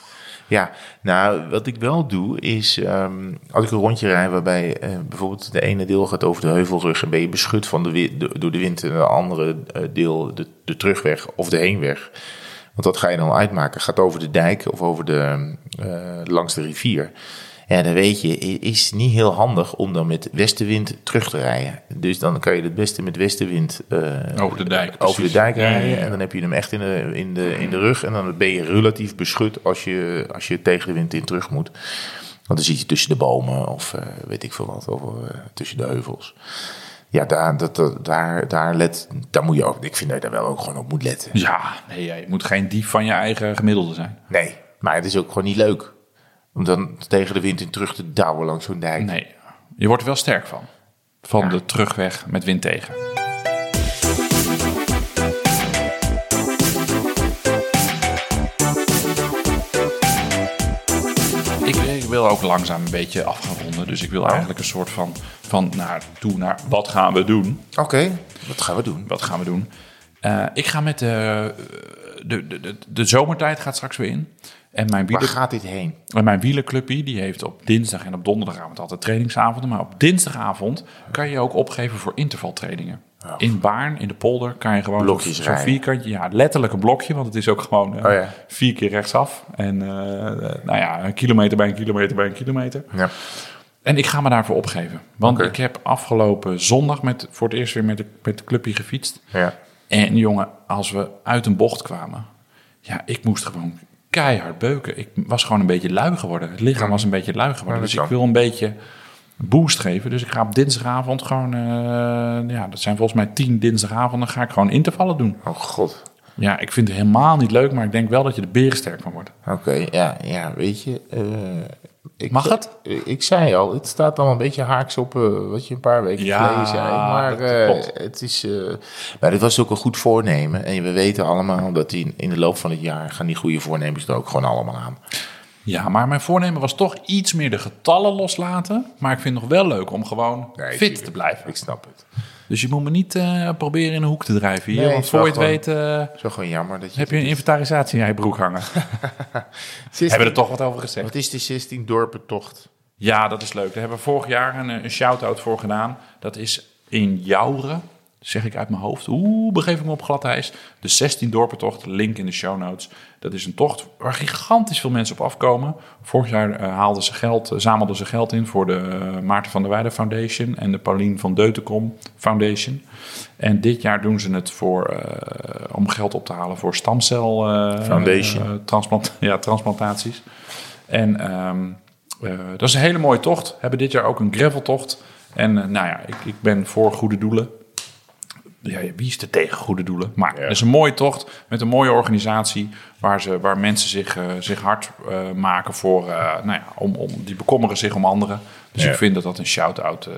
B: Ja, nou, wat ik wel doe is, ehm, als ik een rondje rijd waarbij eh, bijvoorbeeld de ene deel gaat over de heuvelrug en ben je beschut van de, wi- de- door de wind en de andere eh, deel de, de terugweg of de heenweg. Want dat ga je dan uitmaken. Gaat over de dijk of over de, eh, langs de rivier. Ja, dan weet je, i- is niet heel handig om dan met westenwind terug te rijden. Dus dan kan je het beste met westenwind eh,
A: Over de dijk,
B: over de
A: precies.
B: dijk
A: Ja, ja,
B: rijden.
A: ja.
B: En dan heb je hem echt in de, in de, in de rug. En dan ben je relatief beschut als je, als je tegen de wind in terug moet. Want dan zit je tussen de bomen of eh, weet ik veel wat. Of eh, tussen de heuvels. Ja, daar, dat, dat- daar, daar, let, daar moet je ook. Ik vind dat je daar wel ook gewoon op moet letten.
A: Ja, nee, ja, je moet geen dief van je eigen gemiddelde zijn.
B: Nee, maar het is ook gewoon niet leuk. Om dan tegen de wind in terug te douwen langs zo'n dijk.
A: Nee, je wordt er wel sterk van. Van de terugweg met wind tegen. Ik, ik wil ook langzaam een beetje af gaan ronden. Dus ik wil eigenlijk een soort van, van naar toe naar wat gaan we doen?
B: Oké, wat gaan we doen?
A: Wat gaan we doen? Eh, ik ga met de, de, de, de, de zomertijd gaat straks weer in. En mijn
B: Waar
A: bieden,
B: gaat dit heen?
A: En mijn wielerclubje, die heeft op dinsdag en op donderdagavond altijd trainingsavonden. Maar op dinsdagavond kan je je ook opgeven voor intervaltrainingen. In Baarn, in de polder, kan je gewoon
B: Blokjes
A: zo'n
B: rijden.
A: vierkantje. Ja, letterlijk een blokje, want het is ook gewoon eh,
B: Oh ja.
A: vier keer rechtsaf. En eh, eh, nou ja, een kilometer bij een kilometer bij een kilometer.
B: Ja.
A: En ik ga me daarvoor opgeven. Want
B: Oké.
A: ik heb afgelopen zondag met, voor het eerst weer met de, met de clubje gefietst.
B: Ja.
A: En jongen, als we uit een bocht kwamen, ja, ik moest gewoon keihard beuken. Ik was gewoon een beetje lui geworden. Het lichaam was een beetje lui geworden.
B: Ja, dat
A: dus
B: kan.
A: ik wil een beetje boost geven. Dus ik ga op dinsdagavond gewoon, eh, ja, dat zijn volgens mij tien dinsdagavonden, ga ik gewoon intervallen doen.
B: Oh god.
A: Ja, ik vind het helemaal niet leuk, maar ik denk wel dat je er berensterk van wordt.
B: Oké, ja, ja, weet je. eh, ik, eh,
A: Mag het?
B: Ik, zei al, het staat al een beetje haaks op eh, wat je een paar weken
A: Ja,
B: geleden zei. Maar
A: dat
B: eh,
A: klopt.
B: het is. eh, maar dit was ook een goed voornemen. En we weten allemaal dat in, in de loop van het jaar gaan die goede voornemens er ook gewoon allemaal aan.
A: Ja, maar mijn voornemen was toch iets meer de getallen loslaten. Maar ik vind het nog wel leuk om gewoon
B: Nee,
A: fit
B: tuurlijk.
A: te blijven.
B: Ik snap het.
A: Dus je moet me niet eh, proberen in een hoek te drijven hier.
B: Nee,
A: want
B: het
A: voor
B: is
A: je
B: wel
A: het weet eh,
B: Het is wel gewoon jammer dat je.
A: heb je een inventarisatie in je broek hangen. Hebben we er toch wat over gezegd?
B: Wat is de 16 dorpentocht?
A: Ja, dat is leuk. Daar hebben we vorig jaar een, een shout-out voor gedaan. Dat is in Jouren, zeg ik uit mijn hoofd. Oeh, begeef ik me op glad ijs. De 16 dorpentocht, link in de show notes. Dat is een tocht waar gigantisch veel mensen op afkomen. Vorig jaar eh, haalden ze geld, eh, zamelden ze geld in voor de eh, Maarten van der Weijden Foundation en de Paulien van Deutenkom Foundation. En dit jaar doen ze het voor, eh, om geld op te halen voor stamcel eh,
B: Foundation.
A: eh, transplant, ja, transplantaties. En ehm, eh, dat is een hele mooie tocht. We hebben dit jaar ook een graveltocht. En eh, nou ja, ik, ik ben voor goede doelen. Ja, wie is er tegen goede doelen? Maar
B: Ja.
A: het is een mooie tocht met een mooie organisatie... waar, ze, waar mensen zich, eh, zich hard eh, maken voor... eh, nou ja, om, om, die bekommeren zich om anderen. Dus
B: Ja.
A: ik vind dat dat een shout-out eh,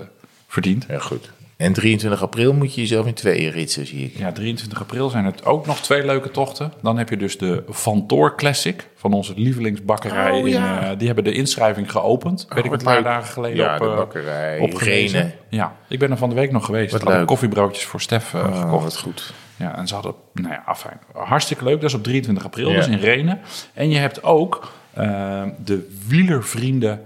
A: verdient.
B: Ja, goed. En 23 april moet je jezelf in tweeën ritsen, zie ik.
A: Ja, 23 april zijn het ook nog twee leuke tochten. Dan heb je dus de Van Toor Classic van onze lievelingsbakkerij.
B: Oh, ja. Oh,
A: in, eh, die hebben de inschrijving geopend. weet ik
B: wat
A: een paar
B: leuk.
A: dagen geleden
B: Ja,
A: op,
B: de
A: eh,
B: bakkerij,
A: op gewezen.
B: Renen.
A: Ja, ik ben er van de week nog geweest.
B: Wat
A: Had ik
B: leuk.
A: koffiebroodjes voor Stef eh,
B: Oh,
A: gekocht.
B: wat goed.
A: Ja, en ze hadden, nou ja, afijn, hartstikke leuk. Dat is op 23 april,
B: Ja.
A: dus in Renen. En je hebt ook eh, de wielervrienden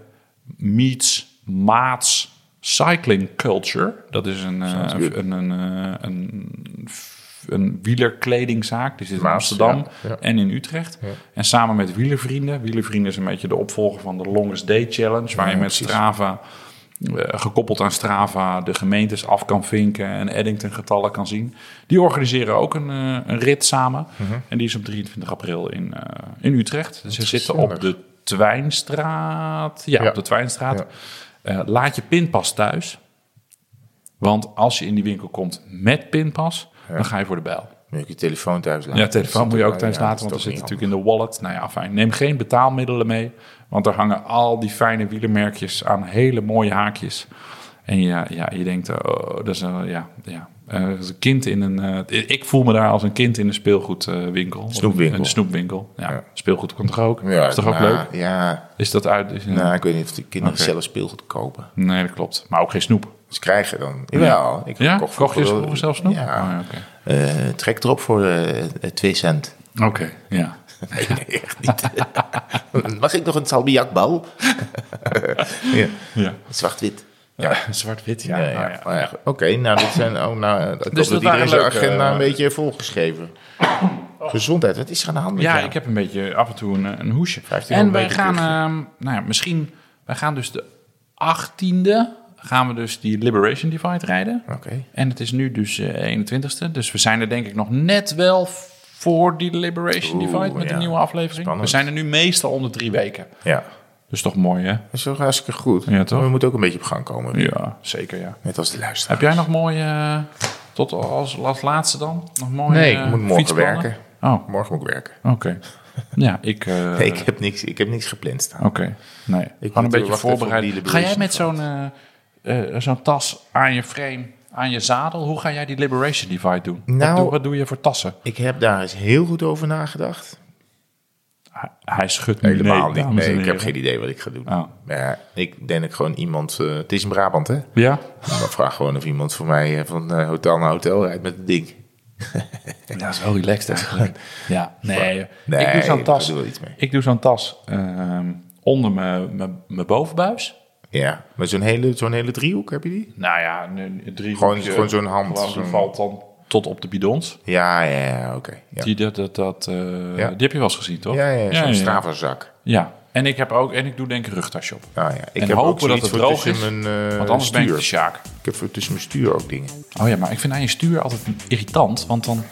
A: meets maats cycling culture. Dat is een, eh,
B: goed.
A: een, een, eh, een, een wielerkledingzaak. Die zit in
B: Maats,
A: Amsterdam
B: ja, ja.
A: en in Utrecht. En samen met wielervrienden. Wielervrienden is een beetje de opvolger van de Longest Day Challenge. Waar je met
B: precies.
A: Strava... eh, gekoppeld aan Strava, de gemeentes af kan vinken en Eddington-getallen kan zien. Die organiseren ook een, eh, een rit samen.
B: Mhm.
A: En die is op 23 april in, eh, in Utrecht. Dus ze zitten op de Twijnstraat. Ja,
B: Ja.
A: op de Twijnstraat.
B: Ja.
A: Eh, laat je pinpas thuis. Want als je in die winkel komt met pinpas, dan ga je voor de bijl.
B: Moet je je telefoon thuis laten.
A: Ja, telefoon moet je ook thuis
B: Ja,
A: laten, want
B: dat
A: er
B: is
A: zit
B: toch
A: natuurlijk in de wallet. Nou ja, fijn. Neem geen betaalmiddelen mee, want er hangen al die fijne wielermerkjes aan hele mooie haakjes. En ja, ja je denkt, oh, dat is een, ja, ja. Eh, dat is een kind in een... eh, ik voel me daar als een kind in een speelgoedwinkel.
B: Snoepwinkel.
A: Een snoepwinkel, ja.
B: Ja.
A: Speelgoed kan toch ook?
B: niet handig. Ja,
A: is toch ook
B: nou,
A: leuk?
B: Ja,
A: Is dat uit? is-
B: nou, ik weet niet of de kinderen
A: Oké.
B: zelf speelgoed kopen.
A: Nee, dat klopt. Maar ook geen snoep.
B: Ze krijgen dan. Jawel. Ik
A: Ja?
B: kocht
A: Kocht je
B: vroeger
A: vroeger zelf snoep?
B: Ja.
A: Oh, ja, Oké,
B: Eh, trek erop voor eh, eh, 2 cent.
A: Oké, ja.
B: Nee, nee, echt niet. Mag ik nog een salmiakbal? ja.
A: ja.
B: Zwart-wit.
A: ja. Zwart-wit, ja.
B: Ja,
A: Oh,
B: ja.
A: ja.
B: Maar ja, goed. Oké, nou, dit zijn ook. Nou, dat dus
A: dat
B: dat iedereen
A: waren
B: zijn
A: leuke,
B: agenda
A: eh, Oh.
B: een beetje volgeschreven. Gezondheid, wat is er aan de hand? met
A: Ja,
B: jou?
A: ik heb een beetje af en toe een, een hoesje.
B: 1500
A: En wij
B: meter
A: gaan,
B: kuchje.
A: ehm, nou ja, misschien, wij gaan dus de 18e, gaan we dus die Liberation Divide rijden.
B: Oké.
A: En het is nu dus eh 21ste, dus we zijn er denk ik nog net wel voor die Liberation
B: Oeh,
A: Divide met
B: ja.
A: een nieuwe aflevering.
B: Spannend.
A: We zijn er nu meestal onder drie weken.
B: Ja,
A: Dus toch mooi, hè?
B: dat is wel hartstikke goed.
A: Ja, toch?
B: Maar We moeten ook een beetje op gang komen.
A: Ja, zeker, ja.
B: Net als de luisteraar.
A: Heb jij nog mooie, eh, tot als, als laatste dan, nog mooie
B: Nee, ik
A: eh,
B: moet morgen
A: fietsplannen?
B: werken.
A: Oh,
B: Morgen moet ik werken.
A: oké. Ja, ik... eh,
B: Nee, ik heb niks, ik heb niks gepland staan.
A: Oké, nee.
B: moet
A: Gewoon een
B: even
A: beetje
B: wachten op
A: voorbereiden.
B: die
A: Ga jij
B: Liberation
A: met zo'n eh, eh, zo'n tas aan je frame, aan je zadel, hoe ga jij die Liberation Divide doen?
B: Nou-
A: wat, doe, wat doe je voor tassen?
B: Ik heb daar eens heel goed over nagedacht.
A: Hij, hij schudt me
B: Helemaal
A: nee,
B: niet.
A: dames en
B: Nee, ik heb
A: heren.
B: geen idee wat ik ga doen.
A: Oh.
B: Maar ja, ik denk dat ik gewoon iemand... eh, het is in Brabant, hè?
A: Ja?
B: Maar vraag gewoon of iemand voor mij eh, van eh, hotel naar hotel rijdt met het ding.
A: Dat is wel relaxed eigenlijk. Ja, nee.
B: Nee,
A: ik doe zo'n
B: ik
A: tas,
B: doe er iets mee.
A: ik doe zo'n tas ehm, onder mijn- mijn mijn bovenbuis.
B: Ja, maar zo'n hele, zo'n hele driehoek heb je die?
A: Nou ja, een, een drie
B: Gewoon- gewoon zo'n hand,
A: Gewoon, die
B: zo'n-
A: valt dan tot op de bidons.
B: Ja, ja, ja, oké. Ja.
A: Die, dat, dat, dat, eh,
B: Ja.
A: die heb je wel eens gezien, toch?
B: Ja, ja, ja, zo'n
A: ja.
B: Strava-zak.
A: Ja, en ik heb ook, en ik doe denk ik een rugtasje op.
B: Nou ja, ik
A: En
B: heb
A: hopen
B: ook zoiets
A: dat het
B: voor
A: droog
B: tussen
A: is,
B: Mijn, eh,
A: Want anders ben ik
B: stuur.
A: de Sjaak.
B: Ik heb voor tussen mijn stuur ook dingen.
A: Oh ja, maar ik vind aan je stuur altijd irritant. Want dan,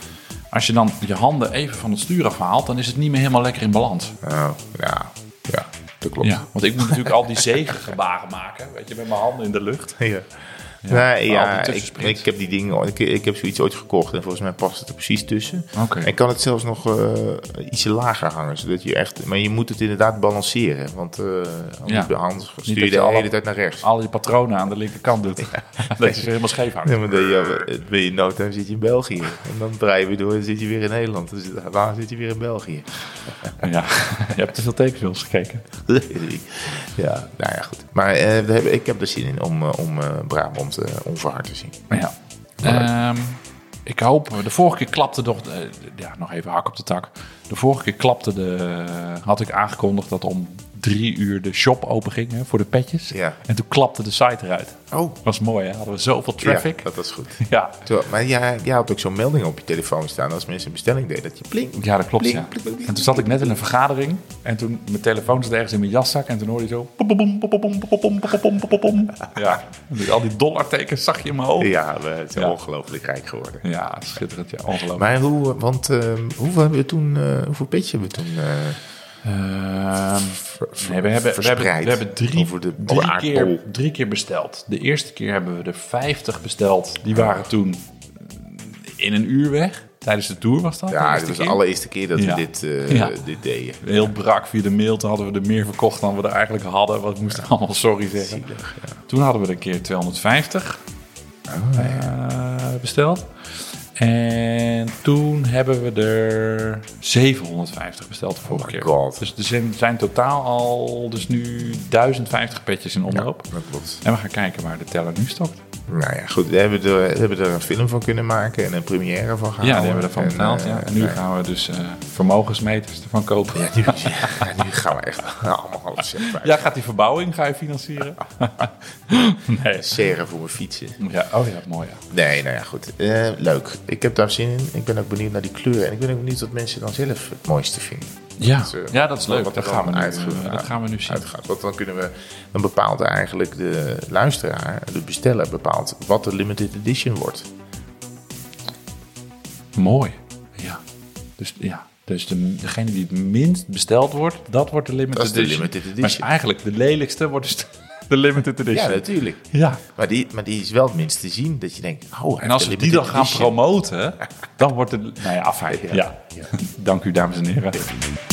A: als je dan je handen even van het stuur afhaalt, dan is het niet meer helemaal lekker in balans.
B: Oh, ja, ja, dat klopt.
A: Ja, want ik moet natuurlijk al die zegengebaren maken. Weet je, met mijn handen in de lucht.
B: Ja. Nee,
A: al die
B: ja, ik,
A: tussensprints.
B: ik heb die dingen, al- ik, ik heb zoiets ooit gekocht en volgens mij past het er precies tussen.
A: Oké.
B: En kan het zelfs nog eh, ietsje lager hangen, zodat je echt, maar je moet het inderdaad balanceren, want eh anders
A: Ja.
B: anders
A: dat
B: stuur je
A: je
B: de hele
A: alle-
B: tijd naar rechts.
A: Al je patronen aan de linkerkant doet. Dat je ze helemaal scheef hangt.
B: Ja, maar dan ja, dan ben je in no time zit je in België. En dan draai je weer door en zit je weer in Nederland. Dan zit, waar zit je weer in België?
A: Ja, je hebt te veel tekenfilms gekeken.
B: ja, nou ja, goed. Maar eh, we hebben, ik heb er zin in om, eh, om eh, Brabant eh, onverhard te zien.
A: Ja. Ehm, ik hoop, de vorige keer klapte toch, eh, ja, nog even hak op de tak. De vorige keer klapte de, had ik aangekondigd dat om drie uur de shop open ging hè, voor de petjes.
B: Ja.
A: En toen klapte de site eruit.
B: Oh,
A: Was mooi, hè? Hadden we zoveel
B: Ja,
A: traffic.
B: dat was goed.
A: Ja, ja.
B: Terwijl- maar jij, jij had ook zo'n melding op je telefoon staan als mensen een bestelling deden. Dat je pling.
A: dat klopt,
B: pling,
A: ja.
B: pling, pling, pling.
A: En toen zat ik net in een vergadering. En toen, mijn telefoon zat ergens in mijn jaszak. En toen hoorde je zo... pom, pom, pom, pom, pom, pom, pom, pom, pom, pom, pom. Ja, al die dollartekens zag je in mijn ogen.
B: Ja, we het zijn
A: Ja.
B: ongelooflijk rijk geworden.
A: Ja, schitterend, ja. Ongelooflijk.
B: Maar hoe, want eh, hoeveel hebben we toen, eh, hoeveel pitch hebben we toen? eh,
A: Ehm, nee, we, hebben, we, hebben,
B: verspreid
A: we hebben drie,
B: over de-
A: drie,
B: over de
A: keer,
B: aardbol.
A: drie keer besteld. De eerste keer hebben we er 50 besteld. Die waren toen in een uur weg. Tijdens de tour was dat. de
B: ja,
A: eerste
B: dit was de
A: keer.
B: allereerste keer dat
A: Ja.
B: we dit, eh,
A: Ja.
B: dit deden.
A: Heel brak via de mail. Toen hadden we er meer verkocht dan we er eigenlijk hadden. Want we moesten allemaal sorry zeggen. Toen hadden we er een keer 250.
B: Oh,
A: eh, besteld. En toen hebben we er 750 besteld de vorige keer.
B: Oh god.
A: Dus er zijn, zijn totaal al dus nu 1050 petjes in
B: Ja,
A: omloop.
B: dat klopt.
A: En we gaan kijken waar de teller nu stopt.
B: Nou ja, goed. We hebben, er, we hebben er een film van kunnen maken en een première van gehouden.
A: ja, die hebben we ervan
B: En,
A: betaald.
B: eh,
A: ja. En nu
B: nou
A: gaan we dus eh, vermogensmeters ervan kopen.
B: ja, nu, ja, nu gaan we echt allemaal alles zeggen.
A: Ja, gaat die verbouwing ga je financieren? nee.
B: Seren voor mijn fietsen.
A: Ja, oh ja, mooi ja.
B: Nee, nou ja, goed. Eh, leuk. Ik heb daar zin in. Ik ben ook benieuwd naar die kleuren. En ik ben ook benieuwd wat mensen dan zelf het mooiste vinden.
A: Ja,
B: Dus, eh,
A: ja dat is
B: wat-
A: leuk.
B: wat
A: Dat
B: er
A: gaan, we
B: dan
A: nu,
B: uitge-
A: eh, dat gaan we nu zien.
B: uitgaat. Want dan kunnen we, dan bepaalt eigenlijk de luisteraar, de besteller bepaalt wat de limited edition wordt.
A: Mooi. Ja. Dus, ja. dus de, degene die het minst besteld wordt, dat wordt de limited
B: Dat is de
A: edition.
B: limited edition.
A: Maar is eigenlijk de lelijkste wordt dus de limited edition.
B: Ja, natuurlijk.
A: Ja.
B: Maar die, maar die is wel het minst te zien. Dat je denkt, oh, hij
A: En als we
B: heeft
A: die
B: de
A: dan gaan
B: limited edition.
A: promoten, dan wordt het... Nou ja, afijn. Ja.
B: Ja.
A: Dank u, dames en heren.